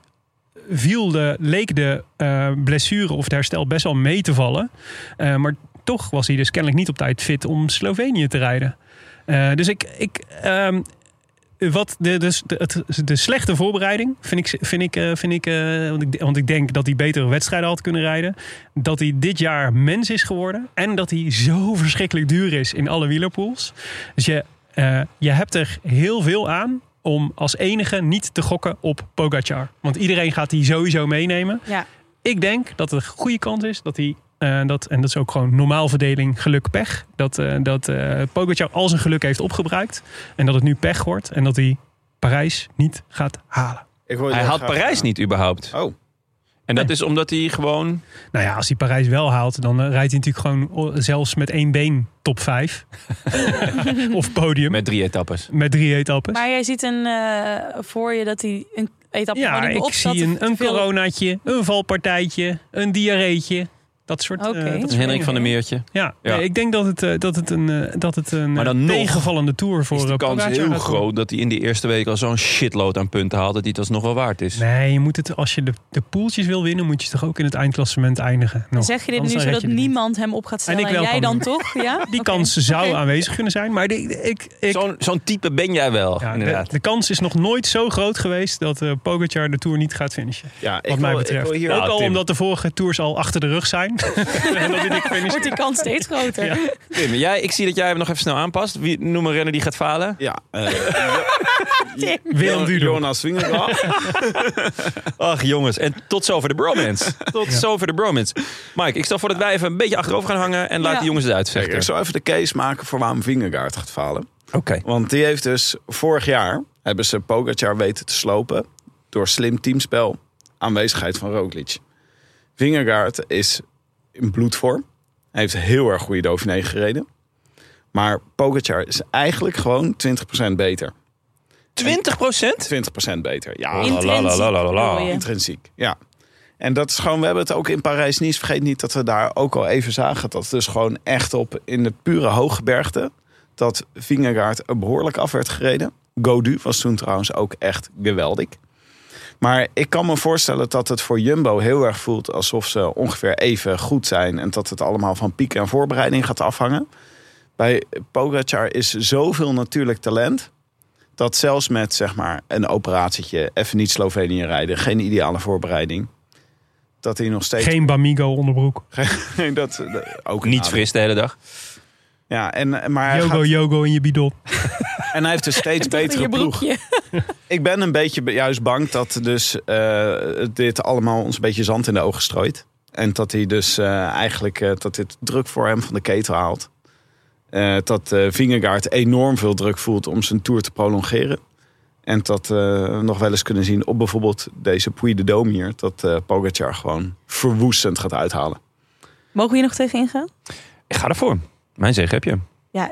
Speaker 2: viel de, leek de eh, blessure of het herstel best wel mee te vallen. Eh, maar toch was hij dus kennelijk niet op tijd fit om Slovenië te rijden. Eh, dus ik, ik, ehm, wat de, dus de, het, de slechte voorbereiding vind ik, vind ik, eh, vind ik, eh, want ik. Want ik denk dat hij betere wedstrijden had kunnen rijden. Dat hij dit jaar mens is geworden. En dat hij zo verschrikkelijk duur is in alle wielerpools. Dus je, eh, je hebt er heel veel aan om als enige niet te gokken op Pogacar. Want iedereen gaat die sowieso meenemen.
Speaker 3: Ja.
Speaker 2: Ik denk dat het een goede kans is dat hij. eh, dat, en dat is ook gewoon normaal verdeling geluk-pech. Dat, eh dat eh Pogacar al zijn geluk heeft opgebruikt. En dat het nu pech wordt. En dat hij Parijs niet gaat halen.
Speaker 1: Ik hoor
Speaker 4: Hij
Speaker 1: heel
Speaker 4: haalt
Speaker 1: graag-
Speaker 4: Parijs niet überhaupt.
Speaker 1: Oh,
Speaker 4: En dat is omdat hij gewoon...
Speaker 2: Nou ja, als hij Parijs wel haalt, dan eh, rijdt hij natuurlijk gewoon o- zelfs met één been top 5. of podium. Met,
Speaker 4: Met drie etappes.
Speaker 2: drie etappes.
Speaker 3: Maar jij ziet een, eh, voor je dat hij een etappe waar
Speaker 2: ja,
Speaker 3: hij niet meer
Speaker 2: ik
Speaker 3: op zat,
Speaker 2: zie een,
Speaker 3: te
Speaker 2: een
Speaker 3: veel-
Speaker 2: coronaatje, een valpartijtje, een diarreetje. Dat soort, eh,
Speaker 3: Oké.
Speaker 2: dat soort
Speaker 4: Henrik
Speaker 2: dingen.
Speaker 4: van der Meertje.
Speaker 2: Ja,
Speaker 4: Ja.
Speaker 2: nee, ik denk dat het, eh, dat het een, eh, dat het een
Speaker 4: Maar dan
Speaker 2: eh,
Speaker 4: nog
Speaker 2: tegenvallende tour voor
Speaker 4: Is de
Speaker 2: eh,
Speaker 4: kans
Speaker 2: Pogacar
Speaker 4: heel
Speaker 2: gaat worden.
Speaker 4: groot dat hij in de eerste week al zo'n shitload aan punten haalt... dat hij het nog wel waard is.
Speaker 2: Nee, je moet het, als je de, de poeltjes wil winnen, moet je toch ook in het eindklassement eindigen. Nog.
Speaker 3: Zeg je dit
Speaker 2: Oh, Anders
Speaker 3: nu
Speaker 2: dan red
Speaker 3: zodat
Speaker 2: je het niet.
Speaker 3: niemand hem op gaat stellen
Speaker 2: En
Speaker 3: en,
Speaker 2: ik wel
Speaker 3: jij
Speaker 2: kan
Speaker 3: dan
Speaker 2: doen.
Speaker 3: toch? Ja?
Speaker 2: Die
Speaker 3: Oké.
Speaker 2: kans zou
Speaker 3: Oké.
Speaker 2: aanwezig kunnen zijn, maar de, ik, ik,
Speaker 4: Zo'n zo'n type ben jij wel,
Speaker 2: ja, de,
Speaker 4: inderdaad.
Speaker 2: de kans is nog nooit zo groot geweest dat eh Pogacar de Tour niet gaat finishen.
Speaker 1: ja, ik
Speaker 2: Wat mij
Speaker 1: wil- ik
Speaker 2: betreft.
Speaker 1: wil hier-
Speaker 2: ook al
Speaker 4: Ah, Tim.
Speaker 2: omdat de vorige tours al achter de rug zijn. en dat dit ik finish.
Speaker 3: Wordt die kans steeds groter.
Speaker 2: Ja.
Speaker 4: Tim, jij, ik zie dat jij hem nog even snel aanpast. Wie, noem een renner die gaat falen.
Speaker 1: Ja, eh,
Speaker 2: Willem Dudok.
Speaker 1: Jonas Wingerbach.
Speaker 4: Ach jongens, en tot zover de bromance. Tot zover de bromance. Mike, ik stel voor dat wij even een beetje achterover gaan hangen... en laat
Speaker 3: Ja.
Speaker 4: de jongens het
Speaker 1: Kijk,
Speaker 4: uitvechten.
Speaker 1: ik zal even de case maken voor waarom Vingegaard gaat falen.
Speaker 4: Oké.
Speaker 1: Want die heeft dus vorig jaar hebben ze Pogacar weten te slopen door slim teamspel, aanwezigheid van Roglic. Vingegaard is in bloedvorm. Hij heeft heel erg goede Dauphiné gereden. Maar Pogacar is eigenlijk gewoon 20% beter.
Speaker 4: 20 procent?
Speaker 1: 20% beter. Ja,
Speaker 4: In-
Speaker 3: Intrinsiek
Speaker 4: Oh, la, la, la, la.
Speaker 3: bedoel je.
Speaker 1: intrinsiek. Ja. En dat is gewoon, we hebben het ook in Parijs niet. Vergeet niet dat we daar ook al even zagen. Dat dus gewoon echt op in de pure hooggebergte. Dat Vingegaard er behoorlijk af werd gereden. Godu was toen trouwens ook echt geweldig. Maar ik kan me voorstellen dat het voor Jumbo heel erg voelt alsof ze ongeveer even goed zijn. En dat het allemaal van piek en voorbereiding gaat afhangen. Bij Pogacar is zoveel natuurlijk talent dat zelfs met zeg maar, een operatietje, even niet Slovenië rijden, geen ideale voorbereiding, dat hij nog steeds.
Speaker 2: Geen Bamigo onderbroek.
Speaker 1: Nee, dat, dat- ook
Speaker 4: Niet
Speaker 1: aan-
Speaker 4: fris de hele dag.
Speaker 1: Ja, en, maar hij
Speaker 2: Yogo,
Speaker 1: gaat-
Speaker 2: yogo in je bidon.
Speaker 1: en hij heeft een steeds
Speaker 3: In je
Speaker 1: betere ploeg.
Speaker 3: broekje.
Speaker 1: Ik ben een beetje be- juist bang dat dus, eh, dit allemaal ons een beetje zand in de ogen strooit. En dat hij dus eh, eigenlijk eh, dat dit druk voor hem van de ketel haalt. Eh, dat eh Vingegaard enorm veel druk voelt om zijn tour te prolongeren. En dat eh, we nog wel eens kunnen zien op bijvoorbeeld deze Puy de Dome hier. Dat eh Pogacar gewoon verwoestend gaat uithalen.
Speaker 3: Mogen we hier nog tegen ingaan?
Speaker 4: Ik ga ervoor. Mijn zeg heb je.
Speaker 3: Ja,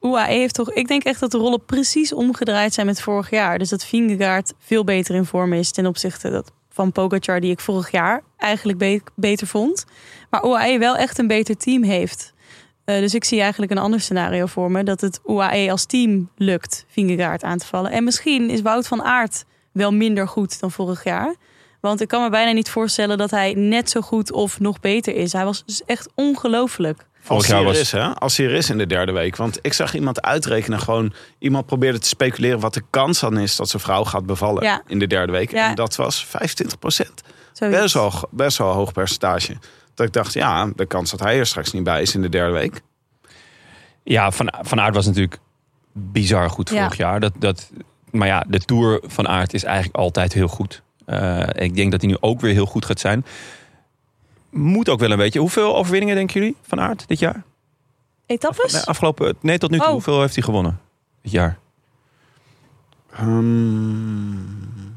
Speaker 3: UAE E heeft toch... Ik denk echt dat de rollen precies omgedraaid zijn met vorig jaar. Dus dat Vingegaard veel beter in vorm is ten opzichte dat van Pogacar... die ik vorig jaar eigenlijk be- beter vond. Maar UAE wel echt een beter team heeft. Eh, dus ik zie eigenlijk een ander scenario voor me. Dat het UAE als team lukt Vingegaard aan te vallen. En misschien is Wout van Aert wel minder goed dan vorig jaar. Want ik kan me bijna niet voorstellen dat hij net zo goed of nog beter is. Hij was dus echt ongelooflijk.
Speaker 4: Vorig
Speaker 1: Als
Speaker 4: jaar
Speaker 1: hij er
Speaker 4: was-
Speaker 1: is, hè? Als hij er is in de derde week. Want ik zag iemand uitrekenen, gewoon iemand probeerde te speculeren wat de kans dan is dat zijn vrouw gaat bevallen
Speaker 3: Ja.
Speaker 1: in de derde week.
Speaker 3: Ja.
Speaker 1: En dat was 25 procent.
Speaker 3: Zoiets.
Speaker 1: Best wel, best wel een hoog percentage. Dat ik dacht, ja, de kans dat hij er straks niet bij is in de derde week.
Speaker 4: Ja, van, van Aert was natuurlijk bizar goed
Speaker 3: Ja.
Speaker 4: vorig jaar. Dat, dat, maar ja, de Tour van Aert is eigenlijk altijd heel goed. Eh, ik denk dat hij nu ook weer heel goed gaat zijn. Moet ook wel een beetje. Hoeveel overwinningen denken jullie van Aert dit jaar?
Speaker 3: Etappes?
Speaker 4: Nee, afgelopen, nee tot nu toe.
Speaker 3: Oh.
Speaker 4: Hoeveel heeft hij gewonnen dit jaar?
Speaker 1: Ehm,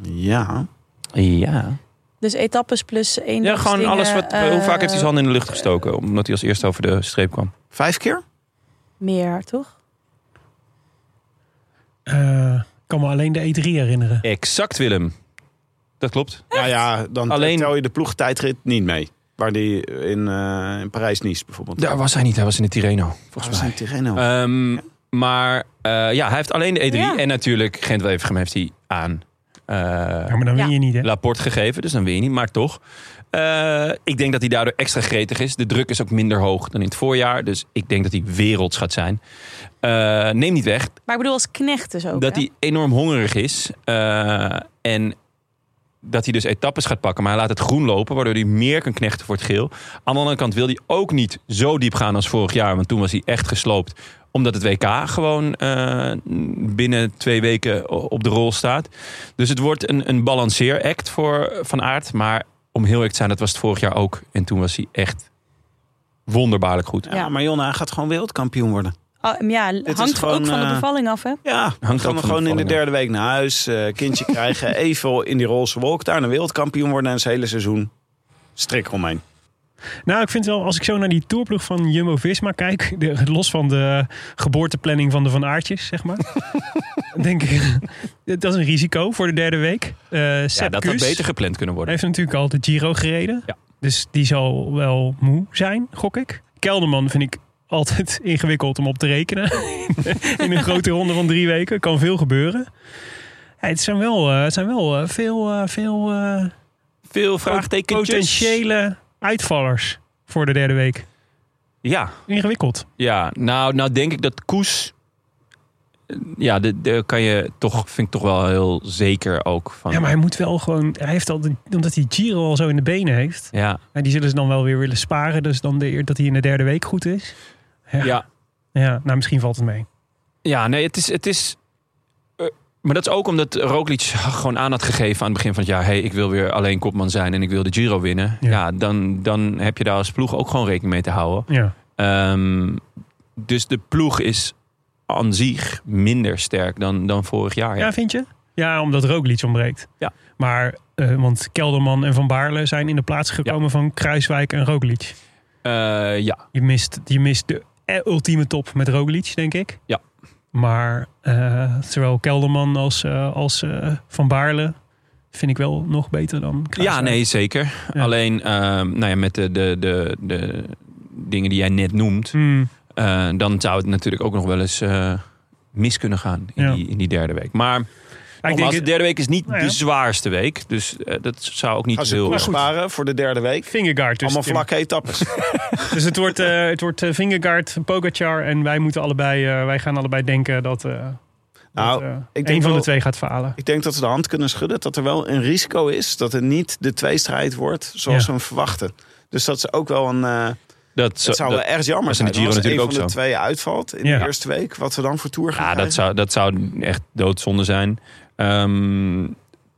Speaker 1: ja.
Speaker 4: Ja.
Speaker 3: Dus etappes plus één.
Speaker 4: Ja, gewoon
Speaker 3: dingen,
Speaker 4: alles wat...
Speaker 3: eh,
Speaker 4: hoe vaak heeft hij zijn handen in de lucht gestoken? Omdat hij als eerste over de streep kwam.
Speaker 1: Vijf keer?
Speaker 3: Meer, toch?
Speaker 2: Eh, ik kan me alleen de E3 herinneren.
Speaker 4: Exact, Willem. Dat klopt.
Speaker 1: Ja, ja, dan
Speaker 4: Alleen-
Speaker 1: tel je de ploegtijdrit niet mee. Waar die in, eh, in Parijs-Nice bijvoorbeeld.
Speaker 4: Daar was hij niet. Hij was in de Tirreno, volgens mij.
Speaker 1: een Tirreno.
Speaker 4: Ehm, maar eh, ja, hij heeft alleen de E3.
Speaker 3: Ja.
Speaker 4: En natuurlijk, Gent Wevergem heeft hij aan. eh,
Speaker 2: Ja, maar dan win
Speaker 3: Ja.
Speaker 2: je niet, hè?
Speaker 4: Laporte gegeven, dus dan win je niet, maar toch. Eh, ik denk dat hij daardoor extra gretig is. De druk is ook minder hoog dan in het voorjaar. Dus ik denk dat hij werelds gaat zijn. Eh, neem niet weg
Speaker 3: Maar ik bedoel als knecht dus ook.
Speaker 4: dat
Speaker 3: hè?
Speaker 4: hij enorm hongerig is. eh, en dat hij dus etappes gaat pakken. Maar hij laat het groen lopen, waardoor hij meer kan knechten voor het geel. Aan de andere kant wil hij ook niet zo diep gaan als vorig jaar. Want toen was hij echt gesloopt. Omdat het WK gewoon eh, binnen twee weken o- op de rol staat. Dus het wordt een, een balanceeract voor Van Aert. Maar om heel eerlijk te zijn, dat was het vorig jaar ook. En toen was hij echt wonderbaarlijk goed.
Speaker 1: Ja, maar Jonna hij gaat gewoon wereldkampioen worden.
Speaker 3: Ah, ja,
Speaker 1: is
Speaker 3: hangt
Speaker 1: gewoon,
Speaker 3: ook van
Speaker 1: eh,
Speaker 3: de bevalling af, hè?
Speaker 1: Ja,
Speaker 4: ook
Speaker 1: hangt
Speaker 4: van
Speaker 1: dan
Speaker 4: de
Speaker 1: gewoon in de
Speaker 4: bevalling
Speaker 1: derde week naar huis. eh, kindje krijgen, even in die roze wolk. Daar een wereldkampioen worden en zijn hele seizoen strik omheen.
Speaker 2: Nou, ik vind wel, als ik zo naar die tourploeg van Jumbo-Visma kijk... de- los van de geboorteplanning van de Van Aartjes, zeg maar... denk ik, dat is een risico voor de derde week. Eh Sepp
Speaker 4: Ja, dat had
Speaker 2: Kuss
Speaker 4: beter gepland kunnen worden.
Speaker 2: heeft natuurlijk al de Giro gereden.
Speaker 4: Ja.
Speaker 2: Dus die zal wel moe zijn, gok ik. Kelderman vind ik altijd ingewikkeld om op te rekenen. In een grote ronde van drie weken. Kan veel gebeuren. Ja, het zijn wel, eh, het zijn wel eh, veel, eh, veel eh,
Speaker 4: Veel vraagtekentjes.
Speaker 2: potentiële uitvallers voor de derde week.
Speaker 4: Ja,
Speaker 2: Ingewikkeld.
Speaker 4: Ja, nou, nou denk ik dat Koes. Ja, de, de kan je toch, vind ik toch wel heel zeker ook van.
Speaker 2: Ja, maar hij moet wel gewoon. Hij heeft al, de- omdat hij Giro al zo in de benen heeft.
Speaker 4: ja,
Speaker 2: En die zullen ze dan wel weer willen sparen. Dus dan de eer dat hij in de derde week goed is. Ja.
Speaker 4: ja.
Speaker 2: Ja, nou misschien valt het mee.
Speaker 4: Ja, nee, het is. Het is eh, maar dat is ook omdat Roglic gewoon aan had gegeven aan het begin van het jaar. hey, ik wil weer alleen kopman zijn en ik wil de Giro winnen. Ja,
Speaker 2: Ja.
Speaker 4: dan, dan heb je daar als ploeg ook gewoon rekening mee te houden.
Speaker 2: Ja.
Speaker 4: Ehm, dus de ploeg is aan zich minder sterk dan, dan vorig jaar.
Speaker 2: Ja, vind je? Ja, omdat Roglic ontbreekt.
Speaker 4: Ja.
Speaker 2: Maar, eh, want Kelderman en Van Baarle zijn in de plaats gekomen van Kruiswijk en Roglic.
Speaker 4: Eh, ja.
Speaker 2: Je mist, je mist de eh, ultieme top met Roglic, denk ik.
Speaker 4: Ja.
Speaker 2: Maar eh, zowel Kelderman als, eh, als eh, Van Baarle vind ik wel nog beter dan
Speaker 4: Ja,
Speaker 2: Kruiswijk.
Speaker 4: nee, zeker.
Speaker 2: Ja.
Speaker 4: Alleen ehm, nou ja, met de, de, de, de dingen die jij net noemt,
Speaker 2: Hmm.
Speaker 4: eh, dan zou het natuurlijk ook nog wel eens eh, mis kunnen gaan in,
Speaker 2: Ja.
Speaker 4: die, in die derde week. Maar
Speaker 2: Ja, ik
Speaker 4: nogmaals,
Speaker 2: denk,
Speaker 4: de derde week is niet
Speaker 2: Nou ja.
Speaker 4: de zwaarste week. Dus eh, dat zou ook niet
Speaker 1: Gaan ze
Speaker 4: heel...
Speaker 1: koers sparen voor de derde week.
Speaker 2: Vingergaard dus.
Speaker 1: Allemaal
Speaker 2: Tim.
Speaker 1: vlakke etappes.
Speaker 2: Dus het wordt, eh het wordt eh, Vingegaard, Pogacar en wij moeten allebei, eh, wij gaan allebei denken dat, eh
Speaker 1: Nou,
Speaker 2: dat, eh,
Speaker 1: ik
Speaker 2: een
Speaker 1: denk
Speaker 2: van de
Speaker 1: wel-
Speaker 2: twee gaat falen.
Speaker 1: Ik denk dat we de hand kunnen schudden dat er wel een risico is dat het niet de tweestrijd wordt zoals
Speaker 2: Ja.
Speaker 1: we hem verwachten. Dus dat is ook wel een. eh
Speaker 4: Dat, zou-
Speaker 1: het zou
Speaker 4: dat-
Speaker 1: wel erg jammer
Speaker 4: dat is in
Speaker 1: zijn
Speaker 4: de Giro
Speaker 1: als een
Speaker 4: natuurlijk
Speaker 1: van
Speaker 4: ook
Speaker 1: de
Speaker 4: zo.
Speaker 1: twee uitvalt in
Speaker 2: Ja.
Speaker 1: de eerste week. Wat we dan voor tour gaan.
Speaker 4: ja, dat,
Speaker 1: krijgen.
Speaker 4: zou, dat zou echt doodzonde zijn. Ehm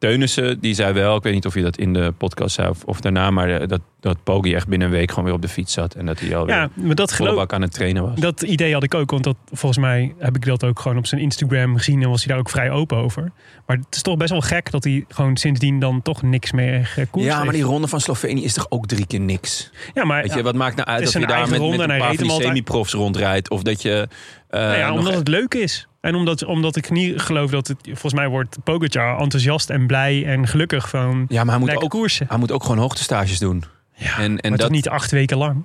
Speaker 4: Teunissen, die zei wel, ik weet niet of je dat in de podcast zei of, of daarna, maar eh, dat, dat Poggi echt binnen een week gewoon weer op de fiets zat. En dat hij alweer
Speaker 2: Ja, maar dat
Speaker 4: volle
Speaker 2: geloof
Speaker 4: bak aan het trainen was.
Speaker 2: dat idee had ik ook, want dat, volgens mij heb ik dat ook gewoon op zijn Instagram gezien en was hij daar ook vrij open over. Maar het is toch best wel gek dat hij gewoon sindsdien dan toch niks meer eh, gekoerd
Speaker 4: Ja, maar die ronde van Slovenië is toch ook drie keer niks?
Speaker 2: Ja, maar
Speaker 4: Weet je, wat maakt nou uit
Speaker 2: Het
Speaker 4: of
Speaker 2: is
Speaker 4: je
Speaker 2: een
Speaker 4: daar
Speaker 2: eigen
Speaker 4: met, met
Speaker 2: ronde
Speaker 4: een
Speaker 2: en hij
Speaker 4: paar
Speaker 2: reed
Speaker 4: van die
Speaker 2: hem altijd.
Speaker 4: semi-profs rondrijdt? Of dat je... eh,
Speaker 2: Nou ja,
Speaker 4: nog-
Speaker 2: omdat het leuk is. En omdat, omdat ik niet geloof dat het, volgens mij wordt Pogacar enthousiast en blij en gelukkig van
Speaker 4: ja, maar hij moet,
Speaker 2: lekker
Speaker 4: ook,
Speaker 2: koersen.
Speaker 4: hij moet ook gewoon hoogtestages doen.
Speaker 2: Ja,
Speaker 4: en
Speaker 2: maar
Speaker 4: dat-
Speaker 2: toch niet acht weken lang.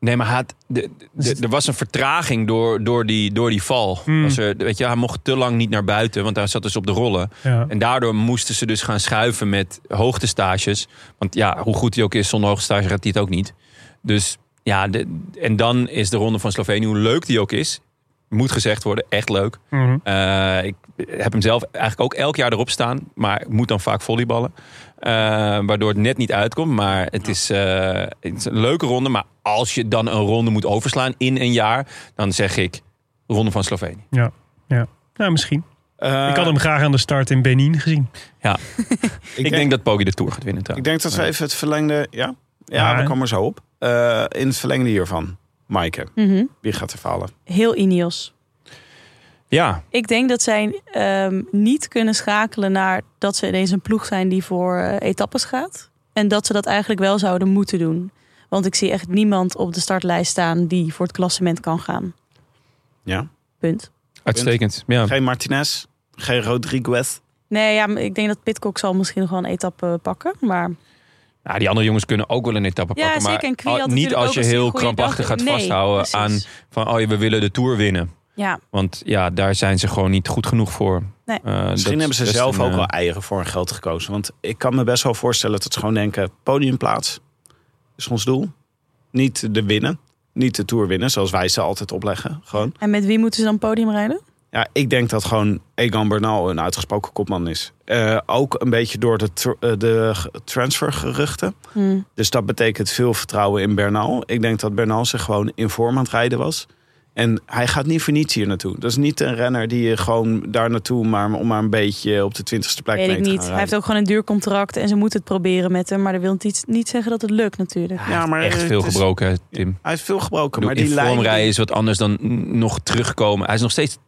Speaker 4: Nee, maar hij had- de, de- de- er was een vertraging door, door, die, door die val.
Speaker 2: Dus Hmm.
Speaker 4: Was er, weet je, hij mocht te lang niet naar buiten, want hij zat dus op de rollen.
Speaker 2: Ja.
Speaker 4: En daardoor moesten ze dus gaan schuiven met hoogtestages. Want ja, hoe goed hij ook is, zonder hoogtestage gaat hij het ook niet. Dus ja, de- en dan is de ronde van Slovenië, hoe leuk die ook is... Moet gezegd worden, echt leuk.
Speaker 2: Mhm.
Speaker 4: Eh, ik heb hem zelf eigenlijk ook elk jaar erop staan. Maar ik moet dan vaak volleyballen. Eh, waardoor het net niet uitkomt. Maar het is, eh, het is een leuke ronde. Maar als je dan een ronde moet overslaan in een jaar. Dan zeg ik ronde van Slovenië.
Speaker 2: Ja, ja. Nou, misschien.
Speaker 1: Eh,
Speaker 2: ik had hem graag aan de start in Benin gezien.
Speaker 4: eh,
Speaker 1: ik
Speaker 4: Ik,
Speaker 1: denk-
Speaker 4: denk dat Poggi de Tour gaat winnen
Speaker 1: Ik
Speaker 4: trouwens.
Speaker 1: denk dat we even het verlengde. Ja, ja,
Speaker 2: Ja,
Speaker 1: we
Speaker 2: hè?
Speaker 1: komen er zo op. Eh, in het verlengde hiervan, Maaike,
Speaker 3: Mhm.
Speaker 1: wie gaat er falen?
Speaker 3: Heel Ineos.
Speaker 4: Ja,
Speaker 3: Ik denk dat zij ehm, niet kunnen schakelen naar dat ze ineens een ploeg zijn die voor eh, etappes gaat. En dat ze dat eigenlijk wel zouden moeten doen. Want ik zie echt niemand op de startlijst staan die voor het klassement kan gaan.
Speaker 1: Ja.
Speaker 3: Punt.
Speaker 4: uitstekend. Ja.
Speaker 1: Geen Martinez, geen Rodriguez.
Speaker 3: Nee, ja, maar ik denk dat Pitcock zal misschien nog wel een etappe pakken. Maar
Speaker 4: Nou, die andere jongens kunnen ook wel een etappe
Speaker 3: ja,
Speaker 4: pakken.
Speaker 3: zeker. En
Speaker 4: Maar
Speaker 3: Kwiat
Speaker 4: niet
Speaker 3: natuurlijk
Speaker 4: als
Speaker 3: ook
Speaker 4: je
Speaker 3: een
Speaker 4: heel
Speaker 3: goede dag.
Speaker 4: krampachtig gaat
Speaker 3: Nee,
Speaker 4: vasthouden
Speaker 3: precies.
Speaker 4: aan van oh, ja, we willen de Tour winnen.
Speaker 3: Ja,
Speaker 4: Want ja, daar zijn ze gewoon niet goed genoeg voor.
Speaker 3: Nee.
Speaker 4: Eh, dat
Speaker 1: Misschien
Speaker 4: is
Speaker 1: hebben ze
Speaker 4: best
Speaker 1: zelf
Speaker 4: een,
Speaker 1: ook
Speaker 4: eh,
Speaker 1: wel eieren voor hun geld gekozen. Want ik kan me best wel voorstellen dat ze gewoon denken: podiumplaats is ons doel. Niet de winnen, niet de tour winnen, zoals wij ze altijd opleggen. Gewoon.
Speaker 3: en met wie moeten ze dan podium rijden?
Speaker 1: Ja, ik denk dat gewoon Egan Bernal een uitgesproken kopman is. Eh, ook een beetje door de, tr- eh, de g- transfergeruchten.
Speaker 3: Hm.
Speaker 1: Dus dat betekent veel vertrouwen in Bernal. Ik denk dat Bernal zich gewoon in vorm aan het rijden was. En hij gaat niet voor niets hier naartoe. Dat is niet een renner die je gewoon daar naartoe... maar om maar een beetje op de twintigste plek
Speaker 3: Weet
Speaker 1: mee
Speaker 3: ik
Speaker 1: te
Speaker 3: niet.
Speaker 1: gaan
Speaker 3: Hij heeft ook gewoon een duur contract en ze moeten het proberen met hem. Maar dat wil niet, niet zeggen dat het lukt natuurlijk.
Speaker 1: Ja, maar
Speaker 4: eh, Echt
Speaker 1: het
Speaker 4: veel
Speaker 1: is-
Speaker 4: gebroken, hè, Tim.
Speaker 1: Hij heeft veel gebroken, maar
Speaker 4: in
Speaker 1: die lijn...
Speaker 4: vorm rijden is wat anders dan n- nog terugkomen. Hij is nog steeds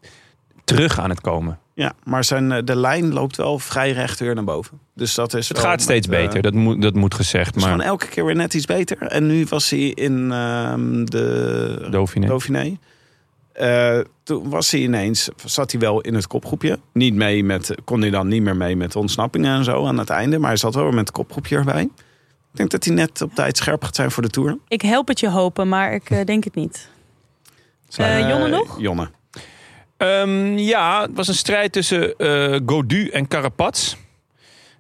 Speaker 4: terug aan het komen.
Speaker 1: Ja, maar zijn, eh, de lijn loopt wel vrij recht weer naar boven. Dus dat is
Speaker 4: Het
Speaker 1: wel
Speaker 4: gaat steeds
Speaker 1: met, eh,
Speaker 4: beter, dat moet, dat moet gezegd.
Speaker 1: Dus
Speaker 4: Maar
Speaker 1: gewoon elke keer weer net iets beter. En nu was hij in ehm, de
Speaker 4: Dauphiné.
Speaker 1: Dauphiné. Eh, toen was hij ineens, zat hij wel in het kopgroepje. Niet mee met, kon hij dan niet meer mee met ontsnappingen en zo aan het einde. Maar hij zat wel weer met het kopgroepje erbij. Ik denk dat hij net op tijd scherp gaat zijn voor de Tour.
Speaker 3: Ik help het je hopen, maar ik eh, denk het niet. Eh, Jonne nog?
Speaker 1: Jonne.
Speaker 4: Ehm, ja, het was een strijd tussen eh Godu en Carapaz.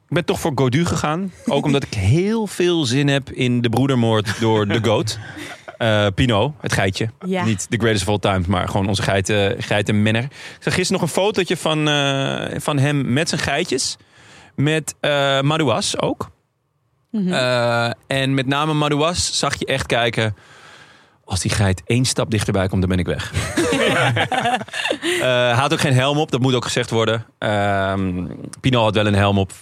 Speaker 4: Ik ben toch voor Godu gegaan. Ook omdat ik heel veel zin heb in de broedermoord door de goat. Eh Pino, het geitje.
Speaker 3: Ja.
Speaker 4: Ah, Niet the greatest of all times, maar gewoon onze geiten, geitenmenner. Ik zag gisteren nog een fotootje van, eh, van hem met zijn geitjes. Met eh Madouas ook.
Speaker 3: Mhm.
Speaker 4: Eh, en met name Madouas zag je echt kijken... Als die geit één stap dichterbij komt, dan ben ik weg. Eh, Hij had ook geen helm op, dat moet ook gezegd worden. Ehm Pino had wel een helm op.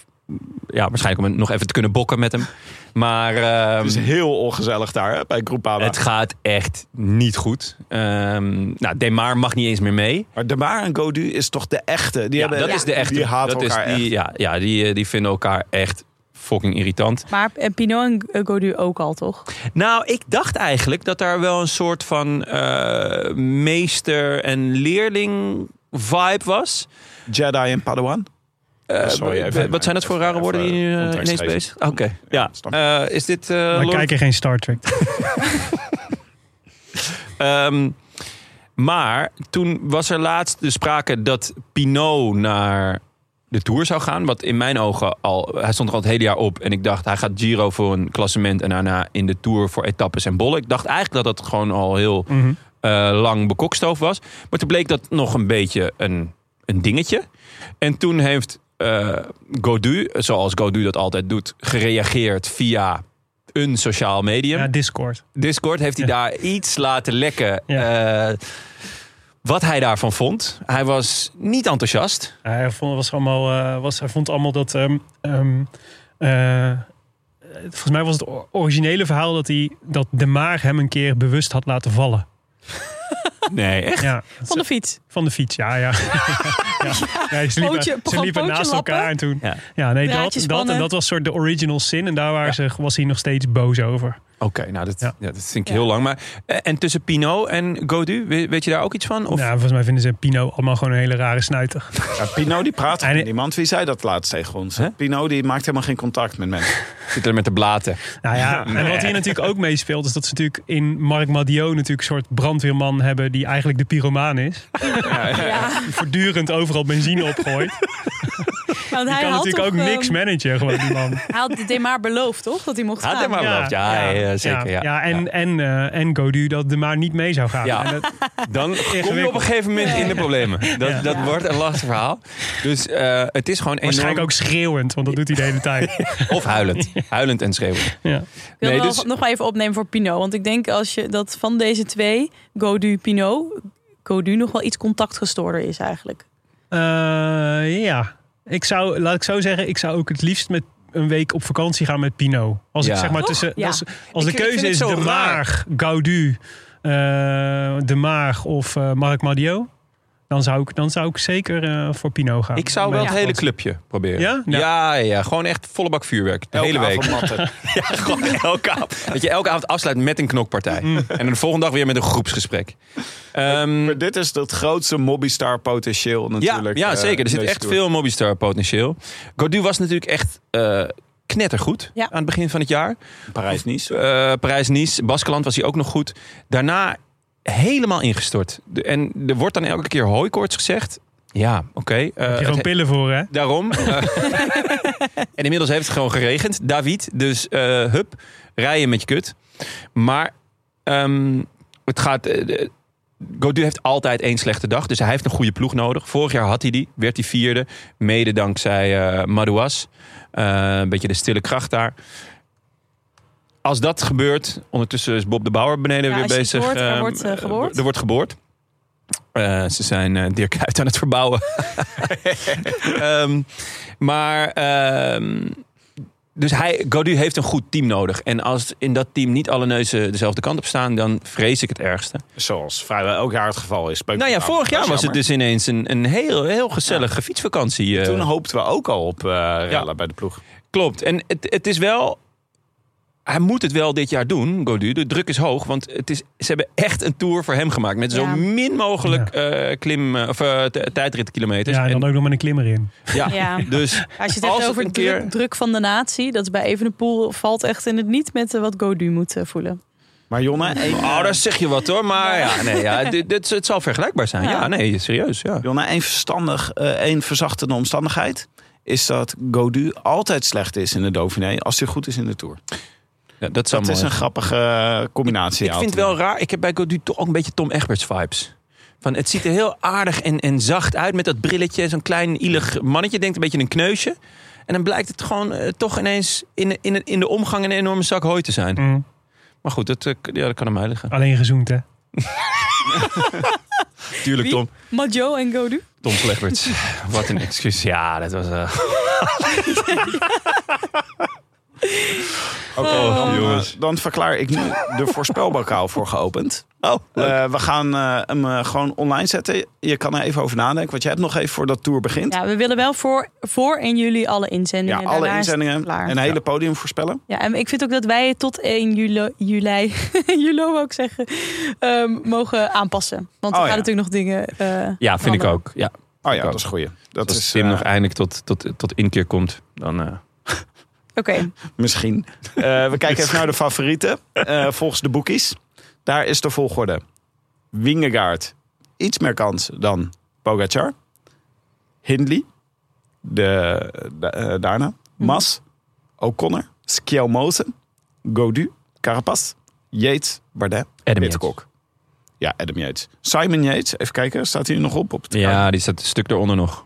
Speaker 4: Ja, waarschijnlijk om hem nog even te kunnen bokken met hem. Maar ehm,
Speaker 1: Het is heel ongezellig daar hè, bij Groepama.
Speaker 4: het gaat echt niet goed. Ehm nou, Demar mag niet eens meer mee.
Speaker 1: Maar De Maar en Godu is toch de echte? Die
Speaker 4: Ja,
Speaker 1: hebben,
Speaker 4: dat is de echte.
Speaker 1: Die haten
Speaker 4: dat
Speaker 1: elkaar
Speaker 4: is, die, Ja, ja die, eh, die vinden elkaar echt fucking irritant.
Speaker 3: Maar en Pinot en eh, Godu ook al, toch?
Speaker 4: Nou, ik dacht eigenlijk dat daar wel een soort van eh, meester- en leerling-vibe was.
Speaker 1: echt. Jedi en Padawan.
Speaker 4: Eh,
Speaker 1: Sorry, even-
Speaker 4: wat- wat zijn dat voor rare
Speaker 1: even-
Speaker 4: woorden die nu eh,
Speaker 1: context
Speaker 4: ineens
Speaker 1: geven.
Speaker 4: bezig Oké, ja.
Speaker 1: snap
Speaker 4: Eh, is dit... eh,
Speaker 2: Wij
Speaker 4: Lord-
Speaker 2: kijken geen Star Trek.
Speaker 4: Ehm, maar toen was er laatst de sprake dat Pinot naar de Tour zou gaan. Wat in mijn ogen al... Hij stond er al het hele jaar op. En ik dacht, hij gaat Giro voor een klassement. En daarna in de Tour voor etappes en bollen. Ik dacht eigenlijk dat dat gewoon al heel
Speaker 2: Mhm.
Speaker 4: eh, lang bekokstoof was. Maar toen bleek dat nog een beetje een, een dingetje. En toen heeft eh Godu, zoals Godu dat altijd doet, gereageerd via een sociaal medium.
Speaker 2: Ja, Discord.
Speaker 4: Discord heeft hij
Speaker 2: Ja.
Speaker 4: daar iets laten lekken. eh, wat hij daarvan vond. Hij was niet enthousiast.
Speaker 2: Ja, Hij vond, was allemaal, eh, was, hij vond allemaal dat. ehm, ehm, eh, volgens mij was het o- originele verhaal dat, hij, dat De Maar hem een keer bewust had laten vallen.
Speaker 4: Nee, echt?
Speaker 2: Ja,
Speaker 3: Van de fiets.
Speaker 2: van de fiets, ja, ja. ja. Nee, ze liepen,
Speaker 3: Pootje-
Speaker 2: ze
Speaker 3: gewoon
Speaker 2: liepen
Speaker 3: pootje
Speaker 2: naast
Speaker 3: lappen.
Speaker 2: elkaar en toen.
Speaker 4: Ja.
Speaker 2: Ja, nee,
Speaker 3: Draadje
Speaker 2: dat, dat,
Speaker 3: spannen.
Speaker 2: en dat was soort de original sin. En daar waren
Speaker 4: Ja.
Speaker 2: ze, was hij nog steeds boos over.
Speaker 4: Oké, nou dat, ja.
Speaker 2: Ja.
Speaker 4: dat vind ik
Speaker 3: Ja.
Speaker 4: heel lang. Maar, eh, en tussen Pinot en Godu, weet, weet je daar ook iets van? Of?
Speaker 2: Nou, volgens mij vinden ze Pino allemaal gewoon een hele rare snuiter.
Speaker 1: Ja, Pino die praat
Speaker 2: En-
Speaker 1: met niemand. Wie zei dat laatst tegen ons?
Speaker 4: Hè?
Speaker 1: Pino die maakt helemaal geen contact met mensen.
Speaker 4: Zit er met de blaten.
Speaker 2: Nou ja, en wat hier natuurlijk ook meespeelt, is dat ze natuurlijk in Marc Madiot natuurlijk een soort brandweerman hebben die eigenlijk de pyromaan is. Die voortdurend overal benzine opgooit.
Speaker 3: Want
Speaker 2: Die
Speaker 3: hij
Speaker 2: kan
Speaker 3: had
Speaker 2: natuurlijk ook
Speaker 3: toch, ehm,
Speaker 2: niks managen, gewoon die man.
Speaker 3: Hij had de maar beloofd, toch? Dat hij mocht
Speaker 4: Had
Speaker 3: gaan.
Speaker 4: hij maar beloofd. Ja, ja, zeker. Ja.
Speaker 2: en, En, eh, en Godu dat de maar niet mee zou gaan.
Speaker 4: Ja.
Speaker 2: En dat,
Speaker 4: Dan kom je op een gegeven moment in de problemen. Dat, dat wordt een lastig verhaal. Dus eh, het is gewoon enorm...
Speaker 2: waarschijnlijk ook schreeuwend, want dat doet hij de hele tijd.
Speaker 4: Of huilend. Huilend en schreeuwend.
Speaker 2: Ja.
Speaker 3: Ik wil
Speaker 4: Nee,
Speaker 3: wel
Speaker 4: dus-
Speaker 3: nog maar even opnemen voor Pinot. Want ik denk als je dat van deze twee, Godu, Pinot, Godu nog wel iets contactgestoorder is eigenlijk.
Speaker 2: Eh, ja, ik zou, laat ik zo zeggen, ik zou ook het liefst met een week op vakantie gaan met Pino. Als
Speaker 4: Ja.
Speaker 2: ik zeg maar
Speaker 3: Toch?
Speaker 2: tussen,
Speaker 3: Ja.
Speaker 2: als, als
Speaker 4: Ik-
Speaker 2: de
Speaker 4: ik vind
Speaker 2: keuze
Speaker 4: het
Speaker 2: is
Speaker 4: zo
Speaker 2: de
Speaker 4: raar.
Speaker 2: Maag, Gaudu, eh, de Maag of eh, Marc Madiot, dan zou ik, dan zou ik zeker eh, voor Pino gaan.
Speaker 4: Ik zou wel
Speaker 2: Met-
Speaker 4: het hele clubje proberen.
Speaker 2: Ja?
Speaker 4: Ja,
Speaker 2: Ja.
Speaker 4: ja, gewoon echt volle bak vuurwerk. De
Speaker 1: Elke
Speaker 4: hele week.
Speaker 1: avond matten.
Speaker 4: Ja, gewoon elke avond. Dat je elke avond afsluit met een knokpartij.
Speaker 1: Mm.
Speaker 4: En de volgende dag weer met een groepsgesprek. Ehm,
Speaker 1: Maar dit is het grootste mobbystar potentieel
Speaker 4: ja,
Speaker 1: natuurlijk.
Speaker 4: ja,
Speaker 1: eh,
Speaker 4: zeker. Er zit
Speaker 1: deze
Speaker 4: echt
Speaker 1: tour.
Speaker 4: veel Mobistar potentieel. Godu was natuurlijk echt eh, knettergoed
Speaker 3: Ja.
Speaker 4: aan het begin van het jaar.
Speaker 1: Parijs niet.
Speaker 4: Eh, Parijs-Nice. Baskeland was hij ook nog goed. Daarna helemaal ingestort. De- en er wordt dan elke keer hooikoorts gezegd. Ja, oké. eh,
Speaker 2: Heb je gewoon
Speaker 4: het-
Speaker 2: pillen voor, hè?
Speaker 4: Daarom. eh, en inmiddels heeft het gewoon geregend, David. Dus eh hup, rijden met je kut. Maar ehm, het gaat. eh, eh, Godu heeft altijd één slechte dag, dus hij heeft een goede ploeg nodig. Vorig jaar had hij die, werd hij vierde, mede dankzij eh Madouas. Eh, een beetje de stille kracht daar. Als dat gebeurt, ondertussen is Bob de Bouwer beneden
Speaker 3: Ja,
Speaker 4: weer
Speaker 3: als je het
Speaker 4: bezig.
Speaker 3: hoort, er
Speaker 4: eh,
Speaker 3: wordt, eh, geboord.
Speaker 4: Er wordt geboord. Eh, ze zijn eh, Dirk uit aan het verbouwen. Ehm, maar ehm, dus hij, Godu heeft een goed team nodig. En als in dat team niet alle neuzen dezelfde kant op staan, dan vrees ik het ergste.
Speaker 1: Zoals vrijwel elk jaar het geval is. Speuk-
Speaker 4: nou ja, vorig jaar was het
Speaker 1: jammer.
Speaker 4: dus ineens een, een heel, heel gezellige fietsvakantie. eh.
Speaker 1: Toen hoopten we ook al op eh rellen bij de ploeg.
Speaker 4: Klopt. En het, het is wel. Hij moet het wel dit jaar doen, Godu. De druk is hoog, want het is, ze hebben echt een tour voor hem gemaakt. Met zo
Speaker 3: Ja.
Speaker 4: min mogelijk eh, klim, eh, of, eh, t- tijdritkilometers.
Speaker 2: Ja, en dan
Speaker 4: Dus En-
Speaker 2: ook nog met een klimmer in.
Speaker 4: ja.
Speaker 3: Ja.
Speaker 4: Dus
Speaker 3: Als je het hebt
Speaker 4: Als het
Speaker 3: over
Speaker 4: een
Speaker 3: de
Speaker 4: keer-
Speaker 3: druk, druk van de natie, dat is bij Evenepoel valt echt in het niet met eh, wat Godu moet eh, voelen.
Speaker 1: Maar Jonne, één,
Speaker 4: Oh, daar zeg je wat hoor. Maar ja, nee, ja dit, dit, het zal vergelijkbaar zijn. Ja,
Speaker 3: Ja.
Speaker 4: nee, serieus. Ja.
Speaker 1: Jonne, één verstandig, eh, één verzachtende omstandigheid is dat Godu altijd slecht is in de Dauphiné als hij goed is in de Tour.
Speaker 4: Ja, dat zou
Speaker 1: Dat is
Speaker 4: mooi.
Speaker 1: een grappige eh, combinatie.
Speaker 4: Ik vind het wel raar. Ik heb bij Godu toch ook een beetje Tom Egberts vibes. Van, het ziet er heel aardig en, en zacht uit met dat brilletje. Zo'n klein ielig mannetje. Denkt een beetje een kneusje. En dan blijkt het gewoon eh, toch ineens in, in, in de omgang een enorme zak hooi te zijn.
Speaker 2: Mm.
Speaker 4: Maar goed, dat, eh, k- ja, dat kan aan mij liggen.
Speaker 2: Alleen gezoend, hè?
Speaker 4: Tuurlijk,
Speaker 3: Wie?
Speaker 4: Tom.
Speaker 3: Majo en Godu?
Speaker 4: Tom Egberts. Wat een excuus. Ja, dat was... eh,
Speaker 1: Oké, dan,
Speaker 4: jongens.
Speaker 1: eh, dan verklaar ik nu de voorspelbokaal voor geopend. Oh, we gaan eh, hem eh, gewoon online zetten. Je kan er even over nadenken, want jij hebt nog even voor dat tour begint.
Speaker 3: Ja, we willen wel voor, voor 1 juli alle
Speaker 1: Ja,
Speaker 3: inzendingen.
Speaker 1: alle
Speaker 3: Daarna is het
Speaker 1: inzendingen
Speaker 3: klaar.
Speaker 1: en hele podium voorspellen. Oh
Speaker 3: Ja, en ik vind ook dat wij tot 1 juli, juli, juli wou ik zeggen, ehm, mogen aanpassen. Want
Speaker 1: Oh,
Speaker 3: er
Speaker 1: ja.
Speaker 3: gaan natuurlijk nog dingen. eh,
Speaker 4: ja, vind ik
Speaker 3: veranderen.
Speaker 4: ook. Ja,
Speaker 1: Oh
Speaker 4: Ik
Speaker 1: ja,
Speaker 4: ook.
Speaker 1: dat is goeie. Dat
Speaker 4: als
Speaker 1: is
Speaker 4: Tim
Speaker 1: eh,
Speaker 4: nog eindelijk tot, tot, tot inkeer komt, dan... eh,
Speaker 3: Oké,
Speaker 1: misschien. Eh, we kijken even naar de favorieten. Eh, volgens de boekies. Daar is de volgorde. Wingegaard. Iets meer kans dan Pogacar. Hindley. De, da- eh, daarna.
Speaker 3: Mhm.
Speaker 1: Mas. O'Connor. Skjelmosen. Godu. Carapaz. Yates. Bardet.
Speaker 4: Adam
Speaker 1: Pitcock. Ja, Adam Yates. Simon Yates. Even kijken. Staat hij er nog op? op het kaartje?
Speaker 4: Ja, die staat een stuk daaronder nog.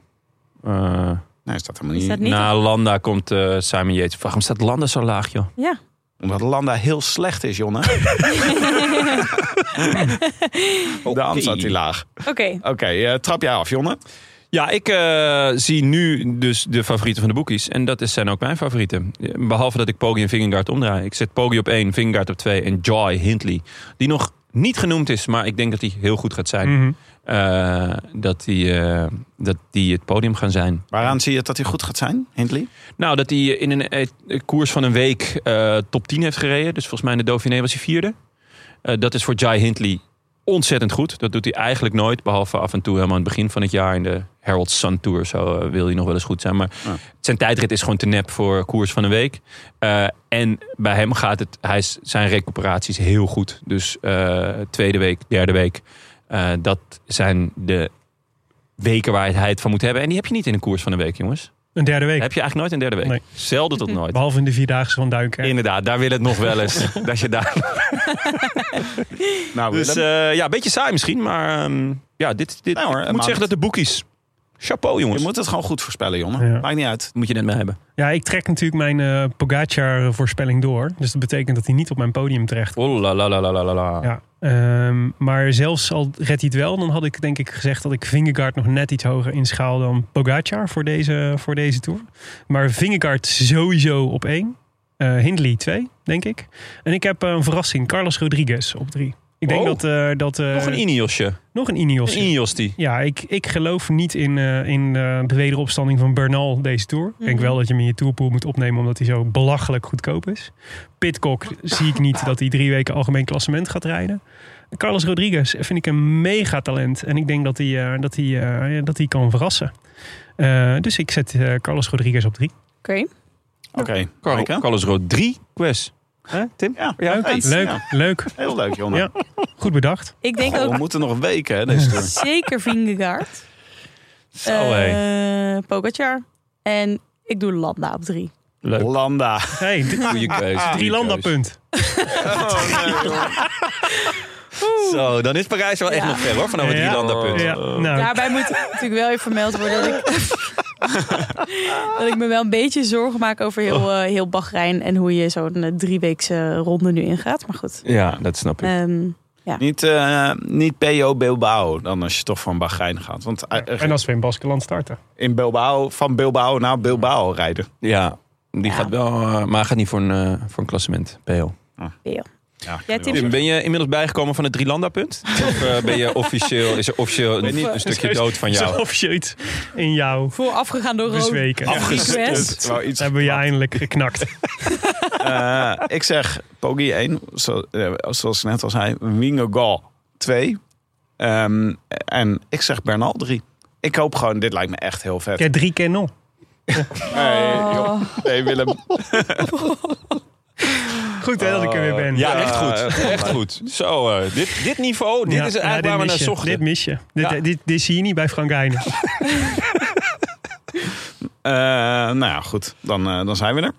Speaker 4: Eh,
Speaker 1: Nee, hij staat helemaal
Speaker 3: is
Speaker 1: niet.
Speaker 3: dat niet?
Speaker 4: na Landa komt eh, Simon Yates. Waarom staat Landa zo laag, joh?
Speaker 3: Ja.
Speaker 1: Omdat Landa heel slecht is, Jonne. Daarom staat hij laag.
Speaker 3: Oké.
Speaker 1: Oké, eh, trap jij af, Jonne.
Speaker 4: Ja, ik eh, zie nu dus de favorieten van de boekies. En dat is- zijn ook mijn favorieten. Behalve dat ik Poggi en Vingegaard omdraai. Ik zet Poggi op 1, Vingegaard op 2 en Joy Hindley. Die nog niet genoemd is, maar ik denk dat hij heel goed gaat zijn.
Speaker 2: Mhm.
Speaker 4: Eh, dat, die, eh, dat die het podium gaan zijn.
Speaker 1: Waaraan zie je dat hij goed gaat zijn, Hindley?
Speaker 4: Nou, dat hij in een eh, koers van een week eh, top 10 heeft gereden. Dus volgens mij in de Dauphiné was hij vierde. Eh, dat is voor Jai Hindley ontzettend goed. Dat doet hij eigenlijk nooit. Behalve af en toe helemaal aan het begin van het jaar in de Herald Sun Tour. Zo eh, wil hij nog wel eens goed zijn. Maar
Speaker 1: Ja.
Speaker 4: zijn tijdrit is gewoon te nep voor koers van een week. Eh, en bij hem gaat het, hij is, zijn recuperatie is heel goed. Dus eh, tweede week, derde week. eh, dat zijn de weken waar hij het van moet hebben. En die heb je niet in een koers van een week, jongens.
Speaker 2: Een derde week.
Speaker 4: Heb je eigenlijk nooit een derde week?
Speaker 2: Nee.
Speaker 4: Zelden tot nooit.
Speaker 2: Behalve in de Vierdaagse van Duiken. hè?
Speaker 4: Inderdaad, daar wil het nog wel eens. dat je daar...
Speaker 1: Nou,
Speaker 4: Dus eh, ja, een beetje saai misschien, maar ehm, ja, dit, dit
Speaker 1: Nou hoor,
Speaker 4: ik
Speaker 1: een
Speaker 4: moet
Speaker 1: maand.
Speaker 4: zeggen dat de boekies. Chapeau
Speaker 1: je
Speaker 4: jongens.
Speaker 1: moet het gewoon goed voorspellen, Jonne.
Speaker 2: Ja.
Speaker 1: Maakt niet uit.
Speaker 4: Moet je net mee hebben.
Speaker 2: Ja, ik trek natuurlijk mijn eh Pogacar-voorspelling door. Dus dat betekent dat hij niet op mijn podium terecht
Speaker 4: Oh la la la la la la.
Speaker 2: Ja, ehm, maar zelfs al redt hij het wel, dan had ik denk ik gezegd dat ik Vingegaard nog net iets hoger inschaal dan Pogacar voor deze, voor deze tour. Maar Vingegaard sowieso op één. Eh, Hindley twee, denk ik. En ik heb eh, een verrassing, Carlos Rodriguez op drie. Ik denk
Speaker 4: Oh.
Speaker 2: dat... eh, dat eh,
Speaker 4: Nog een Ineosje.
Speaker 2: nog een Ineos.
Speaker 4: Een Ineos die.
Speaker 2: Ja, ik, ik geloof niet in, eh, in eh, de wederopstanding van Bernal deze Tour. Ik denk
Speaker 3: Mhm.
Speaker 2: wel dat je hem in je tourpool moet opnemen omdat hij zo belachelijk goedkoop is. Pitcock zie ik niet dat hij drie weken algemeen klassement gaat rijden. Carlos Rodriguez vind ik een mega talent. En ik denk dat hij, eh, dat hij, eh, dat hij kan verrassen. Eh, dus ik zet eh, Carlos Rodriguez op drie.
Speaker 3: Oké.
Speaker 1: Oké,
Speaker 4: Carl-
Speaker 1: Maaike?
Speaker 4: Carlos Rood 3 Quest.
Speaker 1: Tim? Ja, ja
Speaker 2: Leuk,
Speaker 1: eens.
Speaker 2: leuk,
Speaker 1: Ja,
Speaker 2: leuk.
Speaker 1: heel leuk, Jonne.
Speaker 2: Ja. Goed bedacht.
Speaker 3: Ik denk
Speaker 1: Goh,
Speaker 3: ook
Speaker 1: we moeten nog weken, hè, deze tour.
Speaker 3: zeker Vingegaard.
Speaker 4: Zo
Speaker 1: Oh,
Speaker 4: hé.
Speaker 3: Eh, Pogacar. En ik doe Landa op drie.
Speaker 4: Leuk.
Speaker 1: Landa.
Speaker 2: Hey, d-
Speaker 4: Goeie keuze. goeie
Speaker 2: drie landen
Speaker 4: keuze.
Speaker 2: punt.
Speaker 4: Zo, Oh, dan is Parijs wel echt nog ver hoor, vanaf het
Speaker 2: Ja.
Speaker 4: drie landen punt.
Speaker 2: Ja, nou,
Speaker 3: Daarbij moet natuurlijk wel even vermeld worden dat ik, dat ik me wel een beetje zorgen maak over heel,
Speaker 4: Oh.
Speaker 3: eh, heel Bahrein. En hoe je zo'n eh, drieweekse ronde nu ingaat. Maar goed.
Speaker 4: Ja, dat snap ik.
Speaker 3: Ehm,
Speaker 1: Niet, eh, niet PO Bilbao, dan als je toch van Bahrein gaat. Want eh,
Speaker 2: en als we in Baskeland starten.
Speaker 1: in Bilbao, van Bilbao naar Bilbao rijden.
Speaker 4: Ja, die
Speaker 3: Ja.
Speaker 4: gaat wel, eh, maar hij gaat niet voor een, eh, voor een klassement, PL.
Speaker 1: Ja,
Speaker 3: Jij, Tim?
Speaker 4: Tim, ben je inmiddels bijgekomen van het Drielanda-punt? Of eh, ben je officieel, eh, is er officieel een, een stukje dood van
Speaker 2: Zo
Speaker 4: jou?
Speaker 2: of zoiets in jou.
Speaker 3: Voor afgegaan door rood.
Speaker 2: Bezweken.
Speaker 3: Afgestuurd.
Speaker 1: wel iets.
Speaker 2: Hebben we je eindelijk geknakt.
Speaker 1: Eh, ik zeg Poggi 1, zo, eh, zoals ik net al zei. Wingegal 2. Ehm, en ik zeg Bernal 3. Ik hoop gewoon, dit lijkt me echt heel vet.
Speaker 2: Ja, drie keer nul.
Speaker 1: Nee,
Speaker 4: Oh.
Speaker 1: joh. nee Willem.
Speaker 2: Goed hè, dat ik er weer ben.
Speaker 4: Ja, echt goed. Echt goed. Zo, eh, dit, dit niveau, dit
Speaker 2: Ja,
Speaker 4: is
Speaker 2: ja,
Speaker 4: eigenlijk waar we
Speaker 2: mis
Speaker 4: naar
Speaker 2: je.
Speaker 4: zochten.
Speaker 2: Dit mis je. Dit,
Speaker 4: Ja.
Speaker 2: dit, dit zie je niet bij Frank Heijnen.
Speaker 1: Eh, nou ja, goed. Dan, eh, dan zijn we er.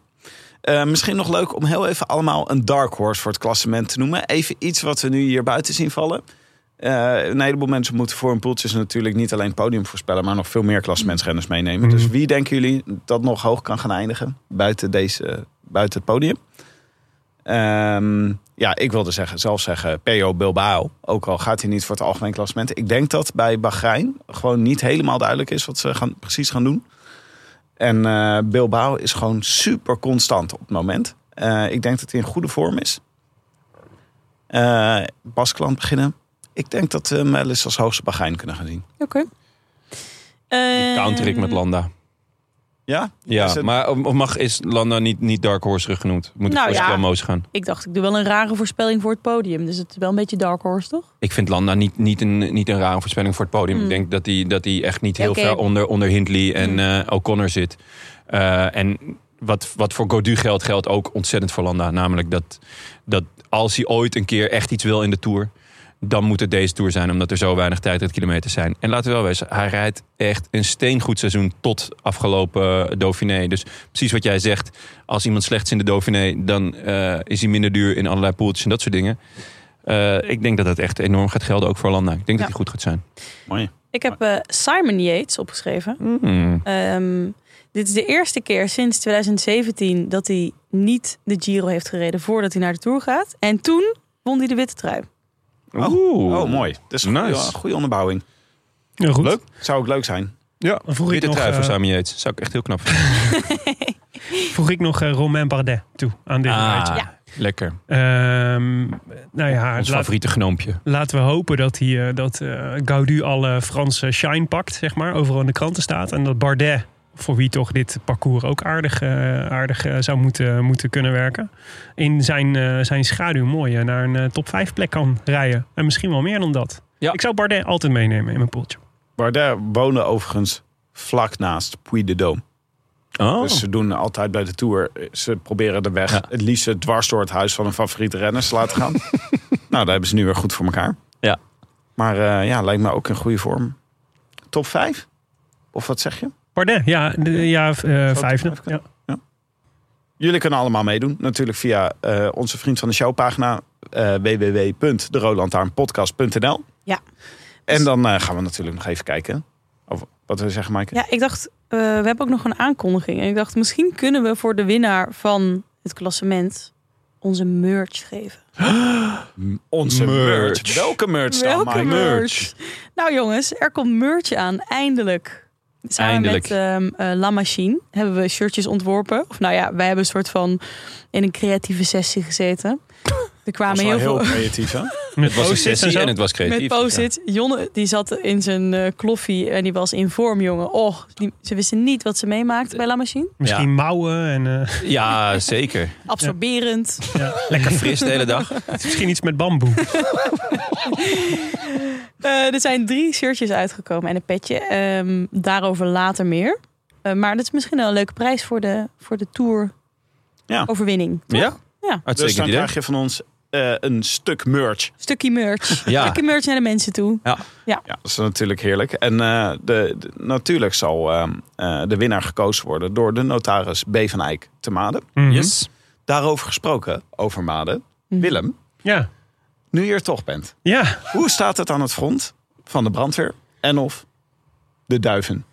Speaker 1: Eh, misschien nog leuk om heel even allemaal een dark horse voor het klassement te noemen. Even iets wat we nu hier buiten zien vallen. Eh, een heleboel mensen moeten voor hun poeltjes natuurlijk niet alleen het podium voorspellen, maar nog veel meer klassementsrenners meenemen. Dus wie denken jullie dat nog hoog kan gaan eindigen buiten, deze, buiten het podium? Ehm, ja, ik wilde zeggen, zelf zeggen PO Bilbao. Ook al gaat hij niet voor het algemeen klassement. Ik denk dat bij Bahrein gewoon niet helemaal duidelijk is wat ze gaan, precies gaan doen. En eh, Bilbao is gewoon super constant op het moment. Eh, ik denk dat hij in goede vorm is. Eh Baskeland beginnen. Ik denk dat we hem wel eens als hoogste Bahrein kunnen gaan zien.
Speaker 3: Oké. Ehm,
Speaker 4: Die counter ik met Landa.
Speaker 1: Ja?
Speaker 4: Ja,
Speaker 1: Is het-
Speaker 4: maar of mag, is Landa niet, niet Dark Horse teruggenoemd? Moet ik
Speaker 3: Nou
Speaker 4: voor
Speaker 3: ja.
Speaker 4: Skelmoos gaan?
Speaker 3: Ik dacht, ik doe wel een rare voorspelling voor het podium. Dus het is wel een beetje dark horse, toch?
Speaker 4: Ik vind Landa niet, niet, een, niet een rare voorspelling voor het podium. Ik denk dat hij dat hij echt niet
Speaker 3: Hmm. Ja,
Speaker 4: heel
Speaker 3: oké. Hmm.
Speaker 4: ver onder, onder Hindley en eh, O'Connor zit. Eh, en wat, wat voor Godu geldt, geldt ook ontzettend voor Landa. Namelijk dat, dat als hij ooit een keer echt iets wil in de Tour... dan moet het deze Tour zijn, omdat er zo weinig tijd en kilometers zijn. En laten we wel wezen, hij rijdt echt een steengoed seizoen... tot afgelopen Dauphiné. Dus precies wat jij zegt, als iemand slecht is in de Dauphiné... dan eh, is hij minder duur in allerlei poeltjes en dat soort dingen... Eh, ik denk dat dat echt enorm gaat gelden, ook voor Landa. Ik denk dat
Speaker 3: Ja.
Speaker 4: hij goed gaat zijn.
Speaker 1: Mooi.
Speaker 3: Ik heb eh, Simon Yates opgeschreven.
Speaker 2: Oh.
Speaker 4: Hmm.
Speaker 3: Ehm, dit is de eerste keer sinds 2017 dat hij niet de Giro heeft gereden voordat hij naar de Tour gaat. En toen won hij de witte trui.
Speaker 1: Oh,
Speaker 4: Oeh.
Speaker 1: oh mooi. Dus een goede,
Speaker 4: Nice.
Speaker 1: goede onderbouwing.
Speaker 2: Ja, goed.
Speaker 4: Leuk.
Speaker 1: Zou ook leuk zijn.
Speaker 4: Ja,
Speaker 2: Dan vroeg ik
Speaker 4: witte
Speaker 2: nog,
Speaker 4: trui voor
Speaker 2: eh,
Speaker 4: Sami Yates. Zou ik echt heel knap vinden.
Speaker 2: Voeg ik nog eh, Romain Bardet toe aan dit
Speaker 4: Ah.
Speaker 2: rijtje.
Speaker 3: Ja.
Speaker 4: Lekker.
Speaker 2: Ehm, nou ja,
Speaker 4: Ons
Speaker 2: laat-
Speaker 4: favoriete gnoompje.
Speaker 2: laten we hopen dat, hij, eh, dat eh, Gaudu alle Franse shine pakt, zeg maar. Overal in de kranten staat. En dat Bardet, voor wie toch dit parcours ook aardig, eh, aardig eh, zou moeten, moeten kunnen werken. In zijn, eh, zijn schaduw mooi eh, naar een eh, top 5 plek kan rijden. En misschien wel meer dan dat.
Speaker 4: Ja.
Speaker 2: Ik zou Bardet altijd meenemen in mijn poeltje.
Speaker 1: Bardet woonde overigens vlak naast Puy de Dôme.
Speaker 4: Oh.
Speaker 1: Dus ze doen altijd bij de Tour, eh, ze proberen de weg
Speaker 4: Ja.
Speaker 1: het liefst dwars door het huis van een favoriete renner te laten gaan. nou, daar hebben ze nu weer goed voor elkaar.
Speaker 4: Ja.
Speaker 1: Maar eh, ja, lijkt me ook in goede vorm. Top 5? Of wat zeg je?
Speaker 2: Bardet, ja, de, ja v- eh, vijfde.
Speaker 1: even
Speaker 2: Ja.
Speaker 1: kunnen? Jullie kunnen allemaal meedoen. Natuurlijk via eh, onze Vriend van de Show pagina. eh www.derolantaarnpodcast.nl
Speaker 3: Ja.
Speaker 1: En dan eh, gaan we natuurlijk nog even kijken. Of wat we zeggen, Maaike.
Speaker 3: Ja, ik dacht, eh, we hebben ook nog een aankondiging. En ik dacht, misschien kunnen we voor de winnaar van het klassement onze merch geven.
Speaker 1: Onze merch.
Speaker 4: Merch.
Speaker 1: Welke merch dan, Maaike?
Speaker 3: Nou jongens, er komt merch aan, eindelijk. Samen
Speaker 4: Eindelijk.
Speaker 3: met ehm, eh, La Machine hebben we shirtjes ontworpen. Of nou ja, wij hebben een soort van in een creatieve sessie gezeten. Er
Speaker 1: Dat
Speaker 3: kwamen
Speaker 1: is wel
Speaker 3: heel
Speaker 1: heel
Speaker 3: veel...
Speaker 1: creatief, hè?
Speaker 2: Met
Speaker 4: Het was een
Speaker 2: Post-its en
Speaker 4: sessie
Speaker 2: zo.
Speaker 4: en het was creatief.
Speaker 3: Met post-it. Jonne, die zat in zijn eh, kloffie en die was in vorm, jongen. Och, die, ze wisten niet wat ze meemaakten bij La Machine.
Speaker 4: Ja.
Speaker 2: Misschien mouwen en eh,
Speaker 4: Ja, zeker.
Speaker 3: Absorberend.
Speaker 4: Lekker fris de hele dag.
Speaker 2: misschien iets met bamboe.
Speaker 3: Eh, er zijn drie shirtjes uitgekomen en een petje. Ehm, daarover later meer. Eh, maar dat is misschien wel een leuke prijs voor de, voor de
Speaker 1: Ja.
Speaker 3: tour-overwinning.
Speaker 4: Ja?
Speaker 1: Dus
Speaker 4: Uitstekend
Speaker 1: dan
Speaker 4: idee.
Speaker 1: krijg je van ons eh, een stuk merch.
Speaker 3: Stukje merch.
Speaker 4: Ja.
Speaker 3: Stukje merch naar de mensen toe.
Speaker 1: Ja, dat is natuurlijk heerlijk. En eh, de, de- natuurlijk zal eh, eh, de winnaar gekozen worden door de notaris B. van Eyck te Maden.
Speaker 2: Mhm.
Speaker 4: Yes.
Speaker 1: Daarover gesproken, over Maden.
Speaker 3: Mhm.
Speaker 1: Willem,
Speaker 2: Ja.
Speaker 1: nu je er toch bent.
Speaker 2: Ja.
Speaker 1: Hoe staat het aan het front van de brandweer en of de duiven?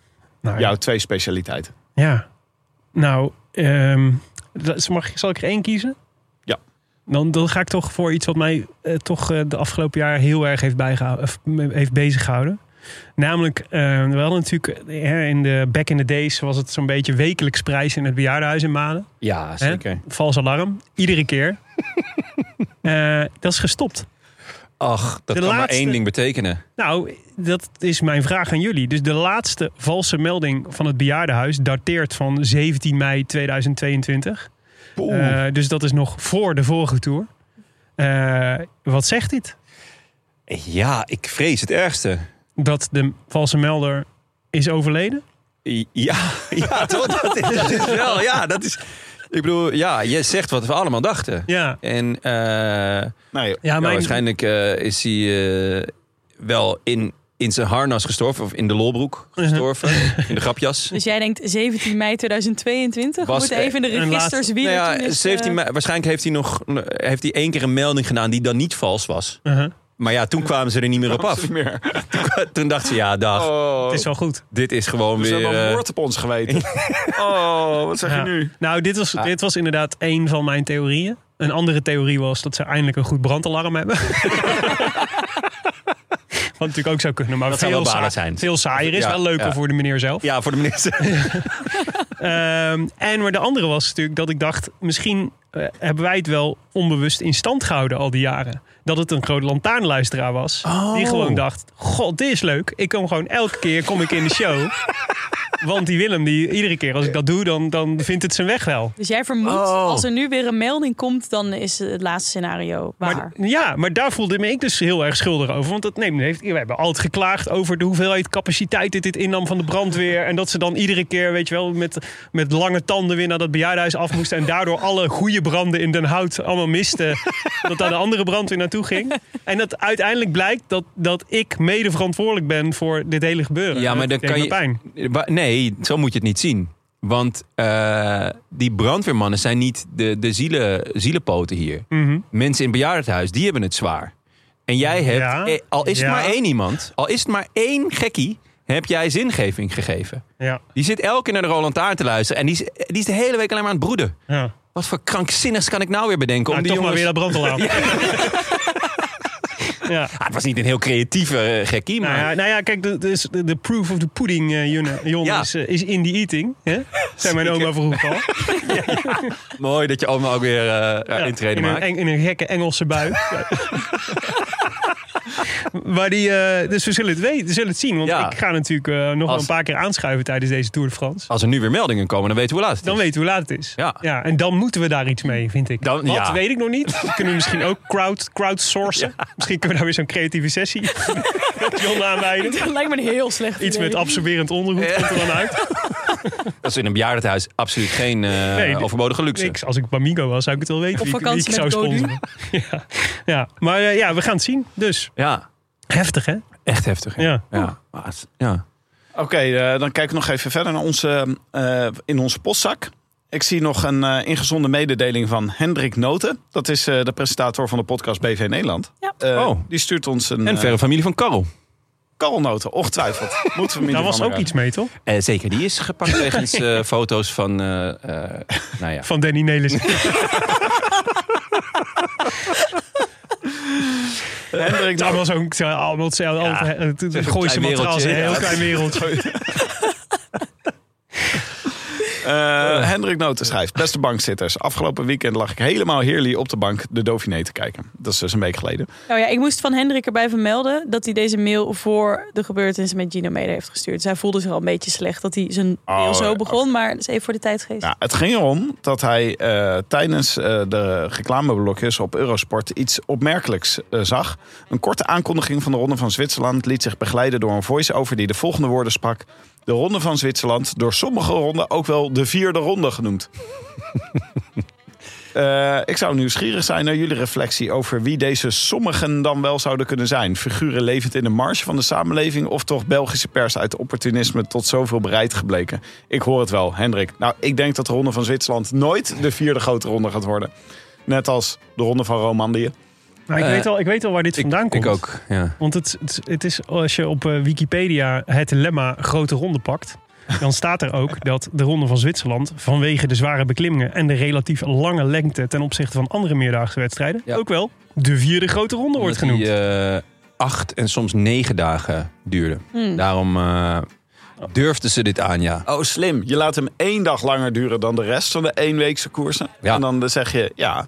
Speaker 2: Nou,
Speaker 1: Jouw twee specialiteiten.
Speaker 2: Ja. Nou, ehm, dat is- mag, ik- zal ik er één kiezen?
Speaker 1: Ja.
Speaker 2: Dan, dan ga ik toch voor iets wat mij eh, toch eh, de afgelopen jaar heel erg heeft, bijgehouden, of, me- heeft bezig gehouden. Namelijk, eh, we hadden natuurlijk eh, hè, in de back in the days was het zo'n beetje wekelijks prijs in het bejaardenhuis in Maden.
Speaker 4: Ja,
Speaker 2: zeker. Vals alarm, iedere keer. Eh, dat is gestopt.
Speaker 4: Ach, dat
Speaker 2: De
Speaker 4: kan maar
Speaker 2: laatste-
Speaker 4: één ding betekenen.
Speaker 2: Nou, dat is mijn vraag aan jullie. Dus de laatste valse melding van het bejaardenhuis dateert van 17 mei 2022. Eh, dus dat is nog voor de vorige tour. Eh, wat zegt dit?
Speaker 4: Ja, ik vrees het ergste.
Speaker 2: Dat de valse melder is overleden?
Speaker 4: I- Ja, ja toch? Dat is, dat is wel, ja, dat is... Ik bedoel, ja, je zegt wat we allemaal dachten.
Speaker 2: Ja.
Speaker 4: En eh,
Speaker 1: Nee,
Speaker 2: Ja,
Speaker 4: ja,
Speaker 2: mijn,
Speaker 4: waarschijnlijk eh, is hij eh, wel in, in zijn harnas gestorven. Of in de lolbroek
Speaker 1: Mhm.
Speaker 4: gestorven. In de grapjas.
Speaker 3: Dus jij denkt 17 mei 2022. We
Speaker 4: Was
Speaker 3: moeten
Speaker 4: er
Speaker 3: even de
Speaker 2: een
Speaker 3: registers
Speaker 2: laatste-
Speaker 3: wie
Speaker 4: Nou
Speaker 3: er
Speaker 4: ja,
Speaker 3: toen
Speaker 1: dus,
Speaker 3: is,
Speaker 4: 17
Speaker 3: eh,
Speaker 4: mei- waarschijnlijk heeft hij nog heeft hij één keer een melding gedaan die dan niet vals was.
Speaker 2: Uh-huh.
Speaker 4: Maar ja, toen kwamen ze er niet meer op af.
Speaker 1: niet meer.
Speaker 4: Toen dachten ze, ja, dag,
Speaker 1: Oh, Dus
Speaker 2: het is wel goed.
Speaker 4: dit is gewoon
Speaker 1: ze
Speaker 4: weer...
Speaker 1: hebben al
Speaker 4: eh,
Speaker 1: moord op ons geweten. Oh, wat zeg
Speaker 2: Ja.
Speaker 1: je nu?
Speaker 2: Nou, dit was,
Speaker 4: Ah.
Speaker 2: dit was inderdaad één van mijn theorieën. Een andere theorie was dat ze eindelijk een goed brandalarm hebben. Wat natuurlijk ook zou kunnen, maar
Speaker 4: Dat zou
Speaker 2: veel,
Speaker 4: wel balen
Speaker 2: saai-
Speaker 4: zijn.
Speaker 2: veel saaier is.
Speaker 4: Ja,
Speaker 2: wel leuker
Speaker 4: ja.
Speaker 2: voor de meneer zelf.
Speaker 4: ja, voor de minister.
Speaker 2: Ehm, en maar de andere was natuurlijk dat ik dacht, misschien eh, hebben wij het wel onbewust in stand gehouden al die jaren. Dat het een groot lantaarnluisteraar was.
Speaker 4: Oh.
Speaker 2: Die gewoon dacht, god, dit is leuk. Ik kom gewoon elke keer kom ik in de show. Want die Willem, die, iedere keer als ik dat doe, dan, dan vindt het zijn weg wel.
Speaker 3: Dus jij vermoedt,
Speaker 4: Oh.
Speaker 3: als er nu weer een melding komt, dan is het laatste scenario waar.
Speaker 2: Maar, ja, maar daar voelde me ik dus heel erg schuldig over. Want dat, nee, men heeft, we hebben altijd geklaagd over de hoeveelheid capaciteit dit, dit innam van de brandweer. En dat ze dan iedere keer, weet je wel, met, met lange tanden weer naar dat bejaardenhuis af moesten. En daardoor alle goede branden in Den Hout allemaal misten. dat daar de andere brandweer naartoe ging. En dat uiteindelijk blijkt dat, dat ik mede verantwoordelijk ben voor dit hele gebeuren.
Speaker 4: Ja, maar
Speaker 2: Dat
Speaker 4: dan
Speaker 2: deed
Speaker 4: kan
Speaker 2: me
Speaker 4: je-
Speaker 2: Pijn.
Speaker 4: Wa- Nee, zo moet je het niet zien. Want eh, die brandweermannen zijn niet de, de zielen, zielenpoten hier.
Speaker 2: Mhm.
Speaker 4: Mensen in bejaardenhuis, die hebben het zwaar. En jij hebt,
Speaker 2: Ja,
Speaker 4: eh, al is
Speaker 2: ja.
Speaker 4: het maar één iemand, al is het maar één gekkie, heb jij zingeving gegeven.
Speaker 2: Ja,
Speaker 4: Die zit elke keer naar de Roland Taart te luisteren en die is, eh, die is de hele week alleen maar aan het broeden.
Speaker 2: ja.
Speaker 4: Wat voor krankzinnigs kan ik nou weer bedenken
Speaker 2: Nou,
Speaker 4: om
Speaker 2: toch
Speaker 4: die
Speaker 2: maar
Speaker 4: jongens...
Speaker 2: weer dat brandalarm. ja.
Speaker 4: Ah, het was niet een heel creatieve eh, gekkie, maar...
Speaker 2: Nou ja, nou ja, kijk, de, dus de, de proof of the pudding, eh, Jon, Jon,
Speaker 4: Ja.
Speaker 2: is, eh, is in the eating. Hè? Zijn mijn oma vroeger al.
Speaker 4: Mooi dat je oma ook weer eh
Speaker 2: Ja,
Speaker 4: intreden
Speaker 2: in, een,
Speaker 4: maakt.
Speaker 2: eng- in een gekke Engelse bui. Ja. maar die, eh, dus we zullen het, weten, we zullen het zien. Want
Speaker 4: Ja.
Speaker 2: ik ga natuurlijk eh, nog wel
Speaker 4: Als-
Speaker 2: een paar keer aanschuiven tijdens deze Tour de France.
Speaker 4: Als er nu weer meldingen komen, dan weten we hoe laat het
Speaker 2: Dan
Speaker 4: is.
Speaker 2: weten we hoe laat het is.
Speaker 4: Ja.
Speaker 2: en dan moeten we daar iets mee, vind ik.
Speaker 4: Dan-
Speaker 2: Wat
Speaker 4: ja.
Speaker 2: weet ik nog niet. Kunnen we misschien ook crowd, crowdsourcen. Misschien kunnen we daar weer zo'n creatieve sessie. John aanwijden.
Speaker 3: Dat lijkt me een heel slecht
Speaker 2: Iets
Speaker 3: idee.
Speaker 2: met absorberend ondergoed komt er dan uit.
Speaker 4: Dat is in een bejaardenhuis absoluut geen eh,
Speaker 2: dit-
Speaker 4: overbodige luxe.
Speaker 2: Niks. Als ik Bamigo was, zou ik het wel weten.
Speaker 3: Op
Speaker 2: wie ik- wie
Speaker 3: vakantie
Speaker 2: ik zou
Speaker 3: met Godu.
Speaker 2: sponsoren. ja. ja, maar eh, ja, we gaan het zien. Dus
Speaker 4: Ja,
Speaker 2: heftig, hè?
Speaker 4: echt heftig. hè?
Speaker 2: Ja.
Speaker 4: Ja. Maar het- ja.
Speaker 1: Oké, eh, dan kijken we nog even verder naar onze, eh, in onze postzak. Ik zie nog een eh, ingezonde mededeling van Hendrik Noten. Dat is eh, de presentator van de podcast BV Nederland.
Speaker 3: Ja.
Speaker 1: Eh,
Speaker 4: Oh.
Speaker 1: Die stuurt ons een
Speaker 4: En
Speaker 1: eh,
Speaker 4: verre familie van Karel.
Speaker 1: Karl Noten, ongetwijfeld. Moeten we hem in
Speaker 2: Daar
Speaker 1: ieder
Speaker 2: was
Speaker 1: geval
Speaker 2: ook
Speaker 1: maar
Speaker 2: iets mee, toch?
Speaker 4: Eh, zeker, die is gepakt wegens eh, foto's van... eh, eh, nou ja.
Speaker 2: Van Danny Nelis.
Speaker 1: hebben. Hendrik
Speaker 2: Dat
Speaker 1: Noten.
Speaker 2: was ook zo- allemaal hetzelfde.
Speaker 4: Ja,
Speaker 2: Ja, het het
Speaker 4: een
Speaker 2: gooise
Speaker 4: klein
Speaker 2: matras,
Speaker 4: wereldje,
Speaker 2: een heel
Speaker 4: ja.
Speaker 2: klein wereldje.
Speaker 1: Eh, Hendrik Noten schrijft: Beste bankzitters, afgelopen weekend lag ik helemaal heerlijk op de bank de Dauphiné te kijken. Dat is dus een week geleden.
Speaker 3: Nou ja, ik moest van Hendrik erbij vermelden dat hij deze mail voor de gebeurtenissen met Gino mede heeft gestuurd. Zij voelde zich al een beetje slecht dat hij zijn mail
Speaker 1: Oh,
Speaker 3: zo
Speaker 1: eh,
Speaker 3: begon, maar dat is even voor de tijdgeest.
Speaker 1: Ja, Nou, het ging erom dat hij eh, tijdens eh, de reclameblokjes op Eurosport iets opmerkelijks eh, zag. Een korte aankondiging van de Ronde van Zwitserland liet zich begeleiden door een voice-over die de volgende woorden sprak. De Ronde van Zwitserland, door sommige ronden ook wel de vierde ronde genoemd. Eh, ik zou nieuwsgierig zijn naar jullie reflectie over wie deze sommigen dan wel zouden kunnen zijn. Figuren levend in de marge van de samenleving of toch Belgische pers uit opportunisme tot zoveel bereid gebleken? Ik hoor het wel, Hendrik. Nou, ik denk dat de Ronde van Zwitserland nooit de vierde grote ronde gaat worden. Net als de Ronde van Romandie.
Speaker 2: Maar ik,
Speaker 4: Eh,
Speaker 2: weet al, ik weet al waar dit
Speaker 4: Ik,
Speaker 2: vandaan komt.
Speaker 4: ik ook, ja.
Speaker 2: Want het, het, het is, als je op eh, Wikipedia het dilemma grote ronde pakt... dan staat er ook dat de Ronde van Zwitserland... vanwege de zware beklimmingen en de relatief lange lengte... ten opzichte van andere meerdaagse wedstrijden...
Speaker 4: Ja.
Speaker 2: ook wel de vierde grote ronde wordt
Speaker 4: Omdat
Speaker 2: genoemd.
Speaker 4: Die eh, acht en soms negen dagen duurde.
Speaker 3: Hmm.
Speaker 4: Daarom eh, durfden ze dit aan, ja.
Speaker 1: Oh, slim. Je laat hem één dag langer duren dan de rest van de eenweekse koersen.
Speaker 4: Ja.
Speaker 1: En dan zeg je, ja,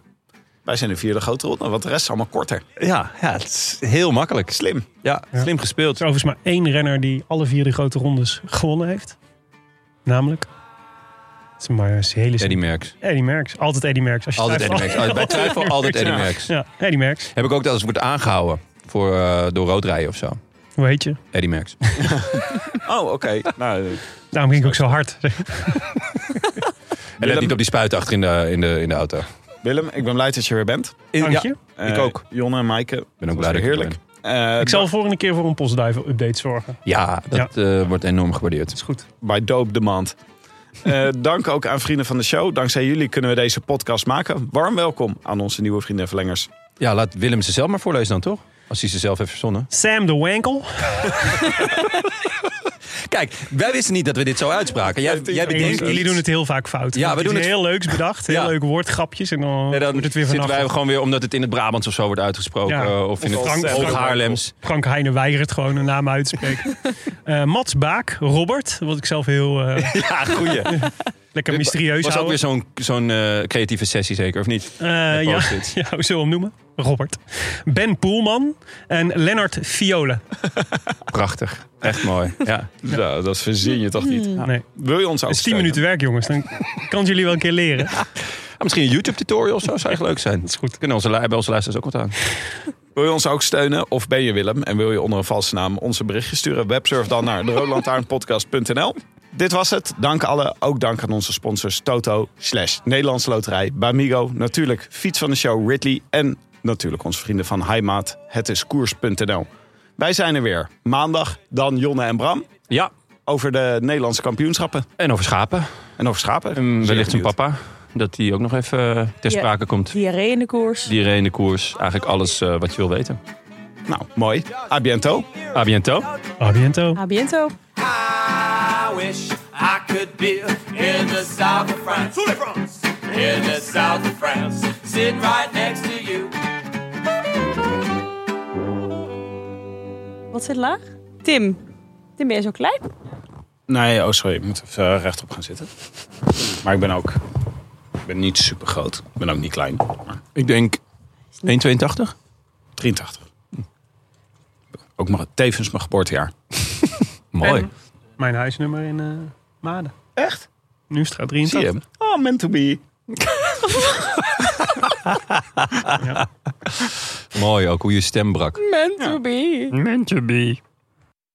Speaker 1: wij zijn de vierde grote ronde, want de rest is allemaal korter.
Speaker 4: Ja, ja het is heel makkelijk.
Speaker 1: Slim.
Speaker 4: Ja, slim gespeeld.
Speaker 2: Er is overigens maar één renner die alle vier de grote rondes gewonnen heeft. Namelijk... Het is maar een hele
Speaker 4: Eddie Merckx.
Speaker 2: Eddie Merckx. Altijd Eddie Merckx. Als je
Speaker 4: Altijd Eddie
Speaker 2: twijfelt-
Speaker 4: Merckx. Altijd- Bij twijfel altijd Eddie
Speaker 1: Ja.
Speaker 4: Merckx.
Speaker 2: Ja, Eddie Merckx.
Speaker 4: Heb ik ook dat als ik word aangehouden voor, eh, door roodrijden of zo.
Speaker 2: Hoe heet je?
Speaker 4: Eddie Merckx.
Speaker 1: Oh, oké. nou,
Speaker 2: Daarom ging ik ook zo hard.
Speaker 4: En let niet op die spuit achter in de, in de, in de auto.
Speaker 1: Willem, ik ben blij dat je er weer bent.
Speaker 2: Dank
Speaker 4: ja,
Speaker 2: je.
Speaker 1: Eh,
Speaker 4: ook.
Speaker 1: Jonne en Maaike.
Speaker 4: ben ook
Speaker 1: was
Speaker 4: blij dat
Speaker 1: weer
Speaker 4: ik er
Speaker 1: heerlijk.
Speaker 4: ben.
Speaker 1: Eh,
Speaker 2: Ik zal de volgende keer voor een postduivel update zorgen.
Speaker 4: Ja, dat eh, wordt enorm gewaardeerd.
Speaker 2: Is goed.
Speaker 1: Bij Dope Demand. Eh dank ook aan vrienden van de show. Dankzij jullie kunnen we deze podcast maken. Warm welkom aan onze nieuwe vrienden en verlengers.
Speaker 4: Ja, laat Willem ze zelf maar voorlezen dan, toch? Als hij ze zelf heeft verzonnen.
Speaker 2: Sam de Wankel.
Speaker 4: Kijk, wij wisten niet dat we dit zo uitspraken. Jij, jij bedenkt
Speaker 2: jullie
Speaker 4: iets.
Speaker 2: doen het heel vaak fout.
Speaker 4: Ja, we
Speaker 2: Iets
Speaker 4: doen het-
Speaker 2: heel leuks bedacht. Heel
Speaker 4: Ja.
Speaker 2: leuke woordgrapjes. En dan
Speaker 4: Nee, dan
Speaker 2: moet het weer
Speaker 4: zitten
Speaker 2: vanaf.
Speaker 4: wij gewoon weer omdat het in het Brabants of zo wordt uitgesproken.
Speaker 2: Ja.
Speaker 4: eh, Of in
Speaker 2: Of
Speaker 4: het
Speaker 2: Frank-
Speaker 4: Hoog
Speaker 2: Frank-
Speaker 4: Haarlems.
Speaker 2: Frank Heijnen weigert gewoon een naam uit te spreken. Eh, Mats Baak. Robert. Wat ik zelf heel eh,
Speaker 4: Ja, goeie.
Speaker 2: lekker mysterieus
Speaker 4: was ook
Speaker 2: hou.
Speaker 4: weer zo'n zo'n eh, creatieve sessie zeker, of niet?
Speaker 2: Eh, ja,
Speaker 4: post-its.
Speaker 2: ja, hoe zullen we hem noemen? Robert. Ben Poelman. En Lennart Viola.
Speaker 4: Prachtig. Echt mooi. Ja.
Speaker 1: Zo, dat verzin je toch niet?
Speaker 2: Hmm. Nee,
Speaker 1: Wil je ons ook
Speaker 2: dat is 10
Speaker 1: steunen?
Speaker 2: minuten werk jongens. Dan kan het jullie wel een keer leren.
Speaker 4: Ah, misschien een YouTube-tutorial zou, zou echt leuk zijn. Dat is goed. Kunnen onze, li- bij onze luisteraars ook wat aan.
Speaker 1: Wil je ons ook steunen? Of ben je Willem en wil je onder een valse naam onze berichtje sturen? Websurf dan naar deroodlantaarnpodcast.nl. Dit was het. Dank alle. Ook dank aan onze sponsors Toto, Slash, Nederlandse Loterij, Bamigo, natuurlijk Fiets van de Show Ridley en natuurlijk onze vrienden van Heimaat, het is koers.nl. Wij zijn er weer. Maandag dan Jonne en Bram
Speaker 4: Ja,
Speaker 1: over de Nederlandse kampioenschappen
Speaker 4: en over schapen.
Speaker 1: en over schapen.
Speaker 4: En
Speaker 1: Zeer
Speaker 4: Ehm, wellicht hun
Speaker 1: benieuwd.
Speaker 4: papa. Dat die ook nog even eh, ter
Speaker 3: Ja.
Speaker 4: sprake komt.
Speaker 3: Diarree in de koers.
Speaker 4: Dieren in de koers. Eigenlijk alles eh, wat je wil weten.
Speaker 1: Nou, mooi. A biento.
Speaker 4: A biento.
Speaker 2: A biento.
Speaker 3: A biento.
Speaker 8: I wish I could be in the south of France. In the south of France. Sitting right next to you.
Speaker 3: Wat zit laag? Tim. Tim, ben je zo klein?
Speaker 1: Nee, oh sorry. Ik moet even eh, rechtop gaan zitten. Maar ik ben ook... Ik ben niet super groot. Ik ben ook niet klein. Maar
Speaker 4: Ik denk 1,82.
Speaker 1: 83. Ook maar tevens mijn geboortejaar.
Speaker 4: Mooi.
Speaker 2: Mijn huisnummer in eh Maden.
Speaker 1: Echt?
Speaker 2: Nu straat
Speaker 1: Zie
Speaker 2: 83.
Speaker 1: je hem? Oh, meant to be.
Speaker 4: Mooi ook hoe je stem brak.
Speaker 3: Meant to be.
Speaker 4: Meant to be.